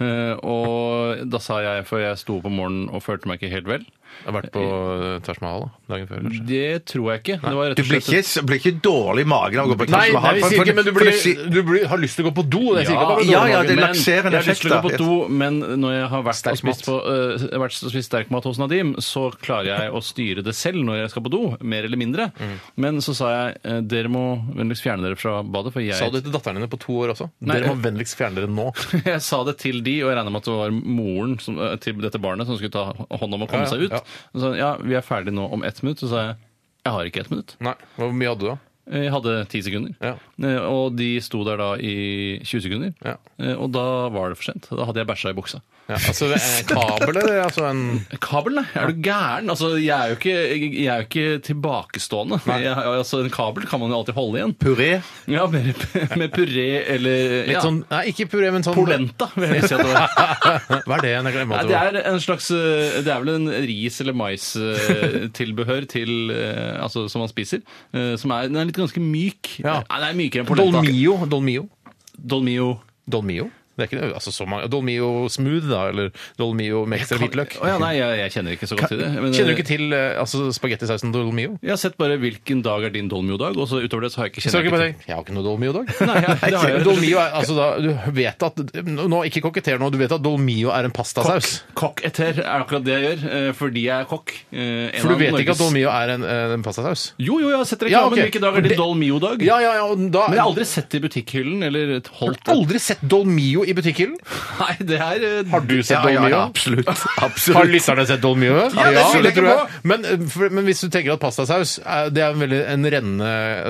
Eh, og da sa jeg, for jeg sto opp om morgenen og følte meg ikke helt vel
Jeg har vært på eh, Taj Mahal da, dagen før, kanskje.
Det tror jeg ikke. Det var rett
Du
og
blir
slett
ikke, blir ikke dårlig i magen av å gå på
Nei, nei,
Mahal,
vi
for-
sier
for-
ikke, men du,
for
blir,
det si-
du blir, har lyst til å gå på do. Det sier ikke at
Ja,
man er dårlig
ja,
mage,
det
men-
lakserer
men jeg har lyst til å gå på
effekt, da.
do, men når jeg har vært
Sterk
og spist, på,
mat.
øh, jeg har vært og spist sterk mat hos Nadim, så klarer jeg å styre det selv når jeg skal på do, mer eller mindre.
Mm.
Men så sa jeg eh, dere må vennligst fjerne dere fra badet, for jeg
Sa du det til datteren dine på to år også?
Nei,
Dere må vennligst fjerne dere nå.
Jeg sa det til de, og jeg regner med at det var moren som, eh, til dette barnet som skulle ta hånd om å
Ja,
komme
ja,
seg ut.
ja.
Og Så, ja, vi er ferdig nå om ett minutt. Så sa jeg jeg har ikke ett minutt.
Nei, Hvor mye hadde du da?
Jeg hadde ti sekunder.
Ja.
Eh, Og de sto der da i 20 sekunder.
Ja.
Eh, Og da var det for sent. Da hadde jeg bæsja i buksa.
Ja, altså en kabel, eller altså en
Kabel, nei! Er du gæren? Altså, jeg er jo ikke, jeg er jo ikke tilbakestående. Jeg, altså, en kabel kan man jo alltid holde igjen.
Puré.
Ja, Med, med puré eller
Litt
ja,
sånn, nei, ikke puré, men sånn
polenta, vil jeg si at det var.
Hva er det? Jeg glemmer
Nei,
at
det
det var.
er en slags eh, Det er vel en ris- eller mais-tilbehør til eh, Altså som man spiser. eh, Som er, den er litt ganske myk.
Ja.
Nei, den er mykere enn polenta.
Dolmio. Dolmio.
Dolmio.
Dolmio? Det er ikke noe- altså, så mange. Dolmio Smooth, da, eller Dolmio med ekstra hvitløk.
Å ja, nei, jeg, jeg kjenner ikke så godt til det. men-
Kjenner du ikke til eh, altså, spagettisausen Dolmio?
Jeg har sett bare hvilken dag er din Dolmio-dag, og så utover det så har jeg ikke
Så har
kjenner
du ikke
jeg
bare
ikke
tenkt, jeg har ikke noe Dolmio i dag.
til. Nei, jeg, det har jeg.
Dolmio er, altså da, du vet at Nå, ikke koketter nå, du vet at Dolmio er en pastasaus.
Kokk-etter er akkurat det jeg gjør, eh, fordi jeg er kokk. eh, en
For du
av
vet ikke
Norges-
at Dolmio er en, eh, en pastasaus?
Jo, jo, jeg har sett
Ja,
reklamen.
ok.
Hvilken dag er din
Det-
Dolmio-dag?
Ja, ja, ja, og da
Men jeg har aldri sett det i butikkhyllen eller holdt
Har du aldri sett Dolmio i butikkhyllen.
Nei, det er eh,
Har du sett
Ja, ja,
Dolmio?
ja, absolutt.
Har
absolutt.
lytterne sett Dolmio?
Ja, det skylder jeg
tror
ikke
jeg. Men, eh, for, men hvis du tenker at pastasaus er, det er en veldig en rennende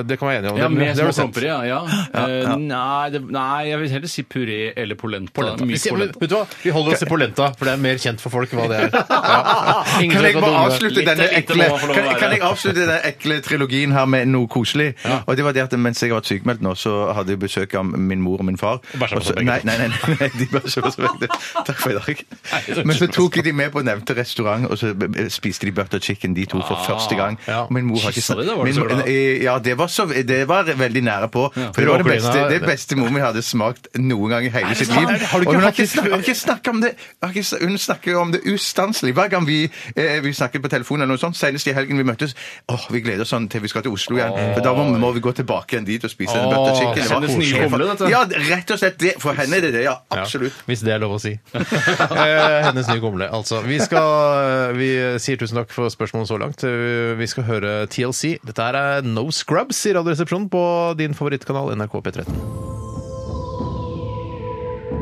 Det kan være enig om.
Ja,
det,
med
det har du
små
sett.
klumper, ja. ja. Eh, Nei, det, nei, jeg vil heller si puré eller polenta.
Polenta. Vi,
Myk
sier-
polenta.
vet du hva? Vi holder oss til polenta, for det er mer kjent for folk hva det er. Ja. Ingen
Kan
vet
jeg bare
hva Dolmio er.
avslutte
Litt er
denne
lite,
ekle,
må få lov å
kan,
være.
kan jeg avslutte denne ekle trilogien her med noe koselig? Og det var det at Mens jeg har vært sykemeldt nå, så hadde jeg besøk av min mor og min far.
bæsja
Og
på
så-
seg begge
nei, nei, nei, nei, nei, de bæsja på seg begge. Takk for i dag. Men så tok jeg de med på nevnte restaurant, og så spiste de butter chicken, de to, for
Ah,
første gang.
ja.
Og min mor har ikke
Kyssa de da, var du
min
så
mor-
glad?
eh, Ja, det var, så, det var veldig nære på. For det var det
Råklina-
beste, det beste mor mi hadde smakt noen gang i hele sitt liv.
sant? Har du ikke
Og hun har
hatt
ikke
det-
snakket- har ikke snakket om det har ikke sn- Hun snakker om det ustanselig. Hver gang vi, eh, vi snakker på telefonen eller noe sånt, senest i helgen vi møttes Åh, vi gleder oss sånn til vi skal til Oslo igjen. For da må, må vi gå tilbake igjen dit og spise en butter chicken. Det var
kjennes nye
koselig.
humle, dette.
Ja, rett og slett. Det, for henne er det det, ja.
Ja,
Absolutt.
Hvis det er lov å si. Eh, Hennes nye gomle. Altså, vi, skal, eh, vi sier tusen takk for spørsmålet så langt. Eh, Vi skal høre TLC. Dette her er No Scrubs i Radioresepsjonen på din favorittkanal NRK P13.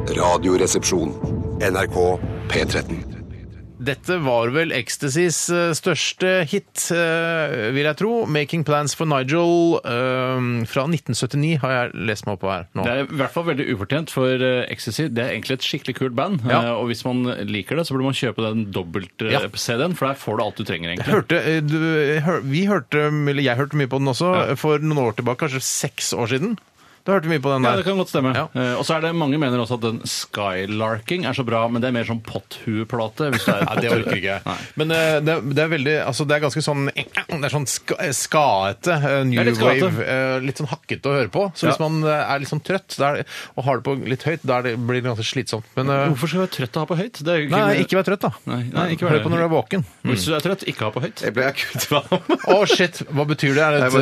Radioresepsjon. NRK P13.
Dette var vel Ecstasys eh, største hit, eh, vil jeg tro. 'Making Plans for Nigel' eh, fra 1979 har jeg lest meg opp på her nå.
Det er i hvert fall veldig ufortjent, for eh, Ecstasy det er egentlig et skikkelig kult band.
Ja.
eh, Og hvis man liker det, så burde man kjøpe den
Ja.
dobbelt-CD-en, for der får du alt du trenger,
Jeg
egentlig.
Hørte, eh, du, hør, vi hørte, eller jeg hørte mye på den også,
Ja.
for noen år tilbake, kanskje seks år siden. Da hørte vi mye på den
Ja,
der.
det kan godt stemme.
Ja.
Eh, og så er det Mange mener også at den skylarking er så bra, men det er mer sånn potthueplate. Hvis det er
Nei, det orker ikke jeg. Men eh, det, er- det er veldig Altså, det er ganske sånn Det er sånn ska, eh, skaete eh, new
Ja, litt skaete.
wave. eh, litt sånn hakkete å høre på. Så hvis man eh, er litt sånn trøtt da er det- og har det på litt høyt, da er det, blir det ganske slitsomt. Men eh,
Hvorfor skal du være trøtt og ha på høyt? Det er jo ikke,
Nei, ikke vær Mm. trøtt, da.
Nei, nei, ikke vær
Hør
det.
på når du er våken.
Hvis du er trøtt, ikke ha på høyt.
Jeg ble akutt varm.
Å, shit! Hva betyr det? Er det et,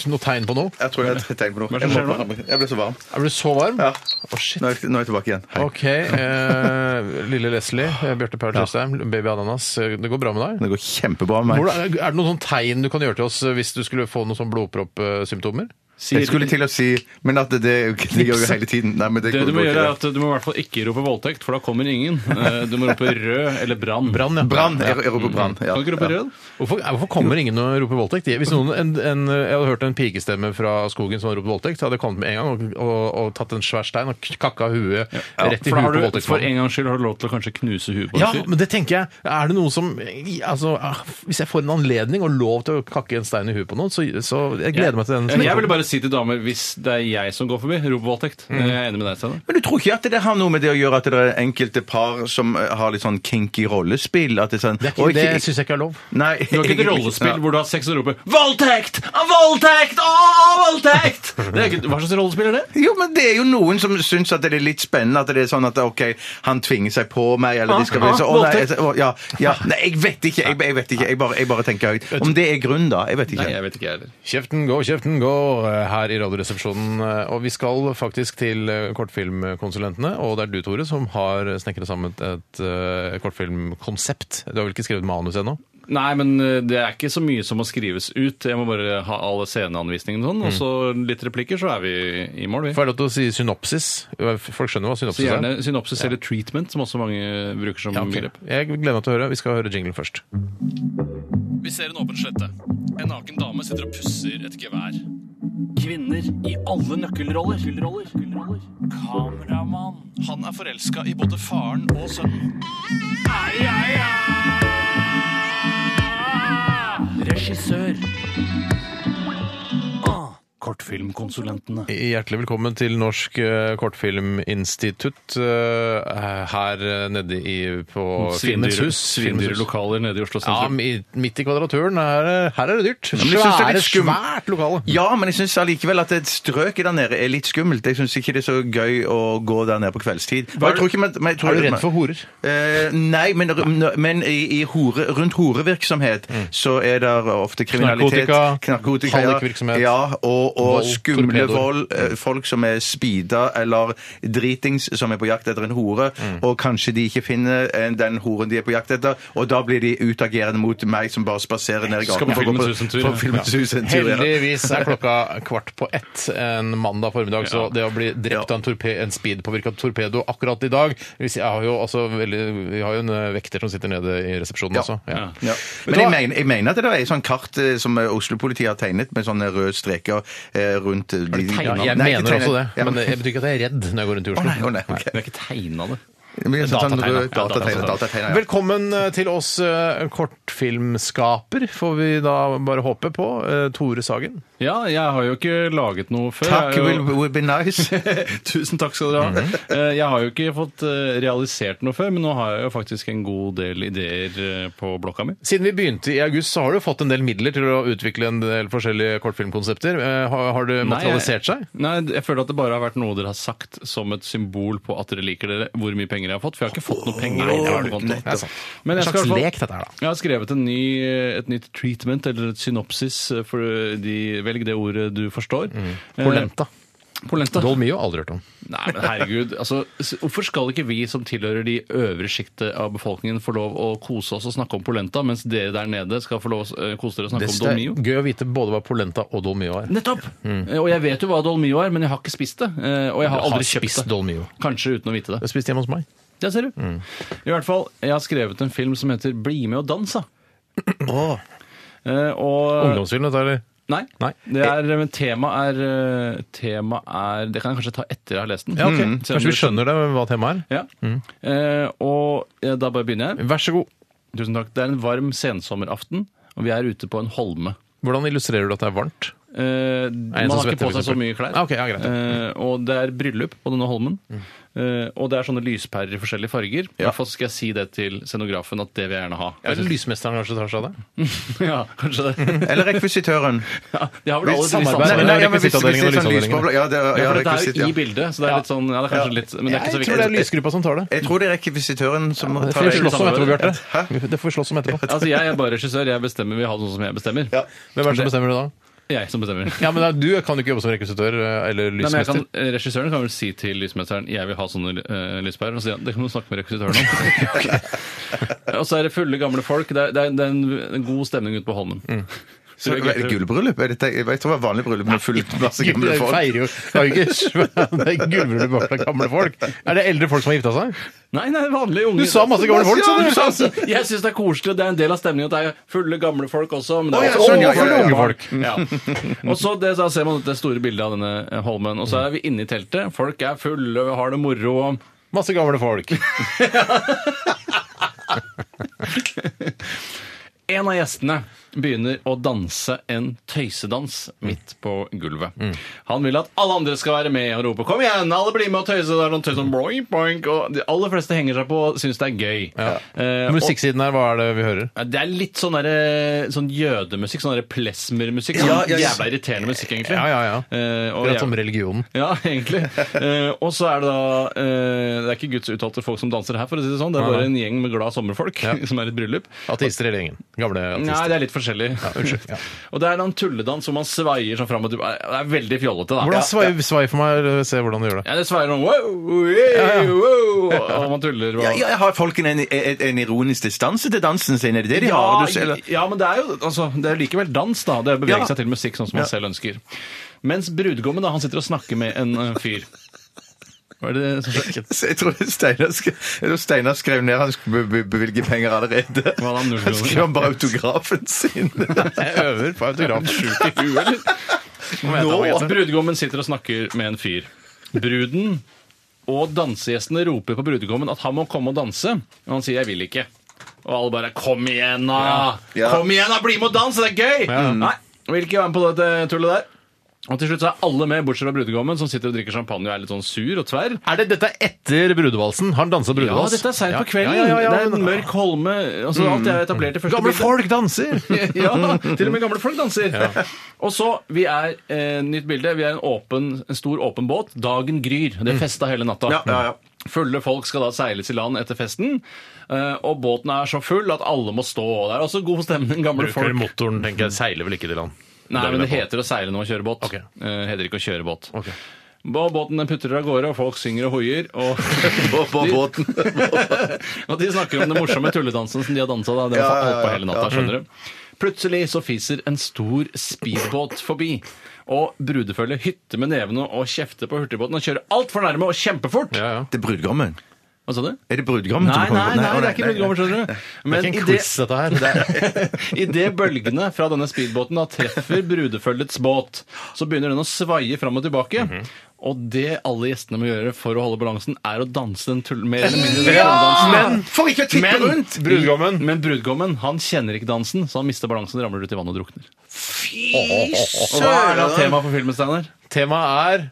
eh, noe tegn på noe?
Jeg tror jeg har tegn på noe.
er det som
Jeg må- Jeg ble så varm.
Er du så varm?
Ja.
Å, shit.
Nå er jeg, nå er jeg tilbake igjen. Hei.
Ok. Eh, lille Leslie, eh, Bjarte Paul Tjøstheim, Baby Ananas. eh, Det går bra med deg?
Det går kjempebra med meg.
Hvordan- Er det noen sånn tegn du kan gjøre til oss eh, hvis du skulle få noen sånn blodproppsymptomer?
Sier-
Jeg skulle til å si Men at det, det, det gjør jo hele tiden. Nei, men det,
Det du
går
må
ikke.
gjøre er at du må i hvert fall ikke rope voldtekt, for da kommer ingen. Eh, Du må rope rød eller brann. Mm.
Brann, ja.
Brann. Jeg, jeg roper brann. Ja.
Kan du ikke rope rød?
Hvorfor, eh, hvorfor kommer ingen og roper voldtekt? Hvis noen, en, en, jeg hadde hørt en pikestemme fra skogen som hadde ropt voldtekt, så hadde jeg kommet med en gang og, og, og tatt en svær stein og kakka huet rett i huet
For da har
på
du for
voldtektsmannen.
en gangs skyld har du lov til å kanskje knuse huet på en
Ja,
fyr.
men det tenker jeg. Er det noe som eh, altså, ah, Hvis jeg får en anledning og lov til å kakke en stein i huet på noen, så, så jeg gleder meg til den.
Men jeg ville bare si til damer, hvis det er jeg som går forbi, rop voldtekt.
Mm.
Jeg er enig med deg, Steinar.
Men du tror ikke at det har noe med det å gjøre at det er enkelte par som eh, har litt sånn kinky rollespill? At det er sånn
Det, er
Oi,
ikke- det syns jeg ikke er lov.
Nei.
Du har ikke et rollespill
Ja.
hvor du har sex og roper 'voldtekt! Ah, Voldtekt! Å, voldtekt!' Det er ikke, hva slags rollespill er det?
Jo, men det er jo noen som syns at det er litt spennende at det er sånn at ok, han tvinger seg på meg, eller de skal bli
ah,
så Å, nei,
voldtekt.
jeg, å, ja, ja, nei, jeg vet ikke. Jeg, jeg vet ikke. Jeg bare, jeg bare tenker høyt. Om det er grunn, da? Jeg vet ikke.
Nei, jeg vet ikke, jeg heller.
Kjeften går, kjeften går eh, her i Radioresepsjonen. eh, Og vi skal faktisk til eh, kortfilmkonsulentene, og det er du, Tore, som har snekret sammen et, et eh, kortfilmkonsept. Du har vel ikke skrevet manus ennå?
Nei, men eh, det er ikke så mye som må skrives ut. Jeg må bare ha alle sceneanvisningene og sånn, og så litt replikker, så er vi i mål, vi.
Får jeg lov til å si synopsis? Eh, Folk skjønner hva
Så
synopsis
gjerne
er?
synopsis eller treatment, som også mange bruker som
Ja, ok.
begrep.
Jeg gleder meg til å høre. Vi skal høre jinglen først.
Vi ser en åpen slette. En naken dame sitter og pusser et gevær. Kvinner i alle nøkkelroller. Kameramann. Han er forelska i både faren og sønnen. Regissør. Kortfilm filmkonsulentene.
Hjertelig velkommen til Norsk eh, kortfilminstitutt eh, her eh, nede i, på
Svindyre-
Finndyr hus.
Svindyre
Finndyr-
lokaler nede i Oslo
Ja,
sentrum.
mi- midt i kvadraturen. Er, det- her er det dyrt.
men jeg synes det er
Svære,
litt skum-
svært lokale.
Ja, men jeg syns allikevel at et strøk der nede er litt skummelt. Jeg syns ikke det er så gøy å gå der nede på kveldstid. Og jeg tror ikke, men, men jeg tror,
Er du redd for horer?
Eh, nei, men, men i, i hore, rundt horevirksomhet
Mm.
så er det ofte kriminalitet.
Narkotika,
knarkotika, ja.
hallikvirksomhet,
Ja, og, og
vold,
skumle
torpedoer. Mm.
vold. eh, Folk som er speeda eller dritings som er på jakt etter en hore,
Mm.
og kanskje de ikke finner eh, den horen de er på jakt etter, og da blir de utagerende mot meg som bare spaserer ned i
Skal
gaten
på
for å gå
Filmens
på-
Hus en tur,
for
ja.
Filmens Hus en tur. ja.
Heldigvis er klokka kvart på ett en mandag formiddag, så det å bli drept av en, torpe, en speedpåvirka torpedo akkurat i dag vi, sier- jeg har jo altså veldig, vi har jo en eh, vekter som sitter nede i resepsjonen
Ja.
også. Ja.
Ja. Men jeg mener, jeg mener at det er et sånt kart eh, som eh, Oslo-politiet har tegnet, med sånne røde streker eh, rundt eh, de-
Ja,
Nei,
jeg
ikke
mener
tegnet.
også det,
Ja.
men det betyr ikke at jeg er redd når jeg går rundt i
Å
Oslo.
nei, å nei, ok.
Det er ikke tegna, det.
Men jeg synes sånn
Datategnet.
rød-
Ja,
Datategnet.
datategnet.
datategnet, ja.
Velkommen eh, til oss eh, kortfilmskaper, får vi da bare håpe på. eh, Tore Sagen.
Ja, jeg har jo ikke laget noe før.
Takk
Jeg er
will,
jo-
will be nice.
Tusen takk skal dere ha.
Mhm.
Eh, Jeg har jo ikke fått eh, realisert noe før, men nå har jeg jo faktisk en god del ideer eh, på blokka mi.
Siden vi begynte i august, så har du fått en del midler til å utvikle en del forskjellige kortfilmkonsepter. Eh, Har, har det materialisert seg?
Nei, jeg føler at det bare har vært noe dere har sagt som et symbol på at dere liker dere, hvor mye penger jeg har fått. For jeg har ikke fått noe penger. i
har
min
du
konto.
ikke. Det er sant.
Men jeg
En
skal
slags
i hvert fall-
lek, dette her, da.
Jeg har skrevet en ny, et nytt treatment, eller et synopsis, eh, for de, velg det ordet du forstår.
Mm. Polenta.
Eh, Polenta.
Dolmio aldri hørt om.
Nei, men herregud. Altså, s- hvorfor skal ikke vi som tilhører de øvre sjiktet av befolkningen få lov å kose oss og snakke om polenta, mens dere der nede skal få lov å s- eh, kose dere og snakke
Det
om
er
Dolmio?
gøy å vite både hva polenta og dolmio er.
Nettopp! Eh, Og jeg vet jo hva Dolmio er, men jeg har ikke spist det. eh, Og jeg har
Mm. Du har
aldri kjøpt
spist
det.
Dolmio.
Kanskje uten å vite det.
Jeg spiste hjemme hos meg.
Der ser du.
Mm.
I hvert fall, jeg har skrevet en film som heter Bli med og dans, da. Eh, og
Ungdomsfilm, dette, eller?
Nei.
Nei.
Det er, men tema er, eh, tema er Det kan jeg kanskje ta etter jeg har lest den.
Ja, ok.
Mm. Selv om
Kanskje
du-
vi skjønner Mm. det, hva temaet er?
Ja. Eh, og eh, da bare begynner jeg.
Vær så god.
Tusen takk. Det er en varm sensommeraften, og vi er ute på en holme.
Hvordan illustrerer du at det er varmt?
Eh, man
som
har ikke
svetter,
på seg
for
så
eksempel.
mye klær.
Ah, ok, ja, greit, ja.
Eh, og det er bryllup på denne holmen. Eh, og det er sånne lyspærer i forskjellige farger. I hvert fall skal jeg si det til scenografen at det vil jeg gjerne ha.
Er det lysmesteren kanskje tar seg av det?
ja, kanskje det.
Eller rekvisitøren.
ja, de har vel alle
Samarbeid.
samarbeid.
Nei,
ja, men hvis- hvis det
rekvisittavdelingen og
er sånn
lysavdelingen.
lysbobler- Ja, det er, ja,
Ja, for dette
rekvisitt,
er jo
ja.
i bildet, så det er litt sånn Ja, det er kanskje litt Men det er ikke så
Jeg
viktig.
tror det er lysgruppa som tar det.
Jeg tror det er rekvisitøren som
Det
tar
får vi
det.
slåss om etterpå, Bjarte.
Hæ?
Det får vi slåss om etterpå.
Altså, jeg er bare regissør. Jeg bestemmer. Vi har noe som jeg bestemmer.
Ja.
Hvem er det som bestemmer det da?
Jeg som bestemmer.
Ja, men da, Du kan jo ikke jobbe som rekvisitør eh, eller
Nei, men jeg
lysmester.
kan, eh, regissøren kan vel si til lysmesteren Jeg vil ha sånne uh, lyspærer. Og så sier han det kan du snakke med rekvisitøren om. og så er det fulle, gamle folk. Det er, det er, det er en, en god stemning ute på Holmen.
Mm.
Så er det gullbryllup? Er dette- Jeg tror det var vanlig bryllup med fullt masse gamle
Det
folk.
feirer jo Det er jo ikke svært- det er gullbryllup bak deg, gamle folk. Er det eldre folk som har gifta seg?
Nei, nei, vanlige unge.
Du sa masse gamle folk, sa du!
Ja, altså, Jeg syns det er koselig. Det er en del av stemningen. at Det er fulle, gamle folk også. Men det
Å,
er
ja,
også
sånn, ja,
Å, fulle
ja, ja.
unge folk.
Mm.
Ja. Og så det, da ser man det store bildet av denne eh, holmen. Og så er vi inne i teltet. Folk er fulle, har det moro.
Masse gamle folk.
En av gjestene begynner å danse en tøysedans midt på gulvet.
Mm.
Han vil at alle andre skal være med og rope 'kom igjen', alle blir med og tøyse. Det er noen tøys som boink, boink, og De aller fleste henger seg på og syns det er gøy. Eh, og-
Musikksiden her, hva er det vi hører?
Ja, det er litt sånn, derre- sånn jødemusikk, sånn derre plesmermusikk. Sånn Jævla irriterende musikk, egentlig.
Ja, ja, ja.
Eh, og
Akkurat
jeg-
som religionen.
ja, egentlig. Eh, og så er det da eh, Det er ikke Guds uttalte folk som danser her, for å si det sånn. Det er
Nei,
bare
nei.
en gjeng med glad sommerfolk som er i et bryllup.
Ateister eller ingen? Gamle
Nei,
ateister.
det er litt forskjellig.
unnskyld, ja.
og det er da en tulledans hvor man svaier sånn fram og tilbake. Det er veldig fjollete, da.
Hvordan svai, svai for meg, eller se hvordan du gjør det.
Ja, det svaier sånn wow, yeah, wow, og man tuller. Og...
Ja, ja, har folkene en, en, en ironisk distanse til dansen sin? Er det det de har? Du ser- eller-
ja, men det er jo altså, det er likevel dans, da. Det er å bevege
Ja.
seg til musikk sånn som man selv ønsker. Mens brudgommen da, han sitter og snakker med en eh, fyr. Hva er det som skjer?
Så Jeg tror det er Steinar skrev, jeg tror Steinar skrev ned han skulle be- be- bevilge penger allerede.
Hva da, null
Han skrev
kroner?
han bare autografen sin.
Jeg øver på autograf. Sjukt.
Sjuk i huet, eller?
Nå.
Nå! Brudgommen sitter og snakker med en fyr. Bruden og dansegjestene roper på brudgommen at han må komme og danse, og han sier 'jeg vil ikke'. Og alle bare 'kom igjen, da'!
Ja.
Kom igjen da, Bli med og dans, det er gøy! Nei, vil ikke være med på dette tullet der. Og til slutt så er alle med, bortsett fra brudgommen, som sitter og drikker champagne og er litt sånn sur og tverr.
Er det dette etter brudevalsen? Har han dansa
Ja,
brudevals?
dette er seint på kvelden.
Ja, ja, ja,
det er
men-
en mørk holme. Altså, alt er etablert i første
Gamle
bilde.
folk danser!
ja, til og med gamle folk danser. Og så, vi er eh, nytt bilde, vi er en, åpen, en stor åpen båt. Dagen gryr. Det er festa hele natta.
Ja, ja, ja.
Fulle folk skal da seiles i land etter festen, eh, og båten er så full at alle må stå. Og Det er også god stemning, gamle
Bruker
folk.
motoren, tenker jeg. Seiler vel ikke til land?
Nei,
er
men
med
det
på.
heter å seile når man kjører båt.
Ok.
Eh, heter ikke å kjøre båt.
Ok.
Bå- Båten den putter av gårde, og folk synger og hoier. Og,
På, på båten.
og de snakker om den morsomme tulledansen som de har dansa. Da. Den
Ja, ja,
har
ja,
holdt på hele natta, skjønner du. Plutselig så fiser en stor speedbåt forbi. Og brudefølget hytter med nevene og kjefter på hurtigbåten og kjører altfor nærme og kjempefort.
Ja, ja.
Det er brudgommen.
Hva sa du?
Er det brudgommen
Nei,
som
nei,
kommer?
nei, det er ikke
nei,
brudgommen, skjønner du.
Det er
Men
ikke
i
en
det-
quiz, dette her. Det er,
Idet bølgene fra denne speedbåten da treffer brudefølgets båt, så begynner den å svaie fram og tilbake. Og det alle gjestene må gjøre for å holde balansen, er å danse den tull mer eller mindre den tulledansen.
Men for ikke å tippe rundt!
brudgommen.
Men brudgommen han kjenner ikke dansen, så han mister balansen, ramler ut i vannet og drukner. Og hva er da
Søren!
temaet for filmen, Steinar?
Temaet er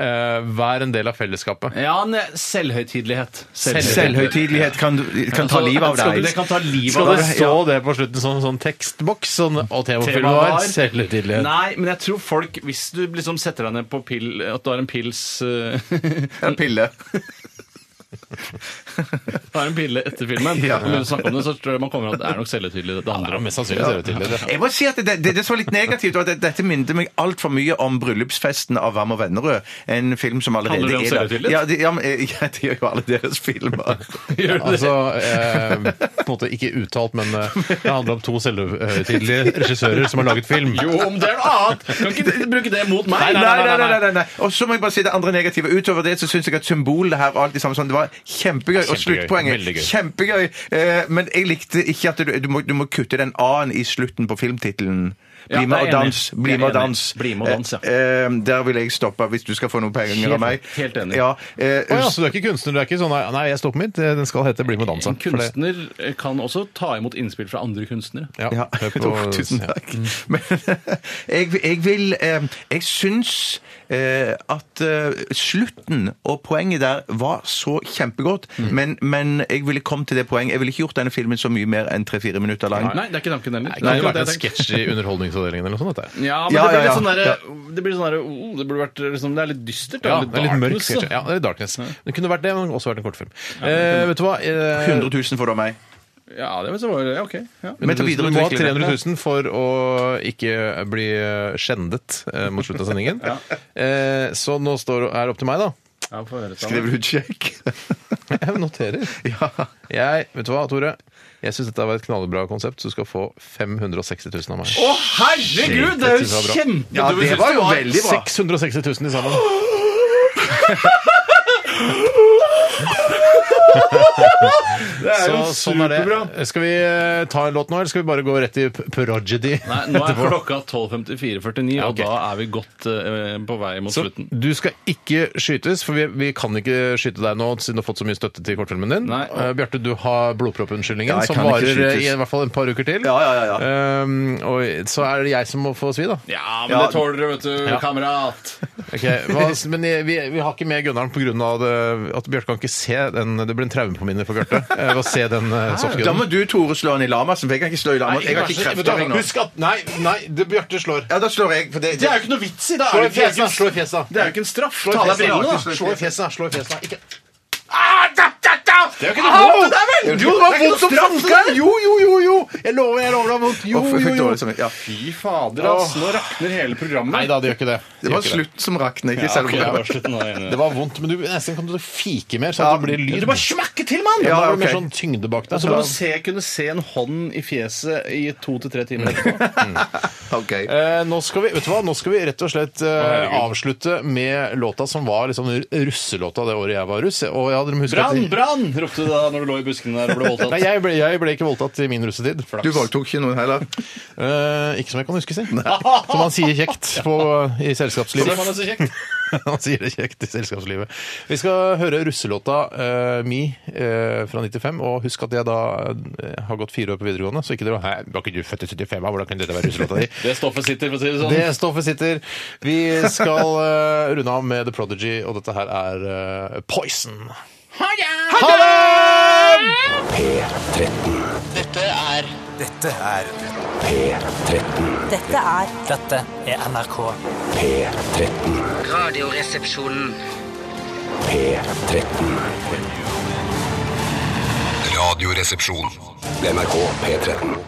eh, vær en del av fellesskapet.
Ja, ne- selvhøytidelighet.
Selvhøytidelighet kan, kan ta livet av
Skal du-
deg.
Det kan ta livet
Skal
av
det
deg.
stå det på slutten sånn, sånn tekstboks? Sånn, og temafilmen
Temaet
var
var-
selvhøytidelighet.
Nei, men jeg tror folk, hvis du liksom setter deg ned på pill, at du har en pils eh,
Ja, Pille.
Du har en pille etter filmen,
Ja.
og når du snakker om det, så tror jeg man kommer at det er nok selvhøytidelig det handler om.
Mest sannsynlig selvhøytidelighet.
Jeg må si at det, det, det som var litt negativt, var at dette minnet meg altfor mye om 'Bryllupsfesten' av Wam og Vennerød. En film som allerede
Handler det om
er der.
selvtillit?
Ja, det, ja, men, eh, ja, det gjør jo alle deres filmer.
Gjør du det?
Altså, eh, på en måte ikke uttalt, men eh, det handler om to selvhøytidelige regissører som har laget film.
Jo, om det er noe annet! Kan ikke bruke det mot meg!
Nei, nei, nei, nei, nei. Og så må jeg bare si det andre negative. Utover det så syns jeg at symbolene her og alt det samme sånn, det var kjempegøy. Og
Kjempegøy.
sluttpoenget
Veldig gøy.
kjempegøy. Eh, men jeg likte ikke at du, du, må, du må kutte den A-en i slutten på filmtittelen.
Ja,
Bli
jeg er
med og
enig.
dans. Bli
Jeg er
med og
enig.
dans.
Bli med og dans, ja.
Eh, eh, der vil jeg stoppe, hvis du skal få noen penger
Helt-
av meg.
helt enig.
Ja, eh,
Å ja, så du er ikke kunstner? Du er ikke sånn nei, nei, jeg står på mitt. eh, Den skal hete Bli med og dansa.
En kunstner kan også ta imot innspill fra andre kunstnere.
Ja,
Ja,
hør på-
jo, tusen takk. Men jeg, jeg vil eh, Jeg syns eh, at eh, slutten og poenget der var så kjempegodt, men, men jeg ville kommet til det poenget. Jeg ville ikke gjort denne filmen så mye mer enn tre-fire minutter lang.
Nei, det er ikke tanken heller.
Det kunne
Akkurat
vært en
det jeg tenkte.
sketsj i Underholdningsavdelingen eller noe sånt. dette her.
Ja, men
Ja,
det blir
ja,
litt sånn
ja.
derre Det blir sånn derre oh, Det burde vært liksom, Det er litt dystert.
Ja,
da,
det er litt mørk
darkness,
sketsj.
da.
Ja, det er darkness. Det kunne vært det, men også vært en kortfilm. Eh, vet du hva? Eh,
100 000 for det av meg.
Ja, det var så- ja, OK. Ja.
Men til å
du må ha
videreutvikle det.
300 000 for å ikke bli eh, skjendet eh, mot slutten av sendingen. eh, så nå står, er det opp til meg, da.
Ja, får høre, Steinar.
Skriver du sjekk?
Jeg noterer. Jeg, vet du hva, Tore? Jeg syns dette var et knallbra konsept. så Du skal få 560 000 av meg.
Å, herregud! Det er
Shit, dette
jo
var bra.
kjempe...
Ja,
Du
det
synes
var jo veldig bra.
660 000 til sammen. Så, sånn er det. Skal vi eh, ta en låt nå, eller skal vi bare gå rett i p- prodigy?
Nei, nå er klokka 12.54,49,
Ja,
og
ok.
da er vi godt eh, på vei mot
Så
slutten.
du skal ikke skytes, for vi, vi kan ikke skyte deg nå siden du har fått så mye støtte til kortfilmen din.
Nei.
Eh, Bjarte, du har blodproppunnskyldningen
Ja, jeg
som
kan ikke
varer eh, i
skytes.
hvert fall et par uker til.
Ja, ja, ja, ja.
Um, og så er det jeg som må få svi, da.
Ja, men
Ja.
det tåler du, vet du, kamerat.
Ok, hva, men jeg- vi, vi har ikke med Gunnaren pga. at Bjarte kan ikke se den. Det blir en traumepåminner for Bjarte eh, ved å se den eh,
Da
softgunnen.
må du, Tore, slå han i lamasen, for jeg kan ikke slå i lamasen. Jeg har ikke krefter av meg nå.
Husk at Nei, nei det Bjarte slår.
Ja, da slår jeg. For det,
Det er jo ikke noe vits i! Da slå i fjeset! Slå i fjeset.
Det er jo ikke en straff.
Slå i
deg brillene, da. Ah,
fjeset! Slå i fjeset! Slå i fjeset. Ikke
Det er jo ikke noe vondt, Ah, det vel! Jo, det var vondt som
franskeren! Jo, jo, jo! jo. Jeg lover, jeg lover deg vondt. Jo, jo, jo.
Ja.
Fy fader, ass. Nå rakner hele programmet.
Nei da, det gjør ikke det.
Det
gjør
var
ikke det.
slutten som rakna, ikke selve
Ja,
programmet.
bare slutt nå, jeg er enig.
Det var vondt, men du, nesten kan du fike mer, sånn at det blir lyd.
Du bare smakker til, mann!
Da
Ja,
var det mer
ok.
sånn tyngde bak deg.
Så må du se, kunne se en hånd i fjeset i to til tre timer etterpå.
Ok.
Eh, nå, skal vi, vet du hva? nå skal vi rett og slett eh,
herregud.
avslutte med låta som var liksom russelåta det året jeg var russ. Og ja, dere må huske
Brann,
at
brann! ropte du da når du lå i buskene der og ble voldtatt.
Nei, jeg ble, jeg ble ikke voldtatt i min russetid.
Du voldtok ikke noen heller.
Eh, ikke som jeg kan huske, si. Som han sier kjekt på, i selskapslivet.
Som han er så kjekt.
han sier det kjekt i selskapslivet. Vi skal høre russelåta eh, Mi eh, fra 95. Og husk at jeg da eh, har gått fire år på videregående, så ikke dere Hæ, var ikke du født i 75? ja? Hvordan kunne dette være russelåta di?
Det stoffet sitter, for å si det sånn.
Det stoffet sitter. Vi skal eh, runde av med The Prodigy, og dette her er eh, Poison. Ha det!
Dette er
Dette er
Dette er NRK.
Radioresepsjonen.
Radioresepsjon.
NRK P13.